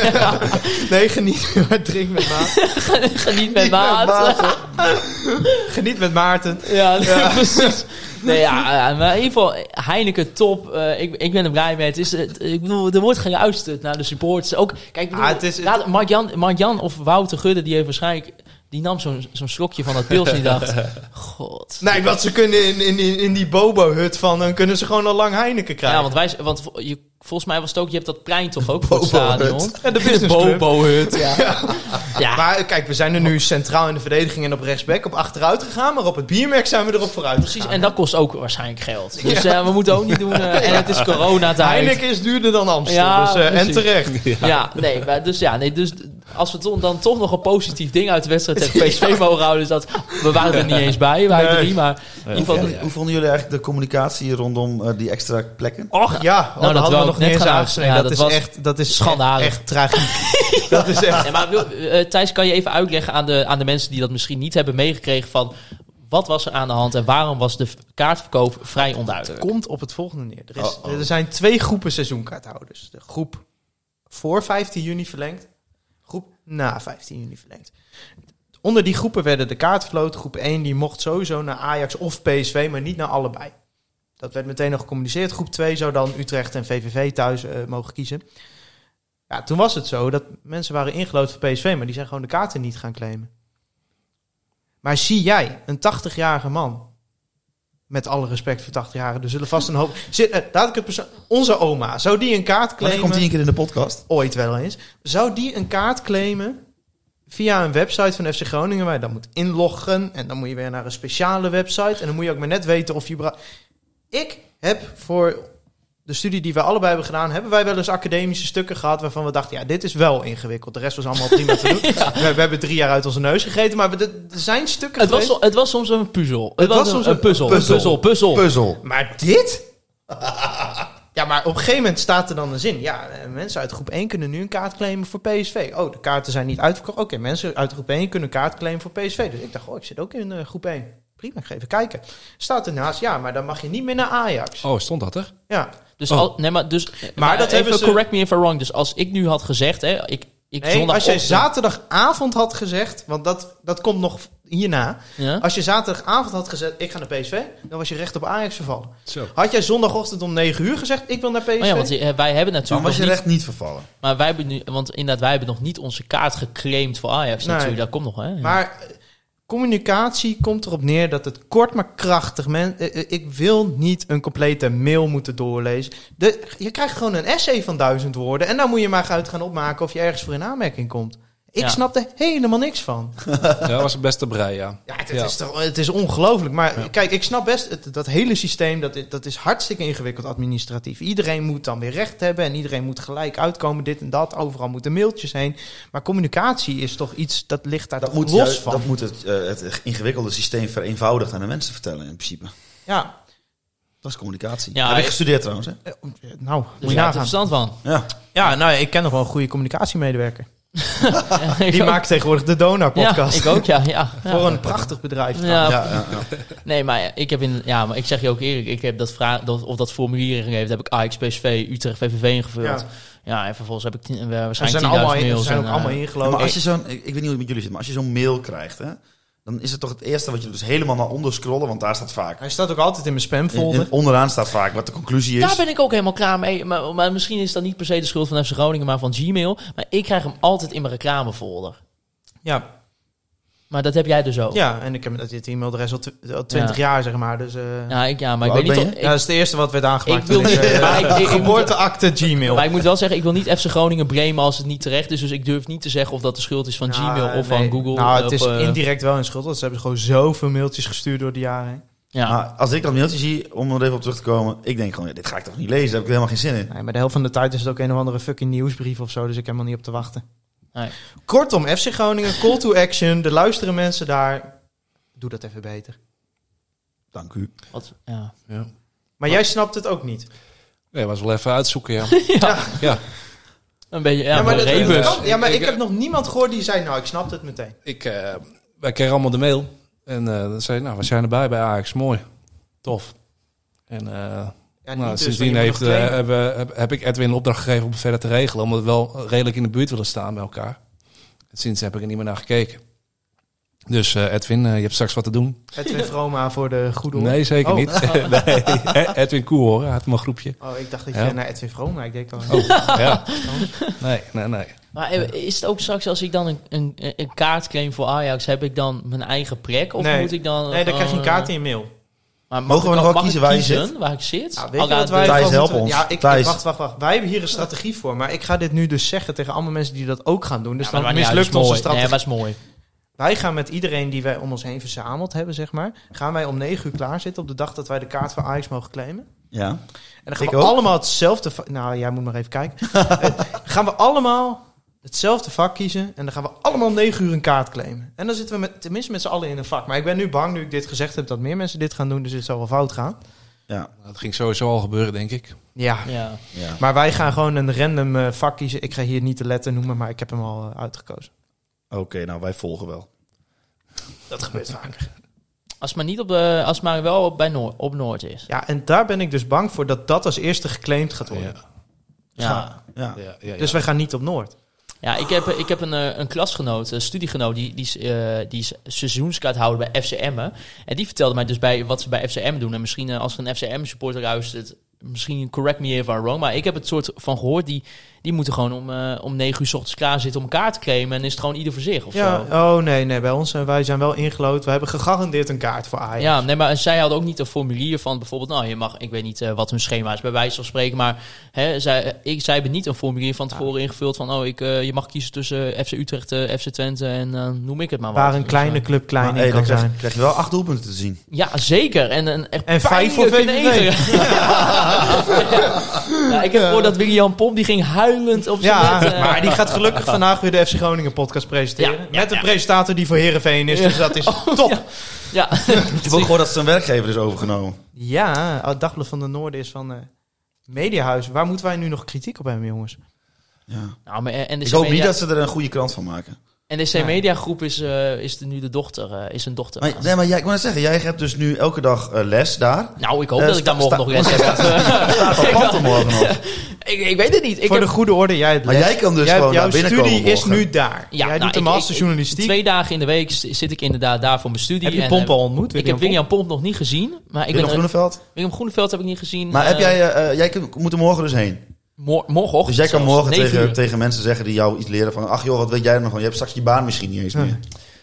[SPEAKER 5] (laughs) Nee, geniet, (laughs) maar drink met maat.
[SPEAKER 4] Geniet met water.
[SPEAKER 5] (laughs) Geniet met Maarten.
[SPEAKER 4] (laughs) Ja, precies. Nee, ja, ja, maar in ieder geval, Heineken top. Eh, ik, ik ben er blij mee. Het is, het- ik bedoel, er wordt geluisterd naar de supporters. Ook, kijk, ik bedoel,
[SPEAKER 5] Ah, het is-
[SPEAKER 4] laat- Mark-Jan Mark-Jan of Wouter Gudde, die heeft waarschijnlijk... Die nam zo'n zo'n slokje van dat pils en die
[SPEAKER 5] (laughs)
[SPEAKER 4] dacht... God.
[SPEAKER 5] Nee, want ze kunnen in, in, in, in die bobo-hut van, dan kunnen ze gewoon al lang Heineken krijgen.
[SPEAKER 4] Ja, want, wij, want vo- je, volgens mij was het ook... Je hebt dat plein toch ook voor het stadion?
[SPEAKER 5] En
[SPEAKER 4] (laughs)
[SPEAKER 5] de businessclub.
[SPEAKER 4] Bobo-hut, ja. Ja,
[SPEAKER 5] Maar eh, kijk, we zijn er nu centraal in de verdediging en op rechtsback op achteruit gegaan. Maar op het biermerk zijn we erop vooruit
[SPEAKER 4] precies.
[SPEAKER 5] gegaan.
[SPEAKER 4] En dat kost ook waarschijnlijk geld. Dus eh, we moeten ook niet doen... eh, en het is coronatijd.
[SPEAKER 5] Heineken is duurder dan Amstel.
[SPEAKER 4] Ja,
[SPEAKER 5] dus, eh, en
[SPEAKER 4] precies.
[SPEAKER 5] terecht.
[SPEAKER 4] Ja, nee, maar dus ja, nee, dus als we toch- dan toch nog een positief ding uit de wedstrijd tegen
[SPEAKER 5] (laughs)
[SPEAKER 4] PSV mogen houden, is dat we waren er niet eens bij, wij
[SPEAKER 5] Nee.
[SPEAKER 4] drie, maar in ieder
[SPEAKER 6] Hoe,
[SPEAKER 4] geval.
[SPEAKER 6] vonden, hoe vonden jullie eigenlijk de communicatie rondom eh, die extra plekken?
[SPEAKER 5] Och ja,
[SPEAKER 4] dat
[SPEAKER 5] oh, dat hadden
[SPEAKER 4] wou
[SPEAKER 5] we
[SPEAKER 4] ik
[SPEAKER 5] nog
[SPEAKER 4] net
[SPEAKER 5] niet eens
[SPEAKER 4] gaan
[SPEAKER 5] aangesneden.
[SPEAKER 4] ja,
[SPEAKER 5] dat,
[SPEAKER 4] dat
[SPEAKER 5] is
[SPEAKER 4] was
[SPEAKER 5] echt, dat is
[SPEAKER 4] schandalig.
[SPEAKER 5] Echt, echt (laughs) tragiek. dat is echt...
[SPEAKER 4] Ja, maar wil- eh, Thijs, kan je even uitleggen aan de, aan de mensen die dat misschien niet hebben meegekregen van wat was er aan de hand en waarom was de v- kaartverkoop vrij onduidelijk?
[SPEAKER 5] Komt op het volgende neer. Er, is, er zijn twee groepen seizoenkaarthouders. De groep voor 15 juni verlengd. Groep na 15 juni verlengd. Onder die groepen werden de kaartvloot. Groep 1 die mocht sowieso naar Ajax of PSV, maar niet naar allebei. Dat werd meteen nog gecommuniceerd. Groep 2 zou dan Utrecht en VVV thuis eh, mogen kiezen. Ja, toen was het zo dat mensen waren ingelood voor PSV, maar die zijn gewoon de kaarten niet gaan claimen. Maar zie jij een 80-jarige man Met alle respect voor 80 jaren. Er zullen vast een hoop... Zit, eh, laat ik het perso- Onze oma, zou die een kaart
[SPEAKER 6] Wanneer
[SPEAKER 5] claimen...
[SPEAKER 6] komt hij een keer in de podcast?
[SPEAKER 5] ooit wel eens. Zou die een kaart claimen via een website van FC Groningen waar je dan moet inloggen en dan moet je weer naar een speciale website en dan moet je ook maar net weten of je... bra- Ik heb voor de studie die wij allebei hebben gedaan, hebben wij wel eens academische stukken gehad waarvan we dachten, ja, dit is wel ingewikkeld. De rest was allemaal
[SPEAKER 4] (laughs)
[SPEAKER 5] prima te doen. we, we hebben drie jaar uit onze neus gegeten, maar we- er er zijn stukken
[SPEAKER 4] Het was,
[SPEAKER 5] geweest-
[SPEAKER 4] so- het was soms een puzzel. Het, was,
[SPEAKER 5] was
[SPEAKER 4] een-
[SPEAKER 5] soms
[SPEAKER 4] een,
[SPEAKER 5] een
[SPEAKER 4] puzzel. Een
[SPEAKER 6] puzzel.
[SPEAKER 4] puzzel, puzzel.
[SPEAKER 6] Puzzel.
[SPEAKER 5] Maar dit? (laughs) Ja, maar op een gegeven moment staat er dan een zin. Ja, eh, mensen uit groep 1 kunnen nu een kaart claimen voor PSV. Oh, de kaarten zijn niet uitverkocht. Oké, mensen uit groep 1 kunnen een kaart claimen voor PSV. Dus ik dacht, oh, ik zit ook in eh, groep 1. Prima, ik ga even kijken. Staat ernaast, ja, maar dan mag je niet meer naar Ajax.
[SPEAKER 7] Oh, stond dat er?
[SPEAKER 5] Ja,
[SPEAKER 4] Dus
[SPEAKER 7] Oh.
[SPEAKER 4] al, nee, maar, dus, maar
[SPEAKER 5] dat
[SPEAKER 4] dat even
[SPEAKER 5] hebben ze-
[SPEAKER 4] correct me if I'm wrong. Dus als ik nu had gezegd, hè, ik, ik
[SPEAKER 5] nee,
[SPEAKER 4] zondag
[SPEAKER 5] als jij
[SPEAKER 4] op-
[SPEAKER 5] zaterdagavond had gezegd, want dat, dat komt nog hierna.
[SPEAKER 4] Ja?
[SPEAKER 5] Als je zaterdagavond had gezegd, ik ga naar PSV, dan was je recht op Ajax vervallen.
[SPEAKER 7] Zo.
[SPEAKER 5] Had jij zondagochtend om 9 uur gezegd, ik wil naar PSV?
[SPEAKER 4] Oh ja, want eh, wij hebben
[SPEAKER 6] Dan
[SPEAKER 4] natuurlijk
[SPEAKER 6] was
[SPEAKER 4] nog
[SPEAKER 6] je
[SPEAKER 4] niet,
[SPEAKER 6] recht niet vervallen.
[SPEAKER 4] maar wij hebben nu, want inderdaad, wij hebben nog niet onze kaart geclaimd ah voor Ajax
[SPEAKER 5] Nee.
[SPEAKER 4] natuurlijk. Dat komt nog, hè? Ja.
[SPEAKER 5] Maar eh, communicatie komt erop neer dat het kort maar krachtig... Men, eh, eh, ik wil niet een complete mail moeten doorlezen. De, je krijgt gewoon een essay van duizend woorden... en daar moet je maar uit gaan opmaken of je ergens voor in aanmerking komt. Ik
[SPEAKER 4] Ja.
[SPEAKER 5] snap er helemaal niks van.
[SPEAKER 7] Ja, dat was het beste brei, ja.
[SPEAKER 5] Ja, het, Is, toch, het is ongelooflijk. Maar kijk, ik snap best, het- dat hele systeem, dat, i- dat is hartstikke ingewikkeld administratief. Iedereen moet dan weer recht hebben en iedereen moet gelijk uitkomen, dit en dat. Overal moeten mailtjes heen. Maar communicatie is toch iets, dat ligt daar
[SPEAKER 6] Dat
[SPEAKER 5] toch
[SPEAKER 6] moet,
[SPEAKER 5] los
[SPEAKER 6] juist-
[SPEAKER 5] van.
[SPEAKER 6] dat moet het, eh, het ingewikkelde systeem vereenvoudigd aan de mensen vertellen in principe.
[SPEAKER 5] Ja,
[SPEAKER 6] Dat is communicatie.
[SPEAKER 4] Ja,
[SPEAKER 6] Heb ik
[SPEAKER 4] ik-
[SPEAKER 6] gestudeerd trouwens, hè?
[SPEAKER 5] Eh, Nou,
[SPEAKER 4] dus
[SPEAKER 5] moet je
[SPEAKER 4] je hebt er
[SPEAKER 5] nagaan.
[SPEAKER 4] verstand van.
[SPEAKER 6] Ja.
[SPEAKER 5] Ja, nou, ik ken nog wel een goede communicatiemedewerker.
[SPEAKER 4] (laughs) Ik
[SPEAKER 5] Die
[SPEAKER 4] ook.
[SPEAKER 5] maakt tegenwoordig de
[SPEAKER 4] ja,
[SPEAKER 5] Donar-podcast.
[SPEAKER 4] ik ook, ja. ja, ja.
[SPEAKER 5] (laughs) Voor een prachtig bedrijf.
[SPEAKER 4] Ja,
[SPEAKER 6] Ja, ja, ja.
[SPEAKER 4] nee, maar ik heb in, ja, maar ik zeg je ook eerlijk, ik heb dat vraag, dat, of dat formulier ingegeven, heb ik Ajax, PSV, Utrecht, VVV ingevuld. Ja,
[SPEAKER 5] Ja.
[SPEAKER 4] en vervolgens heb ik tien, eh,
[SPEAKER 5] Ze zijn,
[SPEAKER 4] waarschijnlijk 10.000
[SPEAKER 5] allemaal, in- ze
[SPEAKER 4] mails.
[SPEAKER 5] zijn ook
[SPEAKER 4] en, eh,
[SPEAKER 5] allemaal
[SPEAKER 6] Ja,
[SPEAKER 5] ingelopen.
[SPEAKER 6] maar als je zo'n, ik, ik weet niet hoe het met jullie zit, maar als je zo'n mail krijgt, hè, dan is het toch het eerste wat je doet, is helemaal naar onder scrollen, want daar staat vaak.
[SPEAKER 5] Hij staat ook altijd in mijn
[SPEAKER 6] In,
[SPEAKER 5] spamfolder.
[SPEAKER 6] in- Eh, onderaan staat vaak wat de conclusie
[SPEAKER 4] Daar
[SPEAKER 6] is.
[SPEAKER 4] ben ik ook helemaal klaar mee. Maar, maar misschien is dat niet per se de schuld van FC Groningen, maar van Gmail. Maar ik krijg hem altijd in mijn reclamefolder.
[SPEAKER 5] Ja.
[SPEAKER 4] Maar dat heb jij dus ook.
[SPEAKER 5] ja, en ik heb dat dit e-mailadres al, tw- al 20 jaar, zeg maar. Dus, eh, ja.
[SPEAKER 4] Ja, ik, ja maar ik
[SPEAKER 6] Hoe
[SPEAKER 4] weet
[SPEAKER 6] oud
[SPEAKER 4] niet
[SPEAKER 6] ben
[SPEAKER 4] of... ik-
[SPEAKER 5] dat is het eerste wat werd aangemaakt.
[SPEAKER 4] Ik wil
[SPEAKER 5] toen
[SPEAKER 4] niet- (laughs)
[SPEAKER 5] eh,
[SPEAKER 4] maar ik- ik- ik moet-
[SPEAKER 5] geboorteakte Gmail.
[SPEAKER 4] Maar ik moet wel zeggen, ik wil niet FC Groningen bremen als het niet terecht is. Dus ik durf niet te zeggen of dat de schuld is van
[SPEAKER 5] Nou,
[SPEAKER 4] Gmail of
[SPEAKER 5] nee.
[SPEAKER 4] van Google.
[SPEAKER 5] Nou, het
[SPEAKER 4] of,
[SPEAKER 5] is
[SPEAKER 4] eh,
[SPEAKER 5] indirect wel een schuld. want Ze hebben gewoon zoveel mailtjes gestuurd door de jaren heen.
[SPEAKER 4] ja.
[SPEAKER 6] Maar als ik dat mailtje zie, om er even op terug te komen, ik denk gewoon, ja, dit ga ik toch niet lezen, daar heb ik helemaal geen zin in.
[SPEAKER 5] Nee, maar de helft van de tijd is het ook een of andere fucking nieuwsbrief of zo. Dus ik heb helemaal niet op te wachten.
[SPEAKER 4] Nee.
[SPEAKER 5] Kortom, FC Groningen, call to action. De luisteren mensen daar. Doe dat even beter.
[SPEAKER 6] Dank u.
[SPEAKER 4] Wat, ja.
[SPEAKER 7] Ja.
[SPEAKER 5] Maar jij snapt het ook niet.
[SPEAKER 7] Nee, was wel even uitzoeken, ja.
[SPEAKER 4] (laughs)
[SPEAKER 5] (laughs)
[SPEAKER 4] Ja.
[SPEAKER 7] ja.
[SPEAKER 4] Een beetje, ja,
[SPEAKER 5] maar,
[SPEAKER 4] de
[SPEAKER 5] dat-
[SPEAKER 4] rebus.
[SPEAKER 5] dat kan- ja, maar
[SPEAKER 7] Ik-
[SPEAKER 5] ik,
[SPEAKER 7] ik-
[SPEAKER 5] heb nog niemand gehoord die zei, nou, ik snap het meteen.
[SPEAKER 7] Ik, eh, wij kregen allemaal de mail. En eh dan zei ik, nou, we zijn erbij bij Ajax. Mooi. Tof. En eh,
[SPEAKER 5] Ja,
[SPEAKER 7] nou,
[SPEAKER 5] niet dus,
[SPEAKER 7] sindsdien
[SPEAKER 5] want je
[SPEAKER 7] heeft,
[SPEAKER 5] moet nog
[SPEAKER 7] eh,
[SPEAKER 5] claimen.
[SPEAKER 7] hebben- heb, heb ik Edwin een opdracht gegeven om het verder te regelen. Omdat we wel redelijk in de buurt willen staan bij elkaar. En sinds heb ik er niet meer naar gekeken. Dus eh, Edwin, eh, je hebt straks wat te doen.
[SPEAKER 5] Edwin Vroma voor de goede hoor.
[SPEAKER 7] Nee, zeker
[SPEAKER 5] Oh.
[SPEAKER 7] (laughs) niet. nee. E-, Edwin Koehoorn, hij had mijn groepje.
[SPEAKER 5] Oh, ik dacht dat je
[SPEAKER 7] Ja.
[SPEAKER 5] zei, nou, Edwin Vroma. Ik denk al,
[SPEAKER 7] Oh, ja. Nee, nee, nee.
[SPEAKER 4] Maar eh, is het ook straks als ik dan een, een, een kaart claim voor Ajax, heb ik dan mijn eigen plek? Of
[SPEAKER 5] Nee.
[SPEAKER 4] moet ik dan...
[SPEAKER 5] nee, dan krijg je een kaart
[SPEAKER 4] eh,
[SPEAKER 5] in je mail.
[SPEAKER 4] Maar mag
[SPEAKER 6] Mogen we
[SPEAKER 4] ik
[SPEAKER 6] nog
[SPEAKER 4] ook- mag ik
[SPEAKER 6] wel kiezen waar je
[SPEAKER 4] kiezen
[SPEAKER 6] zit?
[SPEAKER 4] waar ik zit? Oh,
[SPEAKER 5] Nou, weet je
[SPEAKER 4] Al-
[SPEAKER 5] wat wij
[SPEAKER 6] Thijs,
[SPEAKER 5] gewoon
[SPEAKER 6] help
[SPEAKER 5] moeten-
[SPEAKER 6] ons.
[SPEAKER 5] Ja, ik,
[SPEAKER 6] Thijs.
[SPEAKER 5] wacht, wacht, wacht. Wij hebben hier een strategie voor. Maar ik ga dit nu dus zeggen tegen allemaal mensen die dat ook gaan doen. Dus
[SPEAKER 4] Ja, maar
[SPEAKER 5] dan
[SPEAKER 4] dat maakt niet uit,
[SPEAKER 5] mislukt
[SPEAKER 4] dat is
[SPEAKER 5] onze
[SPEAKER 4] mooi.
[SPEAKER 5] strategie.
[SPEAKER 4] Nee, was mooi.
[SPEAKER 5] Wij gaan met iedereen die wij om ons heen verzameld hebben, zeg maar, gaan wij om 9 uur klaarzitten op de dag dat wij de kaart van Ajax mogen claimen.
[SPEAKER 6] Ja.
[SPEAKER 5] En dan gaan
[SPEAKER 6] Ik
[SPEAKER 5] we
[SPEAKER 6] ook.
[SPEAKER 5] allemaal hetzelfde va- Nou, jij moet maar even kijken. Eh, gaan we allemaal hetzelfde vak kiezen en dan gaan we allemaal om 9 uur een kaart claimen. En dan zitten we met, tenminste met z'n allen in een vak. Maar ik ben nu bang, nu ik dit gezegd heb, dat meer mensen dit gaan doen, dus dit zal wel fout gaan.
[SPEAKER 6] Ja.
[SPEAKER 7] Dat ging sowieso al gebeuren, denk ik.
[SPEAKER 5] Ja.
[SPEAKER 4] Ja.
[SPEAKER 6] ja.
[SPEAKER 5] Maar wij gaan gewoon een random eh, vak kiezen. Ik ga hier niet de letter noemen, maar ik heb hem al eh, uitgekozen.
[SPEAKER 6] Oké, nou, wij volgen wel.
[SPEAKER 5] Dat gebeurt vaker.
[SPEAKER 4] Als het maar, niet op de, als het maar wel op, bij Noor- op Noord is.
[SPEAKER 5] Ja, en daar ben ik dus bang voor dat dat als eerste geclaimd gaat worden.
[SPEAKER 7] Ja,
[SPEAKER 4] Ja,
[SPEAKER 6] Ja.
[SPEAKER 7] ja, ja, ja.
[SPEAKER 5] Dus wij gaan niet op Noord.
[SPEAKER 4] ja ik heb, ik heb een, eh, een klasgenoot, een studiegenoot, die, die, is, eh, die is seizoenskaarthouder bij FCM'en. En die vertelde mij dus bij, wat ze bij FCM doen. En misschien eh, als er een FCM-supporter luistert, misschien correct me if I'm wrong, maar ik heb het soort van gehoord, die, die moeten gewoon om, eh, om 9 uur s ochtends klaar zitten om elkaar te claimen en is het gewoon ieder voor zich of
[SPEAKER 5] Ja,
[SPEAKER 4] zo.
[SPEAKER 5] oh nee, nee, bij ons zijn wij zijn wel ingelood. We hebben gegarandeerd een kaart voor Ajax.
[SPEAKER 4] Ja, nee, maar zij hadden ook niet een formulier van bijvoorbeeld, nou, je mag, ik weet niet eh, wat hun schema is bij wijze van spreken, maar hè, zij, eh, ik, zij hebben niet een formulier van
[SPEAKER 5] Nou.
[SPEAKER 4] tevoren ingevuld van, oh, ik, eh, je mag kiezen tussen FC Utrecht, eh, FC Twente en eh, noem ik het maar wat.
[SPEAKER 5] Waar een
[SPEAKER 4] Dus,
[SPEAKER 5] kleine
[SPEAKER 4] eh,
[SPEAKER 5] club klein
[SPEAKER 6] Maar,
[SPEAKER 5] in
[SPEAKER 6] hey, dan
[SPEAKER 5] kan
[SPEAKER 6] krijg,
[SPEAKER 5] zijn.
[SPEAKER 6] krijg je wel acht doelpunten te zien.
[SPEAKER 4] Ja, zeker. En, en, echt
[SPEAKER 5] En vijf voor
[SPEAKER 4] pijnlijk in
[SPEAKER 5] VVV.
[SPEAKER 4] één (laughs) keer. ja, ik heb gehoord dat William Pomp, die ging huilend op zijn (laughs)
[SPEAKER 5] Ja,
[SPEAKER 4] bed, eh.
[SPEAKER 5] maar die gaat
[SPEAKER 4] (laughs)
[SPEAKER 5] gelukkig vandaag weer de FC Groningen podcast presenteren.
[SPEAKER 4] Ja, ja,
[SPEAKER 5] met een
[SPEAKER 4] ja.
[SPEAKER 5] presentator die voor Herenveen is,
[SPEAKER 4] Ja. Oh,
[SPEAKER 5] dus
[SPEAKER 4] (laughs)
[SPEAKER 5] dat is top.
[SPEAKER 4] Ja. Ja. (laughs)
[SPEAKER 6] Ik heb ook gehoord dat zijn werkgever is overgenomen.
[SPEAKER 5] Ja, het Dagblad van de Noorden is van eh Mediahuis. Waar moeten wij nu nog kritiek op hebben, jongens?
[SPEAKER 6] Ja.
[SPEAKER 4] Nou, maar eh, NDC
[SPEAKER 6] Ik hoop niet
[SPEAKER 4] Media,
[SPEAKER 6] dat ze er een goede krant van maken.
[SPEAKER 4] NDC Media Groep is, eh, is de, nu de dochter, eh, is een dochter.
[SPEAKER 6] Maar, nee, maar jij, ik wil net zeggen, jij hebt dus nu elke dag eh, les
[SPEAKER 4] (laughs)
[SPEAKER 6] daar.
[SPEAKER 4] nou, ik hoop
[SPEAKER 6] Eh,
[SPEAKER 4] dat ik daar
[SPEAKER 6] sta-
[SPEAKER 4] morgen nog les heb.
[SPEAKER 6] Staat al pand er morgen nog.
[SPEAKER 4] (laughs) ik, ik weet het niet. Ik
[SPEAKER 5] voor
[SPEAKER 4] heb-
[SPEAKER 5] de goede orde, jij het
[SPEAKER 6] Maar
[SPEAKER 5] les.
[SPEAKER 6] jij kan dus
[SPEAKER 5] Jij-
[SPEAKER 6] gewoon
[SPEAKER 5] Jouw
[SPEAKER 6] naar binnen
[SPEAKER 5] studie
[SPEAKER 6] komen
[SPEAKER 5] is
[SPEAKER 6] morgen.
[SPEAKER 5] nu daar. jij
[SPEAKER 4] nou,
[SPEAKER 5] doet de
[SPEAKER 4] ik-
[SPEAKER 5] master
[SPEAKER 4] ik-
[SPEAKER 5] journalistiek.
[SPEAKER 4] Twee dagen in de week s- zit ik inderdaad daar voor mijn studie.
[SPEAKER 5] heb je
[SPEAKER 4] en,
[SPEAKER 5] Pomp
[SPEAKER 4] eh,
[SPEAKER 5] al ontmoet?
[SPEAKER 4] ik heb William Pomp nog niet gezien. Maar ik ben,
[SPEAKER 6] Willem
[SPEAKER 4] Groeneveld.
[SPEAKER 6] Groeneveld.
[SPEAKER 4] William Groeneveld heb ik niet gezien.
[SPEAKER 6] Maar heb
[SPEAKER 4] Eh,
[SPEAKER 6] jij, eh, eh, jij kunt- moet er morgen dus heen.
[SPEAKER 4] mor- morgenochtend.
[SPEAKER 6] Dus jij kan
[SPEAKER 4] zelfs,
[SPEAKER 6] morgen
[SPEAKER 4] negen
[SPEAKER 6] tegen,
[SPEAKER 4] uur.
[SPEAKER 6] tegen mensen zeggen die jou iets leren van... Ach joh, wat weet jij er nog van? Je hebt straks je baan misschien niet eens
[SPEAKER 5] Ja.
[SPEAKER 6] meer.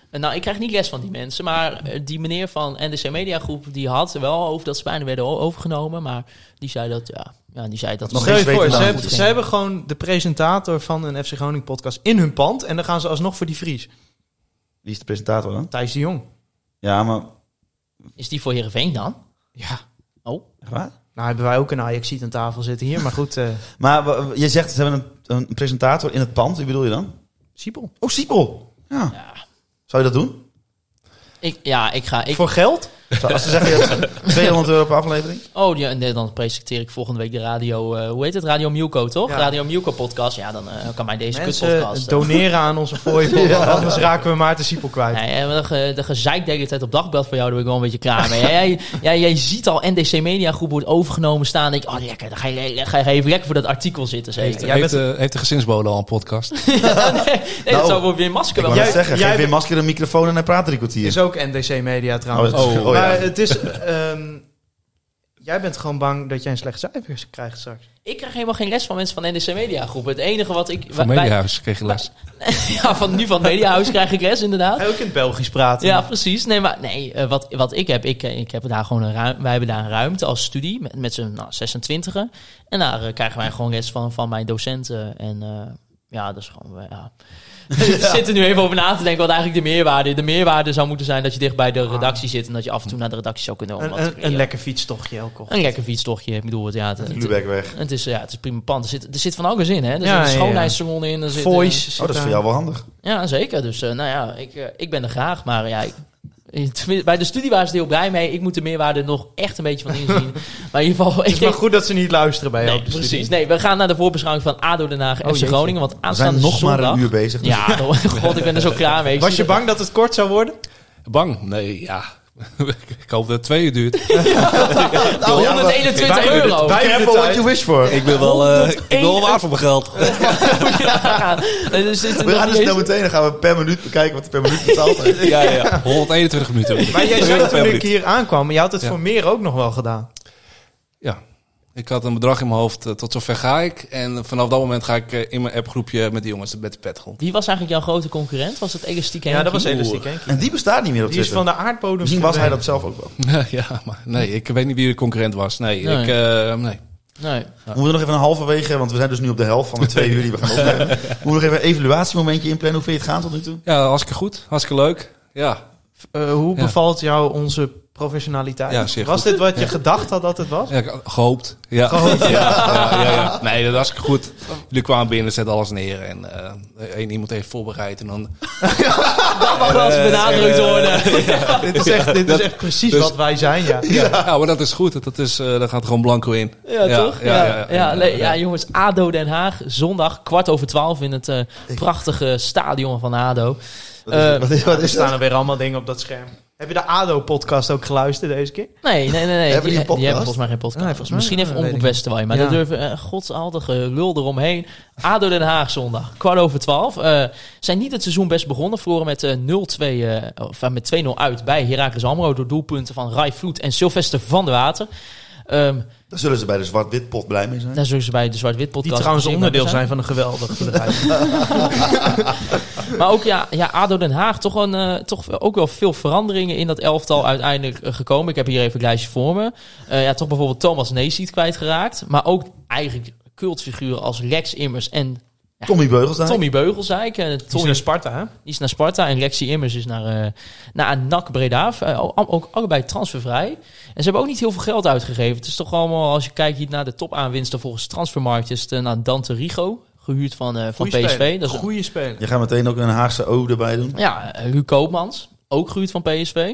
[SPEAKER 4] Eh, Nou, ik krijg niet les van die mensen, maar eh, die meneer van NDC Media Groep, die had er wel over dat ze bijna werden o- overgenomen, maar die zei dat, ja, ja die zei dat...
[SPEAKER 6] Nog
[SPEAKER 5] Stel
[SPEAKER 6] geen
[SPEAKER 5] je voor,
[SPEAKER 6] zweet
[SPEAKER 5] ze,
[SPEAKER 6] aan.
[SPEAKER 5] hebben, ze hebben gewoon de presentator van een FC Groningen podcast in hun pand. En dan gaan ze alsnog voor die Fries.
[SPEAKER 6] Wie is de presentator dan?
[SPEAKER 5] Thijs de Jong.
[SPEAKER 6] Ja, maar...
[SPEAKER 4] Is die voor Heerenveen dan?
[SPEAKER 5] Ja.
[SPEAKER 4] Oh,
[SPEAKER 6] echt waar?
[SPEAKER 5] Nou hebben wij ook een Ajaxiet aan tafel zitten hier. Maar goed, eh
[SPEAKER 6] Maar w- w- je zegt, ze hebben een, een presentator in het pand. Wie bedoel je dan?
[SPEAKER 5] Siepel.
[SPEAKER 6] Oh, Siepel. Ja.
[SPEAKER 4] Ja.
[SPEAKER 6] Zou je dat doen?
[SPEAKER 4] ik, ja, ik ga... Ik,
[SPEAKER 5] Voor geld?
[SPEAKER 6] Zou- als ze zeggen, je hebt 200 euro per aflevering.
[SPEAKER 4] oh, ja, nee, dan presenteer ik volgende week de radio, eh, hoe heet het? Radio Milko, toch?
[SPEAKER 5] Ja.
[SPEAKER 4] Radio Milko podcast, ja, dan eh, kan mij deze
[SPEAKER 5] Mensen
[SPEAKER 4] kutpodcast... eh,
[SPEAKER 5] doneren aan onze fooi. (laughs) want Anders raken we Maarten Siepel kwijt.
[SPEAKER 4] Nee, eh, maar de, ge- de gezeik de hele tijd op dagbeld van jou, daar ben ik wel een beetje klaar mee. jij, jij, jij ziet al NDC Media Groep wordt overgenomen staan. Denk, je, oh lekker, dan ga je, ga je even lekker voor dat artikel zitten. Zeker.
[SPEAKER 7] Heeft,
[SPEAKER 5] jij
[SPEAKER 7] heeft,
[SPEAKER 5] bent-
[SPEAKER 7] eh, heeft de gezinsbode al een podcast?
[SPEAKER 4] nee, nee, dat
[SPEAKER 6] Nou,
[SPEAKER 4] zou voor weer masker
[SPEAKER 6] Ik
[SPEAKER 4] wel.
[SPEAKER 6] wou
[SPEAKER 5] Jij-
[SPEAKER 6] net zeggen,
[SPEAKER 5] jij
[SPEAKER 6] geef weer
[SPEAKER 5] bent-
[SPEAKER 6] masker een microfoon en hij praat drie kwartier.
[SPEAKER 5] Is ook NDC Media trouwens.
[SPEAKER 6] dat is-
[SPEAKER 7] Oh.
[SPEAKER 6] ja.
[SPEAKER 5] Maar het is... ehm, jij bent gewoon bang dat jij een slecht cijfer krijgt straks.
[SPEAKER 4] Ik krijg helemaal geen les van mensen van NDC Media Groep. Het enige wat ik...
[SPEAKER 7] Van
[SPEAKER 4] wij-
[SPEAKER 7] Mediahuis kreeg je les.
[SPEAKER 4] (laughs) ja, van nu van Mediahuis krijg ik les, inderdaad.
[SPEAKER 5] Ook in het Belgisch praten.
[SPEAKER 4] Ja, precies. Nee, maar nee, eh, wat, wat ik heb, ik, eh, ik heb daar gewoon een ruim, wij hebben daar een ruimte als studie met, met z'n nou, 26 En daar eh, krijgen wij gewoon les van, van mijn docenten. En eh, ja, dat is gewoon. eh,
[SPEAKER 5] (laughs)
[SPEAKER 4] ja. Ik zit er nu even over na te denken wat eigenlijk de meerwaarde. De meerwaarde zou moeten zijn dat je dicht bij de redactie zit en dat je af en toe naar de redactie zou kunnen om wat
[SPEAKER 5] Ah. Een,
[SPEAKER 4] te
[SPEAKER 5] een, een
[SPEAKER 4] creëren.
[SPEAKER 5] lekker fietstochtje elke ochtend.
[SPEAKER 4] een lekker fietstochtje. Ik bedoel, het, ja, het, het-
[SPEAKER 6] Lubeck weg. Oh,
[SPEAKER 4] Het is, ja, het is prima pand. Er zit, er zit van alles in, hè? Er
[SPEAKER 5] Ja,
[SPEAKER 4] zit
[SPEAKER 5] ja,
[SPEAKER 4] een
[SPEAKER 5] ja.
[SPEAKER 4] schoonheidssalon in. Er zit,
[SPEAKER 5] Voice.
[SPEAKER 6] Oh, dat is voor jou wel handig.
[SPEAKER 4] eh, ja, zeker. Dus eh, nou ja, ik, eh, ik ben er graag. Maar ja, ik, tenminste, bij de studie waren ze er heel blij mee. Ik moet de meerwaarde nog echt een beetje van
[SPEAKER 6] (laughs)
[SPEAKER 4] inzien. maar in ieder geval...
[SPEAKER 5] Het
[SPEAKER 4] (laughs)
[SPEAKER 5] is maar goed dat ze niet luisteren bij jou.
[SPEAKER 4] Nee,
[SPEAKER 5] op de studie.
[SPEAKER 4] precies. Nee, we gaan naar de voorbeschouwing van ADO Den Haag FC
[SPEAKER 5] jeetje.
[SPEAKER 4] Groningen. Want
[SPEAKER 6] Oh, We zijn
[SPEAKER 4] aanstaande
[SPEAKER 6] nog maar
[SPEAKER 4] zondag-
[SPEAKER 6] een uur bezig. Dus
[SPEAKER 4] Ja, oh, (laughs) god, ik ben er zo klaar mee. Ik
[SPEAKER 5] Was
[SPEAKER 4] zie
[SPEAKER 5] je
[SPEAKER 4] dat-
[SPEAKER 5] bang dat het kort zou worden?
[SPEAKER 7] Bang? Nee, ja. (laughs) ik hoop dat het twee uur duurt.
[SPEAKER 6] Nou, ja, maar-
[SPEAKER 4] 121 euro.
[SPEAKER 5] wij-
[SPEAKER 6] Careful
[SPEAKER 5] hebben de
[SPEAKER 6] what you wish for.
[SPEAKER 7] Ik
[SPEAKER 5] (laughs)
[SPEAKER 7] wil wel, eh, ik wil
[SPEAKER 4] 101
[SPEAKER 7] wel waar voor mijn geld.
[SPEAKER 4] (laughs) Ja, dus is het
[SPEAKER 6] We
[SPEAKER 4] nog
[SPEAKER 6] gaan
[SPEAKER 4] niet
[SPEAKER 6] dus
[SPEAKER 4] eens-
[SPEAKER 6] nou meteen, dan gaan we per minuut bekijken wat er per minuut betaald
[SPEAKER 5] (laughs)
[SPEAKER 6] wordt.
[SPEAKER 7] Ja, ja, (laughs) ja. 121 minuten.
[SPEAKER 5] Maar jij zei
[SPEAKER 7] Heel veel
[SPEAKER 5] toen ik
[SPEAKER 7] minuten.
[SPEAKER 5] hier aankwam, maar je had het
[SPEAKER 7] Ja.
[SPEAKER 5] voor meer ook nog wel gedaan.
[SPEAKER 7] Ja. Ik had een bedrag in mijn hoofd, eh, tot zover ga ik. En vanaf dat moment ga ik eh, in mijn appgroepje met de jongens eh, met de pet rond.
[SPEAKER 4] Wie was eigenlijk jouw grote concurrent? Was het Elastiek Henkie?
[SPEAKER 5] elastiek, hè?
[SPEAKER 6] En die bestaat niet meer op
[SPEAKER 5] Die is
[SPEAKER 6] Twitter.
[SPEAKER 5] van de aardbodem.
[SPEAKER 6] Misschien was hij
[SPEAKER 5] verdwenen.
[SPEAKER 6] dat zelf ook wel.
[SPEAKER 7] (laughs) ja, maar nee, ik weet niet wie de concurrent was. Nee,
[SPEAKER 4] Nee.
[SPEAKER 7] Ik, eh, nee.
[SPEAKER 4] Nee.
[SPEAKER 6] We moeten nog even een halverwege, want we zijn dus nu op de helft van de twee uur die we gaan
[SPEAKER 5] (laughs)
[SPEAKER 6] opnemen. We moeten nog even een evaluatiemomentje inplannen. Hoe vind je het gaan tot nu toe?
[SPEAKER 7] Ja, hartstikke goed. Hartstikke leuk. Ja,
[SPEAKER 5] Eh, hoe
[SPEAKER 7] Ja.
[SPEAKER 5] bevalt jou onze professionaliteit?
[SPEAKER 7] Ja, zeer
[SPEAKER 5] was
[SPEAKER 7] goed.
[SPEAKER 5] dit wat je gedacht had dat het was?
[SPEAKER 7] ja ik had gehoopt. Ja. Ja, (laughs) ja, ja, ja. Nee, dat was hartstikke goed. Jullie kwamen binnen, zetten alles neer. En eh, één iemand heeft voorbereid. En dan
[SPEAKER 4] Dat mag wel eens benadrukt worden.
[SPEAKER 5] dit is (laughs) echt, dit is echt precies
[SPEAKER 7] dus-
[SPEAKER 5] wat wij zijn, (laughs) ja.
[SPEAKER 7] (laughs) Ja. maar dat is goed. Dat is, eh daar gaat gewoon blanco in.
[SPEAKER 4] Ja, toch? Ja, ja,
[SPEAKER 7] ja.
[SPEAKER 4] nee, ja, jongens, ADO Den Haag, zondag kwart over twaalf in het eh, prachtige stadion van ADO.
[SPEAKER 6] Wat is,
[SPEAKER 4] Eh,
[SPEAKER 6] wat is, wat
[SPEAKER 5] Er
[SPEAKER 6] is dat?
[SPEAKER 5] staan er weer allemaal dingen op dat scherm. Heb je de ADO-podcast ook geluisterd deze keer?
[SPEAKER 4] Nee, nee, nee.
[SPEAKER 5] (laughs)
[SPEAKER 4] nee.
[SPEAKER 6] Hebben die een podcast?
[SPEAKER 4] hebben volgens mij geen podcast.
[SPEAKER 5] Nee, volgens mij-
[SPEAKER 4] Misschien even
[SPEAKER 5] eh, weet
[SPEAKER 4] Omroep
[SPEAKER 5] ik niet.
[SPEAKER 4] Westerwijn, maar
[SPEAKER 5] Ja.
[SPEAKER 4] daar durven eh, godsaldige lul eromheen. ADO Den Haag zondag, kwart over twaalf. Eh, zijn niet het seizoen best begonnen, verloren met eh, 0-2, eh, of eh, met 2-0 uit bij Heracles Almelo door doelpunten van Rai Vloed en Sylvester van der Water. Ehm,
[SPEAKER 6] Daar zullen ze bij de zwart-wit pot blij mee zijn.
[SPEAKER 4] daar zullen ze bij de Zwart-Wit podcast...
[SPEAKER 5] Die trouwens
[SPEAKER 4] zeer blij mee
[SPEAKER 5] onderdeel zijn van een geweldig (laughs) bedrijf.
[SPEAKER 4] Maar ook ja, ja, ADO Den Haag, toch, een, eh, toch wel- ook wel veel veranderingen in dat elftal uiteindelijk eh, gekomen. Ik heb hier even een lijstje voor me. Eh, ja, toch bijvoorbeeld Thomas Neesiet kwijtgeraakt. Maar ook eigenlijk cultfiguren als Lex Immers en
[SPEAKER 6] Tommy Beugels daar.
[SPEAKER 4] Tommy Beugelsdijk. Eh, Tommy die
[SPEAKER 5] Sparta, hè?
[SPEAKER 4] is naar Sparta en Lexi Immers is naar, eh, naar NAC Breda. Eh, al- ook allebei transfervrij. En ze hebben ook niet heel veel geld uitgegeven. Het is toch allemaal, als je kijkt hier naar de topaanwinsten volgens transfermarkt, is het eh, naar Dante Rigo. Gehuurd van, eh, van PSV. Dat is
[SPEAKER 5] goede speler.
[SPEAKER 6] Je gaat meteen ook een Haagse O erbij doen.
[SPEAKER 4] ja, eh, Luc Koopmans, ook gehuurd van PSV.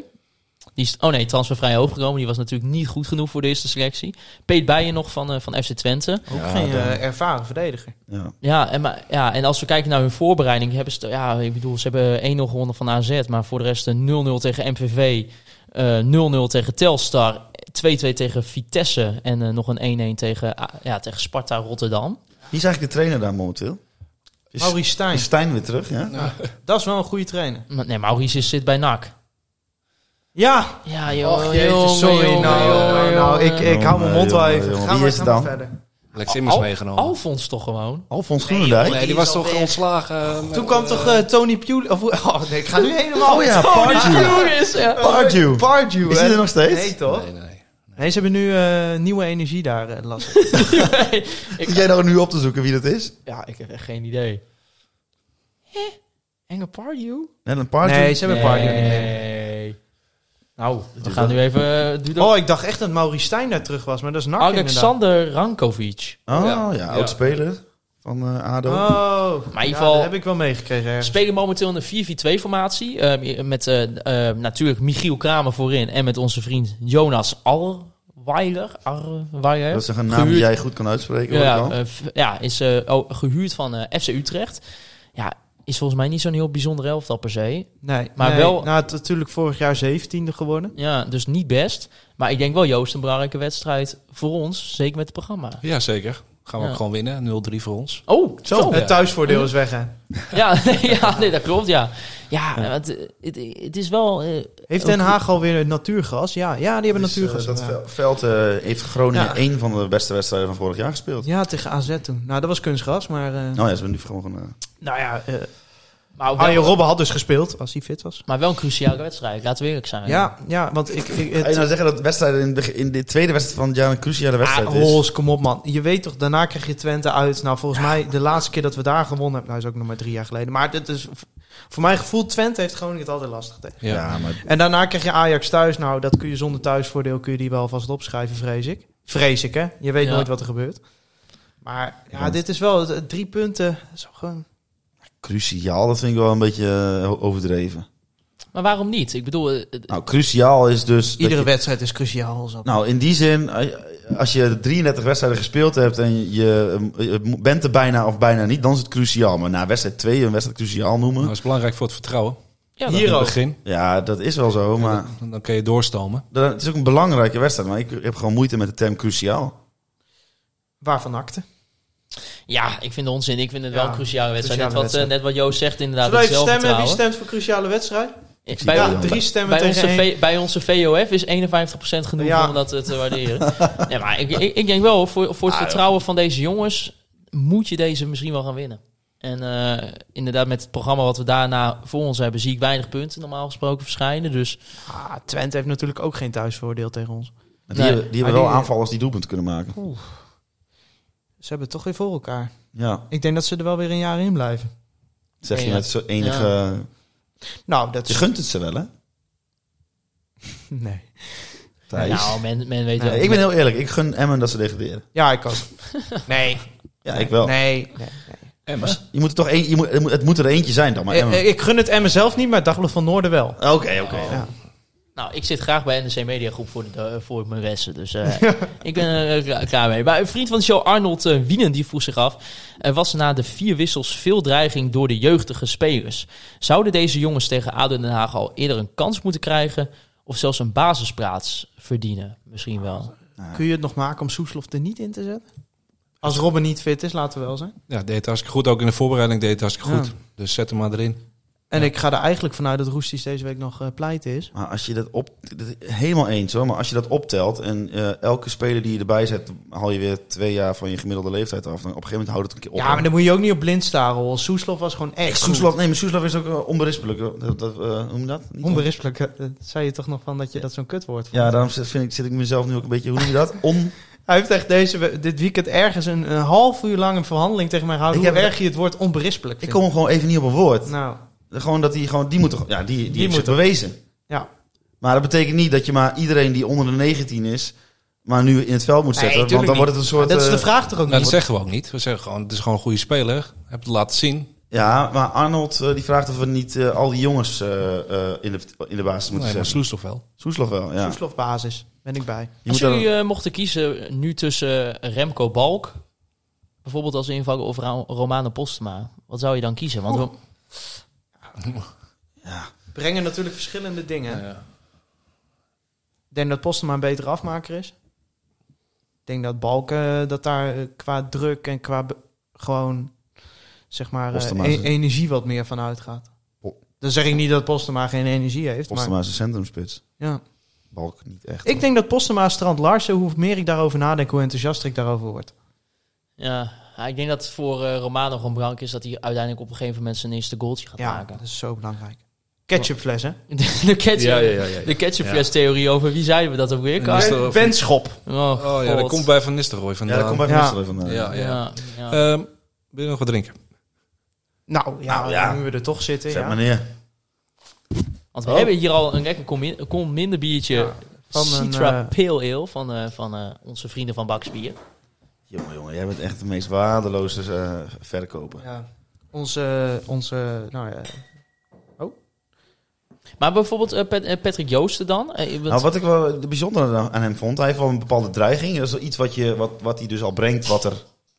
[SPEAKER 4] Die is, oh nee, transfervrij overgenomen. Die was natuurlijk niet goed genoeg voor de eerste selectie. Peet Bijen nog van, eh, van FC Twente.
[SPEAKER 5] Ook
[SPEAKER 6] Ja,
[SPEAKER 5] geen
[SPEAKER 6] dan-
[SPEAKER 5] eh, ervaren verdediger.
[SPEAKER 6] Ja.
[SPEAKER 4] Ja en, maar, ja, en als we kijken naar hun voorbereiding, hebben ze, ja, ik bedoel, ze hebben 1-0 gewonnen van AZ, maar voor de rest een 0-0 tegen MVV, eh, 0-0 tegen Telstar, 2-2 tegen Vitesse en eh, nog een 1-1 tegen, ah, ja, tegen Sparta Rotterdam.
[SPEAKER 6] Wie is eigenlijk de trainer daar momenteel? Is,
[SPEAKER 5] Maurice Stijn.
[SPEAKER 6] is Stijn weer terug, ja?
[SPEAKER 5] Dat is wel een goede trainer.
[SPEAKER 4] Maar, nee, Maurice zit bij NAC.
[SPEAKER 5] Ja!
[SPEAKER 4] Ja,
[SPEAKER 5] Och,
[SPEAKER 4] joh,
[SPEAKER 5] jeetje, sorry. nou, nou, nou, ik, ik hou mijn mond wel
[SPEAKER 6] Jongen,
[SPEAKER 5] even.
[SPEAKER 6] jongen,
[SPEAKER 5] Ga
[SPEAKER 6] wie
[SPEAKER 5] maar,
[SPEAKER 6] is
[SPEAKER 5] ga
[SPEAKER 6] het
[SPEAKER 5] maar
[SPEAKER 6] dan?
[SPEAKER 5] verder.
[SPEAKER 7] Lex Immers meegenomen.
[SPEAKER 4] Alfons toch gewoon?
[SPEAKER 6] Alfons Groenendijk.
[SPEAKER 7] nee, die was toch ontslagen. eh,
[SPEAKER 5] Toen kwam toch eh, Tony Pule... Of, oh nee, ik ga nu helemaal...
[SPEAKER 6] Oh ja, Pardew.
[SPEAKER 4] Jongens, ja.
[SPEAKER 6] Pardew.
[SPEAKER 5] Eh, Pardew,
[SPEAKER 6] Is
[SPEAKER 5] hè?
[SPEAKER 6] hij er nog steeds?
[SPEAKER 5] Nee, toch?
[SPEAKER 7] Nee, nee.
[SPEAKER 5] Nee, ze hebben nu eh, nieuwe energie daar, eh, las ik.
[SPEAKER 6] Zit jij nou nu op te zoeken wie dat is?
[SPEAKER 4] Ja, ik heb echt geen idee. Hé? Enge Pardew?
[SPEAKER 6] Net een Pardew.
[SPEAKER 5] Nee, ze hebben Pardew niet meer.
[SPEAKER 4] Nee. Nou, we gaan nu even... eh, doe dat.
[SPEAKER 5] Oh, ik dacht echt dat Maurice Stijn daar terug was, maar dat is NAC
[SPEAKER 4] Alexander Rankovic.
[SPEAKER 6] Oh ja,
[SPEAKER 7] Ja. Ja.
[SPEAKER 6] oud speler van eh, ADO.
[SPEAKER 5] inderdaad. Oh,
[SPEAKER 4] Maar in ieder
[SPEAKER 5] ja,
[SPEAKER 4] geval-
[SPEAKER 5] dat heb ik wel meegekregen
[SPEAKER 4] We
[SPEAKER 5] ergens.
[SPEAKER 4] spelen momenteel in een 4-4-2 formatie. eh, met eh, eh, natuurlijk Michiel Kramer voorin. En met onze vriend Jonas Alweiler. Arweiler.
[SPEAKER 6] Dat is een naam die
[SPEAKER 4] Gehuurd-
[SPEAKER 6] jij goed kan uitspreken. hoor ik
[SPEAKER 4] Ja,
[SPEAKER 6] al.
[SPEAKER 4] eh, v- ja is eh, oh, gehuurd van eh, FC Utrecht. Ja, is volgens mij niet zo'n heel bijzonder elftal per se.
[SPEAKER 5] Nee,
[SPEAKER 4] maar
[SPEAKER 5] maar
[SPEAKER 4] wel-
[SPEAKER 5] wel... Nou, het is natuurlijk vorig jaar zeventiende geworden.
[SPEAKER 4] Ja, dus niet best. Maar ik denk wel, Joost, een belangrijke wedstrijd voor ons. Zeker met het programma.
[SPEAKER 7] Ja, zeker. Gaan we
[SPEAKER 4] Ja.
[SPEAKER 7] ook gewoon winnen. 0-3 voor ons.
[SPEAKER 4] Oh, zo.
[SPEAKER 5] Het thuisvoordeel is weg, hè?
[SPEAKER 4] Ja, (laughs) nee, ja, nee, dat klopt, ja. Ja, want, eh, het, het is wel... eh,
[SPEAKER 5] Heeft
[SPEAKER 4] ook-
[SPEAKER 5] Den Haag alweer natuurgas? Ja, ja die hebben
[SPEAKER 6] Dus, eh,
[SPEAKER 5] natuurgas.
[SPEAKER 6] dat
[SPEAKER 5] ja.
[SPEAKER 6] vel- veld eh, heeft Groningen
[SPEAKER 5] Ja.
[SPEAKER 6] één van de beste wedstrijden van vorig jaar gespeeld.
[SPEAKER 5] ja, tegen AZ toen. Nou, dat was kunstgras, maar... eh,
[SPEAKER 6] Nou ja, ze hebben nu gewoon... eh,
[SPEAKER 5] Nou ja, eh
[SPEAKER 4] Maar wel,
[SPEAKER 5] Arjen Robben had dus gespeeld, als hij fit was.
[SPEAKER 4] maar wel een cruciale wedstrijd, laten we eerlijk zijn.
[SPEAKER 5] Ja, ja want ik... ik
[SPEAKER 6] Kan je
[SPEAKER 5] het,
[SPEAKER 6] nou zeggen dat wedstrijden in de, in de tweede wedstrijd van het jaar een cruciale wedstrijd dus.
[SPEAKER 5] ah,
[SPEAKER 6] is?
[SPEAKER 5] Hols, kom op man. Je weet toch, daarna krijg je Twente uit. Nou, volgens mij de laatste keer dat we daar gewonnen hebben... Nou, is ook nog maar drie jaar geleden. Maar dit is, voor mijn gevoel, Twente heeft Groningen het altijd lastig tegen.
[SPEAKER 7] Ja.
[SPEAKER 6] maar
[SPEAKER 5] En daarna krijg je Ajax thuis. Nou, dat kun je zonder thuisvoordeel kun je die wel vast opschrijven, vrees ik. Vrees ik, hè? Je weet
[SPEAKER 4] Ja.
[SPEAKER 5] nooit wat er gebeurt. Maar ja,
[SPEAKER 6] Want-
[SPEAKER 5] dit is wel eh, drie punten. Zo gewoon.
[SPEAKER 6] cruciaal, dat vind ik wel een beetje eh, overdreven.
[SPEAKER 4] Maar waarom niet? Ik bedoel, eh, eh,
[SPEAKER 6] Nou, cruciaal is dus... dat
[SPEAKER 5] Iedere
[SPEAKER 6] je-
[SPEAKER 5] wedstrijd is cruciaal. Zo.
[SPEAKER 6] Nou, in die zin, eh, als je 33 wedstrijden gespeeld hebt en je eh, je bent er bijna of bijna niet, dan is het cruciaal. Maar na wedstrijd 2 een wedstrijd cruciaal
[SPEAKER 7] Nou,
[SPEAKER 6] noemen,
[SPEAKER 7] Dat is belangrijk voor het vertrouwen.
[SPEAKER 4] ja,
[SPEAKER 7] In
[SPEAKER 4] dan-
[SPEAKER 7] het begin.
[SPEAKER 6] ja, dat is wel zo. Maar
[SPEAKER 7] Dan, dan kun je doorstomen.
[SPEAKER 6] dat, het is ook een belangrijke wedstrijd, maar ik heb gewoon moeite met de term cruciaal.
[SPEAKER 5] Waarvan akte?
[SPEAKER 4] ja, ik vind het onzin. Ik vind het wel
[SPEAKER 5] Ja,
[SPEAKER 4] een cruciale wedstrijd.
[SPEAKER 5] cruciale
[SPEAKER 4] net, wat, eh,
[SPEAKER 5] wedstrijd.
[SPEAKER 4] net wat Joost zegt inderdaad.
[SPEAKER 5] Zullen we
[SPEAKER 4] het
[SPEAKER 5] even stemmen? Wie
[SPEAKER 4] zelfvertrouwen.
[SPEAKER 5] stemt voor cruciale wedstrijd?
[SPEAKER 4] Eh,
[SPEAKER 6] Ja,
[SPEAKER 4] Bij,
[SPEAKER 5] Ja,
[SPEAKER 6] dan.
[SPEAKER 5] drie stemmen
[SPEAKER 4] bij, onze
[SPEAKER 5] tegen één.
[SPEAKER 4] V- bij onze VOF is 51% genoeg
[SPEAKER 5] Ja.
[SPEAKER 4] om dat eh, te waarderen. nee, maar ik, ik, ik denk wel, voor, voor het vertrouwen van deze jongens moet je deze misschien wel gaan winnen. En eh, inderdaad, met het programma wat we daarna voor ons hebben, zie ik weinig punten normaal gesproken verschijnen. Dus
[SPEAKER 5] Ah, Twente heeft natuurlijk ook geen thuisvoordeel tegen ons.
[SPEAKER 6] Die,
[SPEAKER 4] Nee.
[SPEAKER 6] hebben, die
[SPEAKER 5] Maar
[SPEAKER 6] hebben wel
[SPEAKER 5] die-
[SPEAKER 6] aanvallers die doelpunt kunnen maken.
[SPEAKER 5] Ze hebben het toch weer voor elkaar.
[SPEAKER 6] Ja,
[SPEAKER 5] Ik denk dat ze er wel weer een jaar in blijven.
[SPEAKER 6] zeg je
[SPEAKER 4] Ja.
[SPEAKER 6] met zo enige...
[SPEAKER 5] Nou, dat
[SPEAKER 6] Je
[SPEAKER 5] is...
[SPEAKER 6] gunt het ze wel, hè?
[SPEAKER 5] (laughs) Nee.
[SPEAKER 6] Thijs.
[SPEAKER 4] nou, men, men weet
[SPEAKER 5] Nee,
[SPEAKER 4] wel.
[SPEAKER 6] ik ben heel eerlijk, ik gun Emmen dat ze degraderen.
[SPEAKER 5] Ja, (laughs) ik ook. Nee.
[SPEAKER 6] Ja, ik wel.
[SPEAKER 5] Nee. nee.
[SPEAKER 7] Emmers.
[SPEAKER 6] Je moet er toch één, je moet, het moet- het moet er eentje zijn dan, maar
[SPEAKER 5] Ik,
[SPEAKER 6] Emmen.
[SPEAKER 5] Eh, ik gun het Emmen zelf niet, maar Dagblad van Noorden wel.
[SPEAKER 6] Oké, oké.
[SPEAKER 5] eh, Ja.
[SPEAKER 4] Nou, ik zit graag bij NRC Media Groep voor, de, voor mijn resten. Dus eh, ik ben er eh, kla- klaar mee. Maar een vriend van de show, Arnold eh, Wienen, die vroeg zich af... Er was na de vier wissels veel dreiging door de jeugdige spelers. Zouden deze jongens tegen ADO Den Haag al eerder een kans moeten krijgen... of zelfs een basisplaats verdienen? Misschien wel.
[SPEAKER 5] Kun je het nog maken om Soeslof er niet in te zetten? Als Robben niet fit is, laten we wel zijn.
[SPEAKER 7] Ja, deed het hartstikke goed. Ook in de voorbereiding deed het hartstikke
[SPEAKER 5] Ja.
[SPEAKER 7] goed. Dus zet hem maar erin.
[SPEAKER 5] En ik ga er eigenlijk vanuit dat Roesties deze week nog eh, pleiten is.
[SPEAKER 6] Maar als je dat op... dat is Helemaal eens hoor, maar als je dat optelt en eh, elke speler die je erbij zet, haal je weer twee jaar van je gemiddelde leeftijd af. Dan op een gegeven moment houdt het een keer op.
[SPEAKER 5] Ja, maar dan moet je ook niet op blind staren. hoor. Soeslof was gewoon
[SPEAKER 6] Echt,
[SPEAKER 5] echt
[SPEAKER 6] Soeslof, nee, maar Soeslof is ook eh, onberispelijk. hoor. Dat, dat, eh, hoe noem je dat? Niet
[SPEAKER 5] goed. Onberispelijk. eh, Dat zei je toch nog van dat je dat zo'n kutwoord vond.
[SPEAKER 6] Ja, daarom zit, vind ik, zit ik mezelf nu ook een beetje, hoe noem je
[SPEAKER 5] (laughs)
[SPEAKER 6] dat? On...
[SPEAKER 5] Hij heeft echt deze, we- dit weekend ergens een, een half uur lang een verhandeling tegen mij gehouden.
[SPEAKER 6] Ik
[SPEAKER 5] hoe
[SPEAKER 6] heb-
[SPEAKER 5] erg je het woord onberispelijk
[SPEAKER 6] Ik
[SPEAKER 5] vindt.
[SPEAKER 6] kom gewoon even niet op een woord.
[SPEAKER 5] Nou,
[SPEAKER 6] Gewoon dat die gewoon, die moet toch, ja, die, die, heeft
[SPEAKER 5] moet
[SPEAKER 6] zich bewezen.
[SPEAKER 5] ja.
[SPEAKER 6] Maar dat betekent niet dat je maar iedereen die onder de 19 is, maar nu in het veld moet
[SPEAKER 5] Nee,
[SPEAKER 6] zetten. want dan
[SPEAKER 5] tuurlijk
[SPEAKER 6] wordt het een soort.
[SPEAKER 5] dat is de
[SPEAKER 6] eh,
[SPEAKER 5] vraag toch ook
[SPEAKER 7] Nou,
[SPEAKER 5] niet?
[SPEAKER 7] dat zeggen we ook niet. We zeggen gewoon, het is gewoon een goede speler. Heb het laten zien.
[SPEAKER 6] Ja, maar Arnold eh, die vraagt of we niet eh, al die jongens eh, eh, in, de, in de basis moeten
[SPEAKER 7] Nee, maar
[SPEAKER 6] zetten.
[SPEAKER 7] Sloes toch wel.
[SPEAKER 6] Soeslof wel, ja.
[SPEAKER 5] Soeslof basis. Ben ik bij.
[SPEAKER 6] Je
[SPEAKER 4] Als
[SPEAKER 6] moet dan-
[SPEAKER 4] jullie eh, mochten kiezen nu tussen eh, Remco Balk, bijvoorbeeld als invaller, of Ra- Romano Postma, wat zou je dan kiezen? Want we-
[SPEAKER 5] Brengen natuurlijk verschillende dingen. Ik denk dat Postema een betere afmaker is. Ik denk dat Balken, eh, dat daar eh, qua druk en qua be- gewoon, zeg maar, eh,
[SPEAKER 6] Postema
[SPEAKER 5] e-
[SPEAKER 6] is-
[SPEAKER 5] energie wat meer van uitgaat.
[SPEAKER 6] Po-
[SPEAKER 5] Dan zeg ik niet dat Postema geen energie heeft,
[SPEAKER 6] Postema is een centrumspits.
[SPEAKER 5] maar ja.
[SPEAKER 6] Balk niet echt.
[SPEAKER 5] Ik denk dat Postema Strand Larsen, hoe meer ik daarover nadenk, hoe enthousiaster ik daarover word.
[SPEAKER 4] ja, ja, ik denk dat het voor eh, Romano gewoon belangrijk is dat hij uiteindelijk op een gegeven moment zijn eerste goaltje gaat
[SPEAKER 5] Ja,
[SPEAKER 4] maken. (laughs)
[SPEAKER 5] dat is zo belangrijk. Ketchupfles, hè?
[SPEAKER 4] De, de ketchup,
[SPEAKER 7] Ja, ja, ja, ja, ja.
[SPEAKER 4] De ketchupfles-theorie over wie zeiden we dat ook weer? Karl?
[SPEAKER 7] is dat-
[SPEAKER 5] Benschop.
[SPEAKER 4] Oh,
[SPEAKER 7] Oh ja, dat
[SPEAKER 4] God.
[SPEAKER 7] komt bij Van Nistelrooy
[SPEAKER 6] ja,
[SPEAKER 7] vandaan.
[SPEAKER 6] dat komt bij eh, Van
[SPEAKER 5] Ja.
[SPEAKER 6] Nistelrooy vandaan.
[SPEAKER 7] Ja, ja.
[SPEAKER 4] Ja, ja.
[SPEAKER 7] Ehm, wil je nog wat drinken?
[SPEAKER 5] Nou ja,
[SPEAKER 6] Nou, ja.
[SPEAKER 5] nu we er toch zitten.
[SPEAKER 6] Zet
[SPEAKER 5] Ja.
[SPEAKER 6] maar neer.
[SPEAKER 4] Want we
[SPEAKER 6] Oh.
[SPEAKER 4] hebben hier al een lekker kom, in- kom minder biertje
[SPEAKER 5] Ja,
[SPEAKER 4] van
[SPEAKER 5] van
[SPEAKER 4] Citra
[SPEAKER 5] een,
[SPEAKER 4] Pale Ale van, eh, van eh, onze vrienden van Bakspier.
[SPEAKER 6] Jongen, jongen, jij bent echt de meest waardeloze eh, verkoper.
[SPEAKER 5] Ja. Onze, onze, nou ja,
[SPEAKER 4] Maar bijvoorbeeld eh, Pat- eh, Patrick Joosten dan? Eh, want-
[SPEAKER 6] Nou, wat ik wel bijzonder aan hem vond, hij heeft wel een bepaalde dreiging. Dat is wel iets wat, je, wat, wat hij dus al brengt, wat er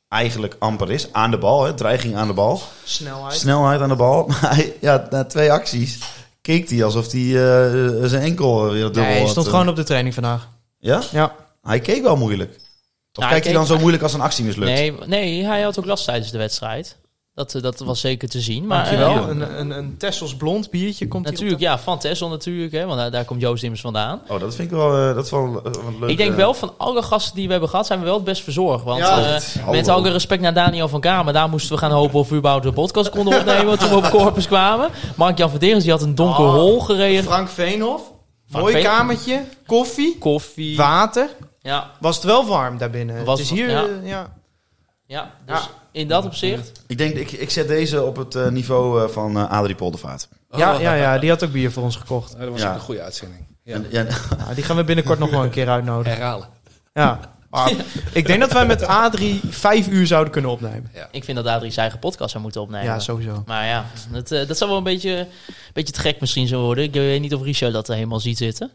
[SPEAKER 6] eigenlijk amper is. Aan de bal, hè? dreiging aan de bal.
[SPEAKER 5] snelheid.
[SPEAKER 6] Snelheid aan de bal. (laughs) Maar hij- ja, na twee acties keek hij alsof hij eh, zijn enkel weer dubbel
[SPEAKER 5] Nee, hij
[SPEAKER 6] had,
[SPEAKER 5] stond
[SPEAKER 6] eh.
[SPEAKER 5] gewoon op de training vandaag.
[SPEAKER 6] Ja?
[SPEAKER 5] Ja.
[SPEAKER 6] Hij keek wel moeilijk. Of
[SPEAKER 4] hij
[SPEAKER 6] kijkt hij
[SPEAKER 4] keek-
[SPEAKER 6] dan zo moeilijk als een actie mislukt?
[SPEAKER 4] nee, nee, hij had ook last tijdens de wedstrijd. Dat, eh, dat was zeker te zien. Maar, eh,
[SPEAKER 5] Dankjewel. Een, een, een Tessels blond biertje komt hier
[SPEAKER 4] natuurlijk, ja, van Tessel natuurlijk. Hè, want daar, daar komt Joost immers vandaan.
[SPEAKER 6] Oh, dat vind ik wel, eh, dat is wel, eh, wat leuk.
[SPEAKER 4] ik denk
[SPEAKER 6] eh.
[SPEAKER 4] wel, van alle gasten die we hebben gehad, zijn we wel het best verzorgd. Want
[SPEAKER 5] Ja,
[SPEAKER 4] eh,
[SPEAKER 6] dat-
[SPEAKER 4] met
[SPEAKER 6] hallo.
[SPEAKER 4] alle respect naar Daniel van Kamer, daar moesten we gaan hopen of we überhaupt de podcast konden opnemen toen we op Corpus kwamen. Mark-Jan Verderens, die had een donker
[SPEAKER 5] Oh.
[SPEAKER 4] hol
[SPEAKER 5] op.
[SPEAKER 4] gereden.
[SPEAKER 5] Frank Veenhof.
[SPEAKER 4] Frank
[SPEAKER 5] Mooi
[SPEAKER 4] Veenhof.
[SPEAKER 5] kamertje. Koffie.
[SPEAKER 4] Koffie.
[SPEAKER 5] Water.
[SPEAKER 4] Ja,
[SPEAKER 5] Was het wel warm daarbinnen?
[SPEAKER 4] Was
[SPEAKER 5] het is
[SPEAKER 4] het-
[SPEAKER 5] hier,
[SPEAKER 4] ja.
[SPEAKER 5] eh, ja.
[SPEAKER 4] ja. Dus in dat opzicht.
[SPEAKER 6] Ik denk, ik, ik zet deze op het eh, niveau eh, van eh, Adrie Poldervaart.
[SPEAKER 7] Oh.
[SPEAKER 5] Ja, ja, ja, die had ook bier voor ons gekocht.
[SPEAKER 7] dat was
[SPEAKER 6] Ja.
[SPEAKER 7] ook een goede uitzending. Ja.
[SPEAKER 6] En- ja, (laughs)
[SPEAKER 5] Nou, die gaan we binnenkort nog wel een keer uitnodigen.
[SPEAKER 7] Herhalen.
[SPEAKER 5] Ja. Maar ik denk dat wij met Adrie vijf uur zouden kunnen opnemen.
[SPEAKER 4] Ik vind dat Adrie zijn eigen podcast zou moeten opnemen.
[SPEAKER 5] Ja, sowieso.
[SPEAKER 4] Maar ja, dat, eh, dat zou wel een beetje, een beetje te gek misschien zo worden. Ik weet niet of Richard dat er helemaal ziet zitten.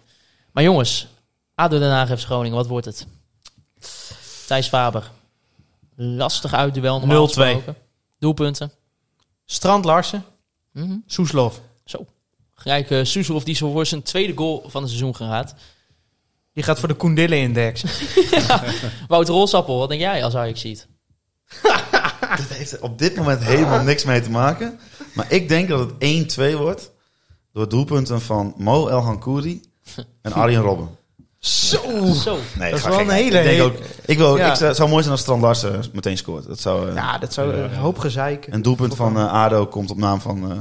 [SPEAKER 4] Maar jongens, ADO Den Haag heeft Groningen. Wat wordt het? Thijs Faber. Lastig uitduel. normaal
[SPEAKER 5] 0-2.
[SPEAKER 4] gesproken. Doelpunten.
[SPEAKER 5] Strand Larsen.
[SPEAKER 4] Mhm.
[SPEAKER 5] Soeslof.
[SPEAKER 4] Zo. Gelijk eh Suzelhoff die zo voor zijn tweede goal van het seizoen geraakt.
[SPEAKER 5] Die gaat voor de Koendille-index.
[SPEAKER 4] Wouter Rolsappel, wat denk jij als Ajax ziet?
[SPEAKER 6] dat heeft er op dit moment helemaal niks mee te maken. Maar ik denk dat het 1-2 wordt door doelpunten van Mo El Hankouri en Arjen Robben.
[SPEAKER 5] Zo.
[SPEAKER 4] Zo.
[SPEAKER 6] Nee,
[SPEAKER 5] Dat is
[SPEAKER 6] ga
[SPEAKER 5] wel
[SPEAKER 6] gek.
[SPEAKER 5] een hele-
[SPEAKER 6] Ik, denk ook, ik, wil,
[SPEAKER 5] Ja.
[SPEAKER 6] ik zou, het zou mooi zijn als Strand Larsen meteen scoort. Dat zou, eh,
[SPEAKER 5] Ja, dat zou een hoop gezeik.
[SPEAKER 6] Een doelpunt van eh, ADO komt op naam van eh,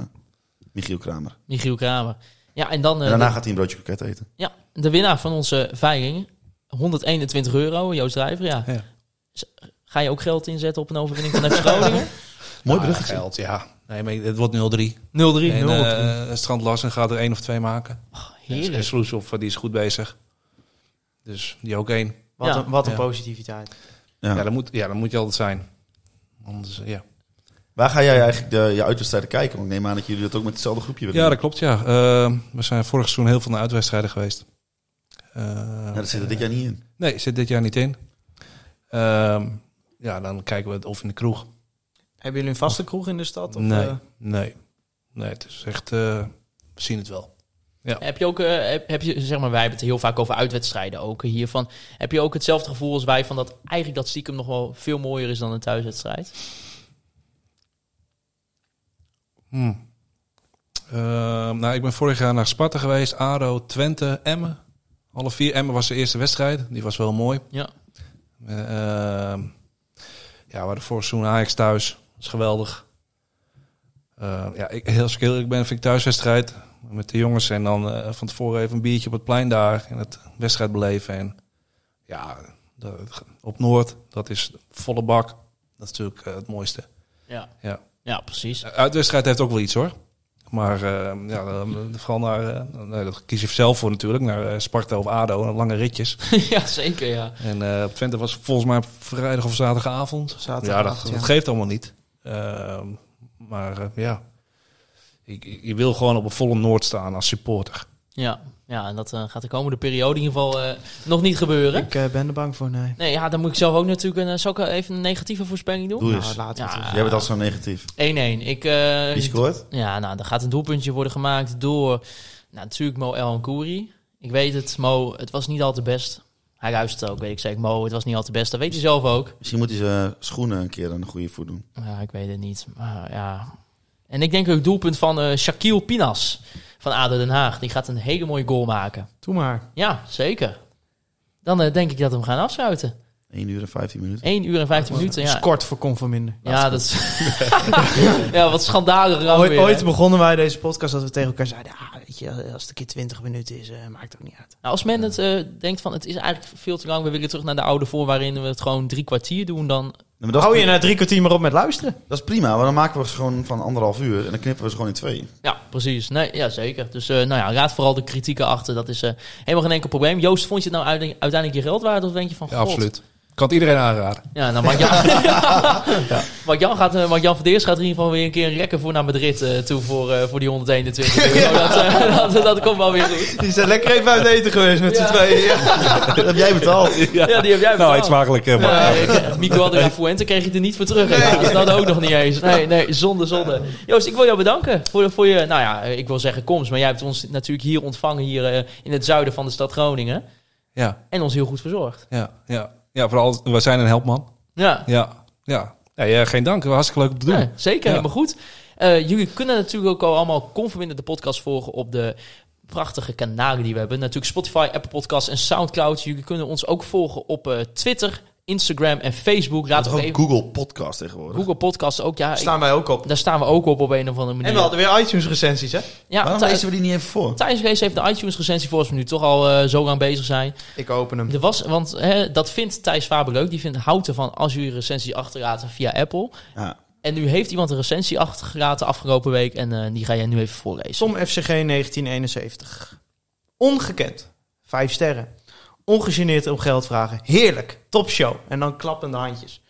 [SPEAKER 6] Michiel Kramer.
[SPEAKER 4] Michiel Kramer. Ja, en dan... eh,
[SPEAKER 6] en daarna
[SPEAKER 4] de-
[SPEAKER 6] gaat hij een broodje kroket eten.
[SPEAKER 4] Ja, de winnaar van onze veiling. 121 euro, Joost Drijver, ja.
[SPEAKER 7] Ja.
[SPEAKER 4] Z- Ga je ook geld inzetten op een overwinning van FC
[SPEAKER 6] (laughs)
[SPEAKER 4] Groningen? 0-3.
[SPEAKER 6] Mooi
[SPEAKER 7] Ah,
[SPEAKER 6] bruggetje.
[SPEAKER 7] geld, ja. Nee, maar het wordt 0-3. En
[SPEAKER 4] 0
[SPEAKER 7] eh Strand Larsen gaat er één of twee maken. En
[SPEAKER 4] Heerlijk.
[SPEAKER 7] Sloeshoff, eh, die is goed bezig. Dus die ook één.
[SPEAKER 5] Wat
[SPEAKER 4] Ja.
[SPEAKER 5] een, wat een
[SPEAKER 7] Ja.
[SPEAKER 5] positiviteit.
[SPEAKER 6] Ja.
[SPEAKER 7] Ja, dat moet, ja, dat moet je altijd zijn. Anders, eh, ja.
[SPEAKER 6] Waar ga jij eigenlijk de, je uitwedstrijden kijken? Want ik neem aan dat jullie dat ook met hetzelfde groepje willen
[SPEAKER 7] ja, dat
[SPEAKER 6] doen.
[SPEAKER 7] klopt, ja. Eh, we zijn vorig seizoen heel veel naar uitwedstrijden geweest. Eh,
[SPEAKER 6] Ja, dat zit er dit jaar niet in.
[SPEAKER 7] Nee, zit dit jaar niet in. Ehm, ja, dan kijken we het of in de kroeg.
[SPEAKER 5] Hebben jullie een vaste kroeg in de stad? Of,
[SPEAKER 7] nee,
[SPEAKER 5] eh,
[SPEAKER 7] nee. Nee, het is echt... eh, we zien het wel.
[SPEAKER 4] Heb je ook, eh, heb, heb je, zeg maar, wij hebben het heel vaak over uitwedstrijden ook hiervan. Heb je ook hetzelfde gevoel als wij van dat eigenlijk dat stiekem nog wel veel mooier is dan een thuiswedstrijd?
[SPEAKER 7] Hm. Eh, nou, ik ben vorig jaar naar Sparta geweest, ADO, Twente, Emmen. Alle vier Emmen was de eerste wedstrijd. Die was wel mooi.
[SPEAKER 4] Ja.
[SPEAKER 7] Eh, ehm, ja, we hadden vorig seizoen Ajax thuis. Dat is geweldig. Eh, ja, ik, heel- als ik heel eerlijk ben, vind ik thuiswedstrijd met de jongens. En dan eh, van tevoren even een biertje op het plein daar. En het wedstrijd beleven. En ja, dat- op Noord, dat is volle bak. Dat is natuurlijk eh, het mooiste.
[SPEAKER 4] Ja.
[SPEAKER 7] Ja.
[SPEAKER 4] ja, precies.
[SPEAKER 7] Eh, Uitwedstrijd heeft ook wel iets hoor. Maar eh, ja, dan- vooral naar, eh, nou, dat kies je zelf voor natuurlijk, naar eh, Sparta of ADO, lange ritjes.
[SPEAKER 4] (laughs) ja, zeker, ja.
[SPEAKER 7] En eh Twente was volgens mij vrijdag of zaterdagavond.
[SPEAKER 5] Zaterdagavond,
[SPEAKER 7] ja, dat, dat
[SPEAKER 5] ja.
[SPEAKER 7] geeft allemaal niet. Ehm, maar eh, ja, ik, ik- je wil gewoon op een volle Noord staan als supporter.
[SPEAKER 4] Ja, ja en dat eh, gaat de komende periode in ieder geval eh, nog niet gebeuren.
[SPEAKER 5] Ik eh, ben er bang voor, nee.
[SPEAKER 4] Nee, ja, dan moet ik zelf ook natuurlijk een, eh, zal ik even een negatieve voorspelling doen. 1-1.
[SPEAKER 6] Doe
[SPEAKER 5] Nou,
[SPEAKER 6] eens. Dus
[SPEAKER 5] laten we het
[SPEAKER 4] Ja.
[SPEAKER 5] eens-
[SPEAKER 6] Jij bent al zo negatief.
[SPEAKER 4] Ik, eh,
[SPEAKER 6] Wie scoort?
[SPEAKER 4] ja, nou, er gaat een doelpuntje worden gemaakt door nou, natuurlijk Mo El Nkouri. Ik weet het, Mo, het was niet al te best. Hij luistert ook, weet ik zeker. Mo, het was niet al te best. Dat weet hij zelf ook.
[SPEAKER 6] Misschien moet hij zijn eh, schoenen een keer aan de goede voet doen.
[SPEAKER 4] Ja, ik weet het niet. Maar ja. En ik denk ook het doelpunt van eh Shaquille Pinas van ADO Den Haag. Die gaat een hele mooie goal maken.
[SPEAKER 5] Doe maar.
[SPEAKER 4] Ja, zeker. Dan eh, denk ik dat we hem gaan afsluiten.
[SPEAKER 6] 1 uur en 15 minuten.
[SPEAKER 4] 1 uur en 15 minuten.
[SPEAKER 5] Oh, Is
[SPEAKER 4] Ja,
[SPEAKER 5] kort voor Conforminder.
[SPEAKER 4] ja dat is... (laughs) ja, wat schandalig. ook
[SPEAKER 5] Ooit,
[SPEAKER 4] weer, hè?
[SPEAKER 5] ooit begonnen wij deze podcast dat we tegen elkaar zeiden... Ah, weet je, als het een keer 20 minuten is, eh, maakt het ook niet uit.
[SPEAKER 4] Nou, als men het eh, denkt van het is eigenlijk veel te lang. We willen terug naar de oude voor waarin we het gewoon drie kwartier doen. Dan...
[SPEAKER 6] Nou, maar dat, is
[SPEAKER 5] Hou je
[SPEAKER 6] pri-
[SPEAKER 5] na drie kwartier maar op met luisteren.
[SPEAKER 6] dat is prima, maar dan maken we ze gewoon van anderhalf uur en dan knippen we ze gewoon in twee.
[SPEAKER 4] Ja, precies. Nee, ja, zeker. Dus eh, nou ja, raad vooral de kritieken achter. Dat is eh, helemaal geen enkel probleem. Joost, vond je het nou uite- uiteindelijk je geld waard? Of denk je van,
[SPEAKER 7] Ja,
[SPEAKER 4] god,
[SPEAKER 7] absoluut. Kan het iedereen aanraden. (laughs)
[SPEAKER 4] Ja, nou, Mark Jan, (laughs) Mark Jan gaat, eh, Mark Jan van Deers gaat in ieder geval weer een keer een rekker voor naar Madrid eh, toe voor, eh, voor die 121 euro.
[SPEAKER 7] (laughs)
[SPEAKER 4] Dat, eh, (laughs) dat, dat komt wel weer goed.
[SPEAKER 5] Die zijn lekker even uit eten geweest met z'n tweeën.
[SPEAKER 6] Dat heb jij betaald.
[SPEAKER 4] Ja, die heb jij
[SPEAKER 7] Nou,
[SPEAKER 4] betaald.
[SPEAKER 7] eet smakelijk. eh, maar.
[SPEAKER 4] Ja, ik, eh, Miguel Adria Fuente kreeg je er niet voor terug. helaas. Dat ook nog niet eens. Nee, nee, zonde, zonde. Joost, ik wil jou bedanken voor, voor je, nou ja, ik wil zeggen komst. Maar jij hebt ons natuurlijk hier ontvangen, hier eh, in het zuiden van de stad Groningen.
[SPEAKER 7] Ja,
[SPEAKER 4] En ons heel goed verzorgd.
[SPEAKER 7] ja, ja. Ja, vooral, we zijn een helpman.
[SPEAKER 4] Ja,
[SPEAKER 7] Ja, ja. Nee, eh, geen dank. Hartstikke leuk om te doen.
[SPEAKER 4] Ja, zeker,
[SPEAKER 7] Ja.
[SPEAKER 4] helemaal goed. Eh, jullie kunnen natuurlijk ook al allemaal Converbinder de podcast volgen op de prachtige kanalen die we hebben. Natuurlijk Spotify, Apple Podcasts en Soundcloud. Jullie kunnen ons ook volgen op eh, Twitter, Instagram en Facebook. Laat
[SPEAKER 6] Dat is
[SPEAKER 4] ook
[SPEAKER 6] ook
[SPEAKER 4] even
[SPEAKER 6] Google Podcast tegenwoordig.
[SPEAKER 4] Google Podcasts ook. Ja, ik-
[SPEAKER 5] Staan wij ook op.
[SPEAKER 4] daar staan we ook op op een of andere manier.
[SPEAKER 5] En we hadden weer iTunes recensies, hè?
[SPEAKER 4] ja,
[SPEAKER 6] Waarom
[SPEAKER 4] Thijs,
[SPEAKER 6] lezen we die niet even voor?
[SPEAKER 4] Thijs Rees heeft de iTunes recensie voor als we nu toch al eh, zo aan bezig zijn.
[SPEAKER 5] Ik open hem.
[SPEAKER 4] Er was, want hè, dat vindt Thijs Faber leuk. Die vindt houten van als jullie recensie achterlaten via Apple.
[SPEAKER 6] Ja.
[SPEAKER 4] En nu heeft iemand een recensie achtergelaten afgelopen week. En eh, die ga jij nu even voorlezen.
[SPEAKER 5] Som FCG 1971. Ongekend. Vijf sterren. Ongegeneerd om geld vragen. Heerlijk. Topshow. En dan klappende handjes.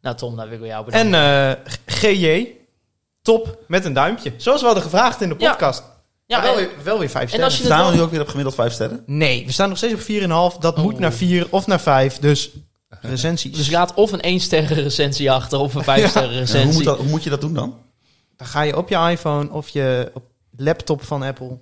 [SPEAKER 4] Nou, Tom, daar wil ik jou bedanken.
[SPEAKER 5] En eh, G- GJ. Top. Met een duimpje. Zoals we hadden gevraagd in de
[SPEAKER 4] Ja.
[SPEAKER 5] podcast.
[SPEAKER 4] ja, eh,
[SPEAKER 5] Maar wel,
[SPEAKER 4] en-
[SPEAKER 5] weer, wel weer vijf
[SPEAKER 4] en als
[SPEAKER 5] sterren.
[SPEAKER 4] je het
[SPEAKER 6] Staan we
[SPEAKER 4] wel-
[SPEAKER 6] nu ook weer op gemiddeld vijf sterren?
[SPEAKER 5] Nee, we staan nog steeds op 4,5. Dat
[SPEAKER 4] Oh.
[SPEAKER 5] moet naar 4 of naar 5. Dus
[SPEAKER 4] Dus
[SPEAKER 5] recensies.
[SPEAKER 4] laat of een 1 sterren recensie achter of een 5 sterren
[SPEAKER 6] En hoe, moet
[SPEAKER 4] recensie.
[SPEAKER 6] dat, hoe moet je dat doen dan?
[SPEAKER 5] Dan ga je op je iPhone of je op laptop van Apple.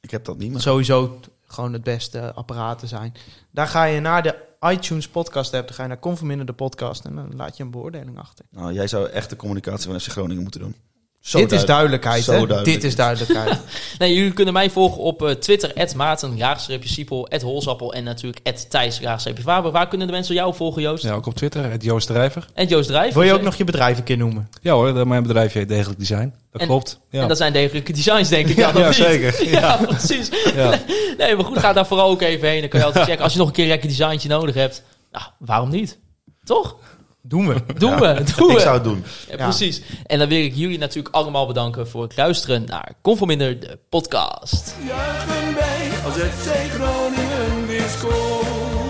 [SPEAKER 6] Ik heb dat niet
[SPEAKER 5] Wat
[SPEAKER 6] meer.
[SPEAKER 5] sowieso t- gewoon het beste apparaten zijn. Daar ga je naar de iTunes podcast app, dan ga je naar Conforminder de podcast en dan laat je een beoordeling achter.
[SPEAKER 6] Nou, jij zou echt de communicatie van FC Groningen moeten doen. Zo
[SPEAKER 5] Dit is
[SPEAKER 6] duidelijk.
[SPEAKER 5] duidelijkheid,
[SPEAKER 6] Zo
[SPEAKER 5] hè?
[SPEAKER 6] duidelijk.
[SPEAKER 5] Dit is duidelijkheid.
[SPEAKER 4] Nee, jullie kunnen mij volgen op eh, Twitter, Maarten, Jaagstreepje Siepel, Holzappel en natuurlijk Thijs, Jaagstreepje Faber. Waar kunnen de mensen jou volgen, Joost?
[SPEAKER 7] Ja, ook op Twitter, het Joost Drijver.
[SPEAKER 4] En Joost Drijf.
[SPEAKER 5] Wil je ook nog je bedrijf een keer noemen?
[SPEAKER 7] Ja hoor, mijn bedrijf heet Degelijk Design. Dat
[SPEAKER 4] En-
[SPEAKER 7] klopt. Ja,
[SPEAKER 4] En dat zijn degelijke designs, denk ik. dan,
[SPEAKER 7] Ja,
[SPEAKER 4] of niet?
[SPEAKER 7] zeker.
[SPEAKER 4] (laughs) Ja, precies.
[SPEAKER 7] ja.
[SPEAKER 4] (laughs) Nee, maar goed, ga daar vooral ook even heen. Dan kan je altijd checken. Als je nog een keer een lekker designtje nodig hebt, nou, waarom niet? Toch?
[SPEAKER 5] Doen
[SPEAKER 6] (laughs)
[SPEAKER 5] we.
[SPEAKER 4] Doen we, doen we.
[SPEAKER 6] Ik zou het doen.
[SPEAKER 4] Ja,
[SPEAKER 5] Ja.
[SPEAKER 4] Precies. En dan wil ik jullie natuurlijk allemaal bedanken voor het luisteren naar Conforminder, de podcast.
[SPEAKER 1] Juichen wij als het FC Groningen weer scoort.